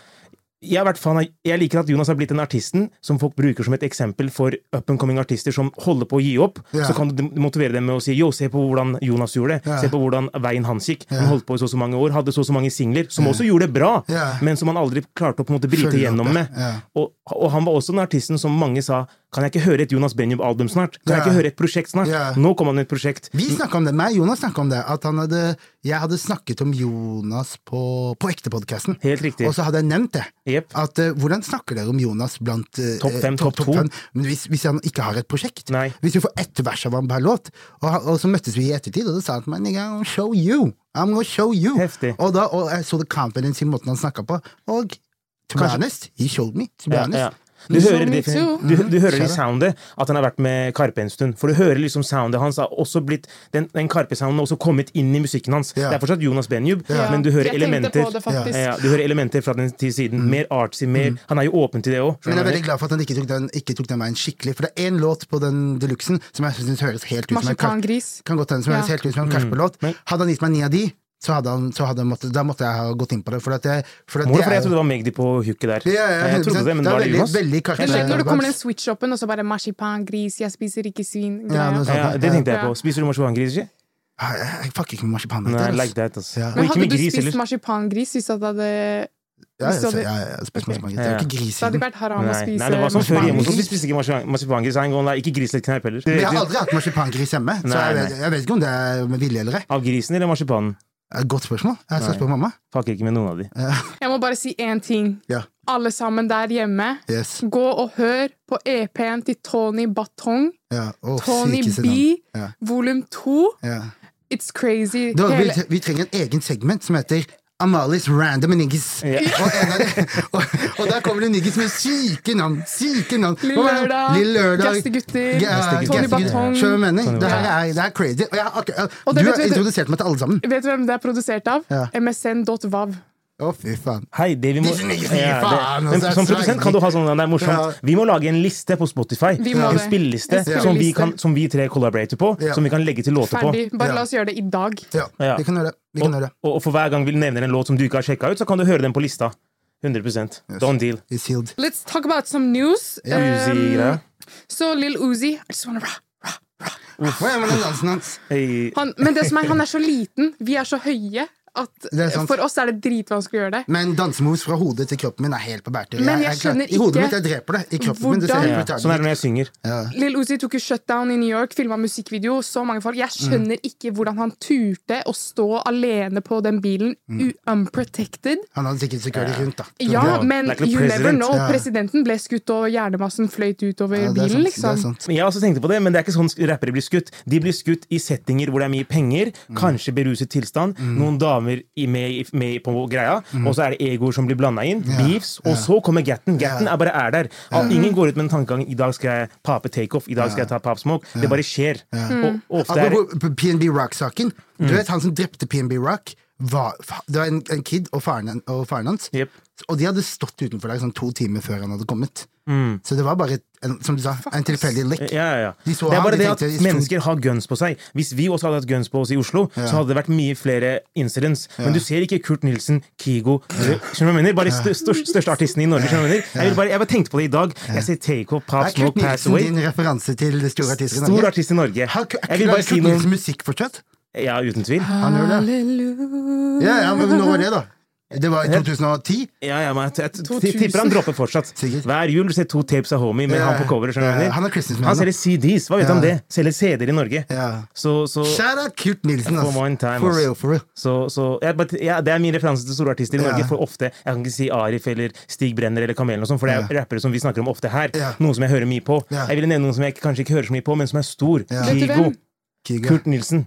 [SPEAKER 2] jeg, har vært fan av, jeg liker at Jonas har blitt den artisten som folk bruker som et eksempel for up and coming artister som holder på å gi opp.
[SPEAKER 3] Ja.
[SPEAKER 2] Så kan du dem- motivere dem med å si yo, se på hvordan Jonas gjorde det.
[SPEAKER 3] Ja.
[SPEAKER 2] Se på hvordan veien hans gikk. Han
[SPEAKER 3] Ja.
[SPEAKER 2] holdt på i så og så mange år, hadde så og så mange singler, som også gjorde det bra,
[SPEAKER 3] Ja.
[SPEAKER 2] men som han aldri klarte å på en måte bryte
[SPEAKER 3] Følge opp,
[SPEAKER 2] gjennom
[SPEAKER 3] ja.
[SPEAKER 2] med.
[SPEAKER 3] Ja.
[SPEAKER 2] Og, og han var også den artisten som mange sa kan jeg ikke høre et Jonas Benjub-album snart? Kan jeg
[SPEAKER 3] Ja.
[SPEAKER 2] ikke høre et prosjekt snart?
[SPEAKER 3] Ja.
[SPEAKER 2] Nå kom han med et prosjekt.
[SPEAKER 3] Vi snakka om det, meg og Jonas snakka om det, at han hadde, jeg hadde snakket om Jonas på, på Ektepodkasten.
[SPEAKER 2] Helt riktig.
[SPEAKER 3] Og så hadde jeg nevnt det.
[SPEAKER 2] Jep.
[SPEAKER 3] At eh, Hvordan snakker dere om Jonas blant eh,
[SPEAKER 2] Topp fem,
[SPEAKER 3] eh,
[SPEAKER 2] topp to?
[SPEAKER 3] fem? Men hvis, hvis han ikke har et prosjekt?
[SPEAKER 2] Nei.
[SPEAKER 3] Hvis du får ett vers av ham per låt? Og, han- og så møttes vi i ettertid, og da sa han til meg «Nigga, I'm gonna show you. I'm gonna show you.
[SPEAKER 2] Heftig.
[SPEAKER 3] Og, da, og jeg så det confidence i måten han snakka på. Og to be
[SPEAKER 2] Kanskje-
[SPEAKER 3] honest, he showed me. To be
[SPEAKER 2] Ja,
[SPEAKER 3] honest.
[SPEAKER 2] ja. Du
[SPEAKER 1] Show
[SPEAKER 2] hører,
[SPEAKER 1] me
[SPEAKER 2] det,
[SPEAKER 1] too.
[SPEAKER 2] du, du hører det i
[SPEAKER 3] Kjære.
[SPEAKER 2] soundet at han har vært med Karpe en stund. For du hører liksom soundet hans har også blitt Den, den Karpe-sounden har også kommet inn i musikken hans.
[SPEAKER 3] Ja.
[SPEAKER 2] Det er fortsatt Jonas Benjub,
[SPEAKER 1] Ja.
[SPEAKER 2] men du hører
[SPEAKER 1] jeg
[SPEAKER 2] elementer
[SPEAKER 1] tenkte på det, faktisk.
[SPEAKER 2] ja, ja, Du hører elementer fra den tid siden. Mer artsy, mer Han er jo åpen til det òg.
[SPEAKER 3] Mm. Men jeg er veldig glad for at han ikke tok den, ikke tok den veien skikkelig. For det er én låt på den deluxen som jeg synes høres helt ut som en kar-
[SPEAKER 1] Marsipangris.
[SPEAKER 3] kan godt hende som
[SPEAKER 1] Ja.
[SPEAKER 3] høres helt ut som en Karpe-låt.
[SPEAKER 2] Mm. Men-
[SPEAKER 3] Hadde han gitt meg ni av de, så hadde han, så hadde han måtte, da måtte jeg ha gått inn på det. For at jeg, for at
[SPEAKER 2] Mor,
[SPEAKER 3] det
[SPEAKER 2] for
[SPEAKER 3] er
[SPEAKER 2] jeg
[SPEAKER 3] jo-
[SPEAKER 2] trodde det var Magdi på hooket der.
[SPEAKER 3] Ja, ja,
[SPEAKER 2] jeg trodde
[SPEAKER 3] 100%.
[SPEAKER 2] det, men
[SPEAKER 3] Det er
[SPEAKER 2] var det
[SPEAKER 3] veldig,
[SPEAKER 2] Jonas?
[SPEAKER 3] veldig
[SPEAKER 1] Jeg skjønner når det kommer den
[SPEAKER 3] Karpe.
[SPEAKER 1] switch-upen, og så bare marsipangris, jeg spiser ikke svin. greia.
[SPEAKER 3] Ja, noe sånt.
[SPEAKER 2] Ja, det tenkte jeg
[SPEAKER 1] Ja.
[SPEAKER 2] på. Spiser du marsipangris, ikke?
[SPEAKER 3] Nei, Jeg jeg fucker ikke med marsipan.
[SPEAKER 2] Nei,
[SPEAKER 3] der, ass.
[SPEAKER 2] like that, ass.
[SPEAKER 3] Ja.
[SPEAKER 2] Og
[SPEAKER 1] Men
[SPEAKER 2] ikke
[SPEAKER 1] hadde
[SPEAKER 2] med
[SPEAKER 1] du
[SPEAKER 2] gris
[SPEAKER 1] spist
[SPEAKER 2] heller.
[SPEAKER 1] marsipangris hvis at det hadde
[SPEAKER 3] Ja,
[SPEAKER 1] hvis
[SPEAKER 3] jeg,
[SPEAKER 1] du
[SPEAKER 3] jeg,
[SPEAKER 1] hadde-
[SPEAKER 3] jeg, jeg spiser marsipan. Det er jo
[SPEAKER 2] Ja.
[SPEAKER 3] ikke
[SPEAKER 1] Så hadde det
[SPEAKER 3] griser.
[SPEAKER 1] vært haram å
[SPEAKER 2] Nei,
[SPEAKER 1] spise
[SPEAKER 2] nei, det var som før hjemme hos oss. Vi
[SPEAKER 1] marsipangris.
[SPEAKER 2] spiste ikke marsipan- marsipangris. en gang, nei, Ikke gris eller kneipp heller.
[SPEAKER 3] Men jeg har aldri hatt marsipangris hjemme, så
[SPEAKER 2] Nei,
[SPEAKER 3] jeg vet, jeg vet ikke om det er med vilje eller ei.
[SPEAKER 2] Av grisen eller marsipanen?
[SPEAKER 3] Det er et Godt spørsmål. Jeg skal
[SPEAKER 2] Nei.
[SPEAKER 3] spørre mamma.
[SPEAKER 2] Fucker ikke med noen av de.
[SPEAKER 1] Jeg må bare si én ting.
[SPEAKER 3] Ja,
[SPEAKER 1] Alle sammen der hjemme,
[SPEAKER 3] yes.
[SPEAKER 1] gå og hør på EP-en til Tony Batong,
[SPEAKER 3] Ja. Å,
[SPEAKER 1] Tony
[SPEAKER 3] sykeste
[SPEAKER 1] B,
[SPEAKER 3] navn. Ja.
[SPEAKER 1] volum 2.
[SPEAKER 3] Ja.
[SPEAKER 1] It's crazy.
[SPEAKER 3] Da,
[SPEAKER 1] Hele,
[SPEAKER 3] vi, vi trenger en egen segment som heter Amalies Random Niggis.
[SPEAKER 2] Ja.
[SPEAKER 3] Og, en av de, og, og der kommer det niggis med syke navn! Syke navn!
[SPEAKER 1] Lille
[SPEAKER 3] Hva var det?
[SPEAKER 1] Lørdag,
[SPEAKER 3] Lille Lørdag
[SPEAKER 1] Gastegutter,
[SPEAKER 3] Ja,
[SPEAKER 2] Gastegutter.
[SPEAKER 1] Tony
[SPEAKER 3] Gastegutter.
[SPEAKER 1] Batong.
[SPEAKER 3] Skjønner du hva jeg mener?
[SPEAKER 2] Tony
[SPEAKER 3] Det her er, det er crazy. Og jeg, har akkurat-
[SPEAKER 1] Og det vet-
[SPEAKER 3] du har
[SPEAKER 1] vet du-
[SPEAKER 3] introdusert meg til alle sammen.
[SPEAKER 1] Vet du hvem det er produsert av?
[SPEAKER 3] Ja.
[SPEAKER 1] msn.vav.
[SPEAKER 3] Å, fy faen.
[SPEAKER 2] Hei, det vi må
[SPEAKER 3] Disse niggis,
[SPEAKER 2] Ja,
[SPEAKER 3] faen,
[SPEAKER 2] det-
[SPEAKER 3] altså,
[SPEAKER 2] Men
[SPEAKER 3] det er
[SPEAKER 2] Som produsent kan du ha sånn Det er
[SPEAKER 3] Ja.
[SPEAKER 2] morsomt. Vi må lage en liste på Spotify.
[SPEAKER 1] Vi må
[SPEAKER 2] En
[SPEAKER 1] det.
[SPEAKER 2] spilleliste
[SPEAKER 1] En spilleliste.
[SPEAKER 2] som vi, kan, som vi tre collaborater på.
[SPEAKER 3] Ja.
[SPEAKER 2] Som vi kan legge til låter på.
[SPEAKER 1] Ferdig. Bare
[SPEAKER 3] Ja.
[SPEAKER 1] la oss gjøre det i dag.
[SPEAKER 3] Ja,
[SPEAKER 2] Ja.
[SPEAKER 3] vi kan gjøre det. Vi kan gjøre det.
[SPEAKER 2] Og, og for hver gang vi nevner en låt som du ikke har sjekka ut, så kan du høre den på lista. 100 Don't
[SPEAKER 1] Um,
[SPEAKER 2] deal.
[SPEAKER 3] It's healed.
[SPEAKER 1] Let's talk about some news. Um,
[SPEAKER 3] Ja.
[SPEAKER 2] Uzi-greia.
[SPEAKER 1] så Lill Uzi I just wanna rah.
[SPEAKER 3] Hva er med den dansen hans?
[SPEAKER 2] Hey.
[SPEAKER 1] han, Men det som er, han er så liten. Vi er så høye at
[SPEAKER 3] Det er sant.
[SPEAKER 1] for oss er det dritvanskelig å gjøre det.
[SPEAKER 3] Men dansemoves fra hodet til kroppen min er helt på bærtur.
[SPEAKER 1] Men jeg
[SPEAKER 3] klarer-
[SPEAKER 1] skjønner
[SPEAKER 3] I hodet
[SPEAKER 1] ikke
[SPEAKER 3] mitt jeg dreper det. I kroppen min det ser
[SPEAKER 1] hvordan-
[SPEAKER 3] helt
[SPEAKER 2] Ja.
[SPEAKER 3] retarded
[SPEAKER 2] Sånn er det
[SPEAKER 3] ut.
[SPEAKER 2] når jeg synger.
[SPEAKER 1] Lill Uzi tok jo shutdown i New York, filma musikkvideo. Så mange folk. Jeg
[SPEAKER 3] Mm.
[SPEAKER 1] skjønner ikke hvordan han turte å stå alene på den bilen,
[SPEAKER 3] Mm.
[SPEAKER 1] u- unprotected.
[SPEAKER 3] Han hadde sikkert security rundt, da.
[SPEAKER 1] Ja, men
[SPEAKER 2] Like the
[SPEAKER 1] you never
[SPEAKER 2] president.
[SPEAKER 1] know.
[SPEAKER 3] Ja.
[SPEAKER 1] Presidenten ble skutt, og hjernemassen fløyt utover
[SPEAKER 3] Ja, det er
[SPEAKER 1] bilen,
[SPEAKER 3] sant, Det er
[SPEAKER 1] liksom.
[SPEAKER 3] sant.
[SPEAKER 2] Men Jeg har også tenkte på det, men det er ikke sånn rappere blir skutt. De blir skutt i settinger hvor det er mye penger,
[SPEAKER 3] Mm.
[SPEAKER 2] kanskje beruset tilstand, noen damer i- med, i- med på greia,
[SPEAKER 3] Mm.
[SPEAKER 2] og så er det egoer som blir blanda inn, beefs, og så kommer Gatten. Gatten
[SPEAKER 3] Ja.
[SPEAKER 2] er bare er der. Al- Ingen går ut med en tankegang 'i dag skal jeg pape takeoff', 'i dag skal jeg ta pap smoke'. Det bare skjer. Og, og ofte er Mm.
[SPEAKER 3] Apropos PNB Rock-saken. Du vet han som drepte PNB Rock? Var, fa- det var en, en kid og faren, og faren hans.
[SPEAKER 2] Jep.
[SPEAKER 3] Og de hadde stått utenfor der sånn to timer før han hadde kommet. Så det var bare, en, som du sa, en tilfeldig lekk.
[SPEAKER 2] Mm. Ja, ja, ja.
[SPEAKER 3] De så
[SPEAKER 2] det er
[SPEAKER 3] han,
[SPEAKER 2] bare
[SPEAKER 3] de
[SPEAKER 2] det at
[SPEAKER 3] tenkte, de sto-
[SPEAKER 2] mennesker har guns på seg. Hvis vi også hadde hatt guns på oss i Oslo, så hadde det vært mye flere incidents. Men du ser ikke Kurt Nilsen, Kigo Skjønner du hva jeg mener? Bare stør, størst- største artisten i Norge. Skjønner du hva jeg mener? Jeg, vil bare, jeg bare tenkte på det i dag. Jeg ser Take Off, Pop
[SPEAKER 3] Er Kurt
[SPEAKER 2] Smoke, Pass
[SPEAKER 3] Nilsen
[SPEAKER 2] Away.
[SPEAKER 3] din referanse til store artister i Norge?
[SPEAKER 2] Stor artist i Norge.
[SPEAKER 3] Har Kurt-
[SPEAKER 2] Jeg vil
[SPEAKER 3] er
[SPEAKER 2] bare si
[SPEAKER 3] Kurt
[SPEAKER 2] noe
[SPEAKER 3] Nilsen musikk fortsatt?
[SPEAKER 2] Ja, uten tvil.
[SPEAKER 3] Han gjør det.
[SPEAKER 1] liksom.
[SPEAKER 3] Ja, ja, men når var det, da? Det var i 2010?
[SPEAKER 2] Ja, ja, men jeg, jeg, jeg tipper han dropper fortsatt.
[SPEAKER 3] Sikkert.
[SPEAKER 2] Hver jul ser to tapes av homie med
[SPEAKER 3] Ja,
[SPEAKER 2] han på coveret. skjønner du hva jeg
[SPEAKER 3] ja,
[SPEAKER 2] mener?
[SPEAKER 3] han er Christmas man,
[SPEAKER 2] Han
[SPEAKER 3] da.
[SPEAKER 2] selger CDs. Hva vet du om det? Selger CD-er i Norge.
[SPEAKER 3] Ja.
[SPEAKER 2] Så, så
[SPEAKER 3] Shout out Kurt Nilsen,
[SPEAKER 2] For one time,
[SPEAKER 3] ass. For
[SPEAKER 2] ass.
[SPEAKER 3] real, for real.
[SPEAKER 2] Så, så ja, but, ja, Det er min referanse til store artister i Norge.
[SPEAKER 3] Ja.
[SPEAKER 2] For ofte, Jeg kan ikke si Arif eller Stig Brenner eller Kamelen, og sånn, for det er
[SPEAKER 3] Ja.
[SPEAKER 2] rappere som vi snakker om ofte her.
[SPEAKER 3] Ja.
[SPEAKER 2] Noen som jeg hører mye på.
[SPEAKER 3] Ja.
[SPEAKER 2] Jeg ville nevne noen som jeg ikke- kanskje ikke hører så mye på, men som er stor.
[SPEAKER 3] Ja.
[SPEAKER 1] Vet du
[SPEAKER 2] Kigo.
[SPEAKER 1] hvem?
[SPEAKER 3] Kygo.
[SPEAKER 2] Kurt Nilsen.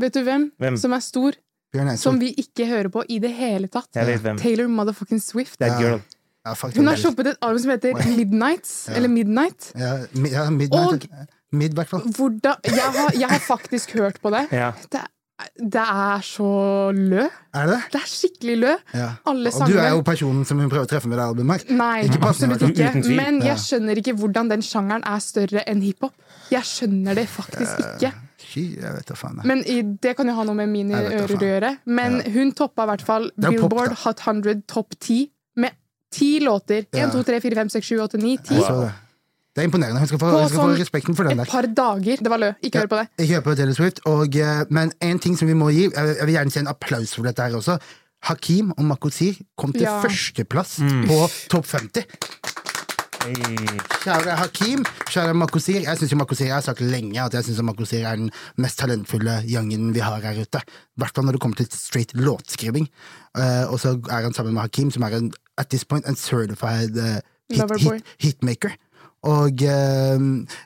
[SPEAKER 1] Vet du hvem,
[SPEAKER 2] Hvem?
[SPEAKER 1] som er stor,
[SPEAKER 3] Bjørn Eidsvåg.
[SPEAKER 1] som vi ikke hører på i det hele tatt?
[SPEAKER 2] Jeg vet hvem.
[SPEAKER 1] Taylor motherfucking Swift.
[SPEAKER 2] That
[SPEAKER 3] Ja.
[SPEAKER 2] girl.
[SPEAKER 3] Ja, fuck
[SPEAKER 1] Hun
[SPEAKER 3] det.
[SPEAKER 1] har shoppet et album som heter Midnights, eller Midnight.
[SPEAKER 3] Ja, mi- ja, midnight. Mid, i hvert fall.
[SPEAKER 1] Hvordan jeg, har- jeg har faktisk hørt på det.
[SPEAKER 2] Ja.
[SPEAKER 1] Det, er- det er så lø.
[SPEAKER 3] Er det det?
[SPEAKER 1] Det er skikkelig lø.
[SPEAKER 3] Ja.
[SPEAKER 1] Alle
[SPEAKER 3] Og du er jo
[SPEAKER 1] sangene
[SPEAKER 3] personen som hun prøver å treffe med det albumet her.
[SPEAKER 1] Nei,
[SPEAKER 3] Ikke passende,
[SPEAKER 1] absolutt
[SPEAKER 3] i hvert
[SPEAKER 1] ikke.
[SPEAKER 2] fall. Uten tvil.
[SPEAKER 1] Men
[SPEAKER 3] Ja.
[SPEAKER 1] jeg skjønner ikke hvordan den sjangeren er større enn hiphop. Jeg skjønner det faktisk ikke.
[SPEAKER 3] Fy, jeg vet da faen. jeg.
[SPEAKER 1] Men i, Det kan jo ha noe med mine
[SPEAKER 3] Jeg vet da
[SPEAKER 1] ører å
[SPEAKER 3] faen.
[SPEAKER 1] gjøre. Men hun toppa i hvert fall
[SPEAKER 3] er pop,
[SPEAKER 1] Billboard
[SPEAKER 3] da.
[SPEAKER 1] Hot 100 Topp 10 med ti låter. 1,
[SPEAKER 3] Ja.
[SPEAKER 1] 2, 3, 4, 5, 6, 7, 8, 9, 10.
[SPEAKER 3] Jeg så det. Det er imponerende. Hun skal få,
[SPEAKER 1] På
[SPEAKER 3] hun skal få
[SPEAKER 1] sånn-
[SPEAKER 3] respekten for den
[SPEAKER 1] Et
[SPEAKER 3] der.
[SPEAKER 1] par dager. Det var lø. Ikke hør på det.
[SPEAKER 3] Jeg hører på Taylor Swift, og, eh, men en ting som vi må gi Jeg vil- jeg vil gjerne si en applaus for dette her også. Hakim og Makosir kom til
[SPEAKER 1] Ja.
[SPEAKER 3] førsteplass på topp 50. Kjære Hakim, kjære Makosir. Jeg synes jo Makosir, jeg har sagt lenge at jeg syns Makosir er den mest talentfulle youngen vi har her ute. I hvert fall når det kommer til straight låtskriving. Eh, og så er han sammen med Hakim, som er en, at this point en certified eh, hit,
[SPEAKER 1] Loverboy.
[SPEAKER 3] hit, hitmaker. Og eh,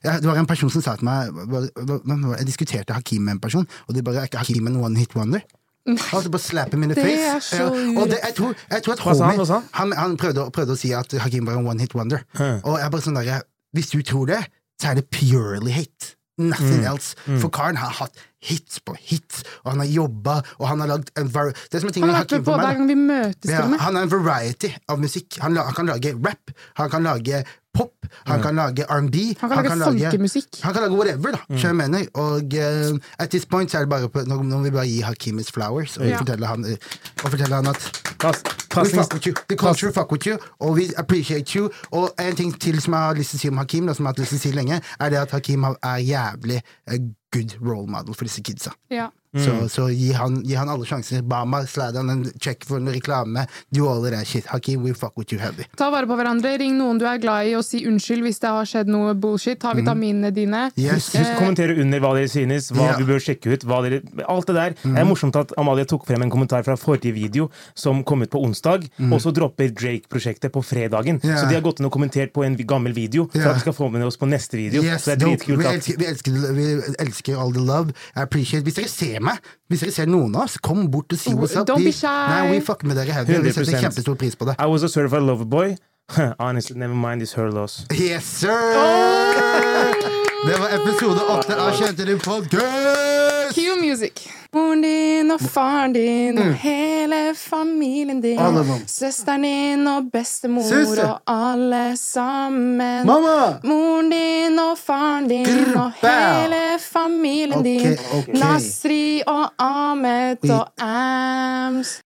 [SPEAKER 3] ja, det var en person som sa til meg hva- hva- hva- hvem var det? Jeg diskuterte Hakim med en person, og de bare Er ikke Hakim en one hit wonder? Altså bare slappe him in the
[SPEAKER 1] Det
[SPEAKER 3] face.
[SPEAKER 1] er så
[SPEAKER 3] og det, jeg, tror, jeg tror at
[SPEAKER 2] Hva sa han? Hva sa
[SPEAKER 3] han? Han, prøvde, å- prøvde å si at Hakim var en one hit wonder. Og jeg er bare sånn der, Hvis du tror det, så er det purely hate. Nothing
[SPEAKER 2] Mm.
[SPEAKER 3] else. For karen har hatt hits på hits, og han har jobba, og han har lagd en var Det som er tingen
[SPEAKER 1] Han
[SPEAKER 3] med
[SPEAKER 1] har vært
[SPEAKER 3] Hakim
[SPEAKER 1] med på
[SPEAKER 3] for meg,
[SPEAKER 1] hver
[SPEAKER 3] da.
[SPEAKER 1] gang vi møtes.
[SPEAKER 3] Ja,
[SPEAKER 1] til og med.
[SPEAKER 3] han er en variety av musikk. Han, la, han kan lage rap, han kan lage pop, han kan lage R&B.
[SPEAKER 1] Han kan lage folkemusikk.
[SPEAKER 3] Han kan lage whatever, da. skjønner
[SPEAKER 2] Mm.
[SPEAKER 3] du hva jeg mener. Og eh, at this point så er det bare på, nå, nå må vi bare gi Hakim his flowers, og,
[SPEAKER 1] Ja.
[SPEAKER 3] fortelle, han, eh, og fortelle han at
[SPEAKER 2] Pass,
[SPEAKER 3] We
[SPEAKER 2] passing,
[SPEAKER 3] fuck with you. The culture fuck with you, og we appreciate you. Og en ting til som jeg har lyst til å si om Hakim, da, som jeg har hatt lyst til å si lenge, er det at Hakim har- er jævlig eh, good role model for disse kidsa.
[SPEAKER 1] Ja.
[SPEAKER 2] Mm.
[SPEAKER 3] Så, så gi, han, gi han alle sjanser. Bama, slide han en check for en reklame. Du all that shit. Hakim, we fuck with you heavy.
[SPEAKER 1] Ta vare på hverandre, ring noen du er glad i, og si unnskyld hvis det har skjedd noe bullshit. Ta vitaminene dine.
[SPEAKER 3] Mm.
[SPEAKER 1] Eh,
[SPEAKER 3] Yes.
[SPEAKER 2] Husk å kommentere under hva dere synes, hva
[SPEAKER 3] Eh, Ja. Mhm.
[SPEAKER 2] vi bør sjekke ut. Hva dere, alt Det der Det er morsomt at Amalie tok frem en kommentar fra forrige video som kom ut på onsdag, og så dropper Drake-prosjektet på fredagen.
[SPEAKER 3] Mhm. Ja.
[SPEAKER 2] Så de har gått inn og kommentert på en gammel video for
[SPEAKER 3] Ja.
[SPEAKER 2] at vi skal få med oss på neste video.
[SPEAKER 3] Yes,
[SPEAKER 2] så det er
[SPEAKER 3] dope.
[SPEAKER 2] dritkult
[SPEAKER 3] vi,
[SPEAKER 2] at
[SPEAKER 3] elsker, vi, elsker, vi elsker all the love. I appreciate Hvis dere ser meg. Hvis dere ser noen av oss, kom bort og si oss at
[SPEAKER 1] Oh, Don't
[SPEAKER 3] vi,
[SPEAKER 1] be shy.
[SPEAKER 3] nei, we fucker med dere i Haugen. Vi setter
[SPEAKER 2] 100%.
[SPEAKER 3] kjempestor pris på det.
[SPEAKER 2] I was a certified lover boy. Honestly, never mind, it's her loss.
[SPEAKER 3] Yes, sir! Det var episode åtte av Kjente din podkast!
[SPEAKER 1] Q Music. Moren din og faren din og hele familien din.
[SPEAKER 3] Mm. Alle mann.
[SPEAKER 1] Søsteren din og bestemor
[SPEAKER 3] Søster.
[SPEAKER 1] og alle sammen.
[SPEAKER 3] Mamma!
[SPEAKER 1] Moren din og faren din
[SPEAKER 3] Grr,
[SPEAKER 1] og
[SPEAKER 3] bæ.
[SPEAKER 1] hele familien
[SPEAKER 3] Ok,
[SPEAKER 1] din.
[SPEAKER 3] ok.
[SPEAKER 1] Nasri og Ahmed
[SPEAKER 3] Vi-
[SPEAKER 1] og Ams.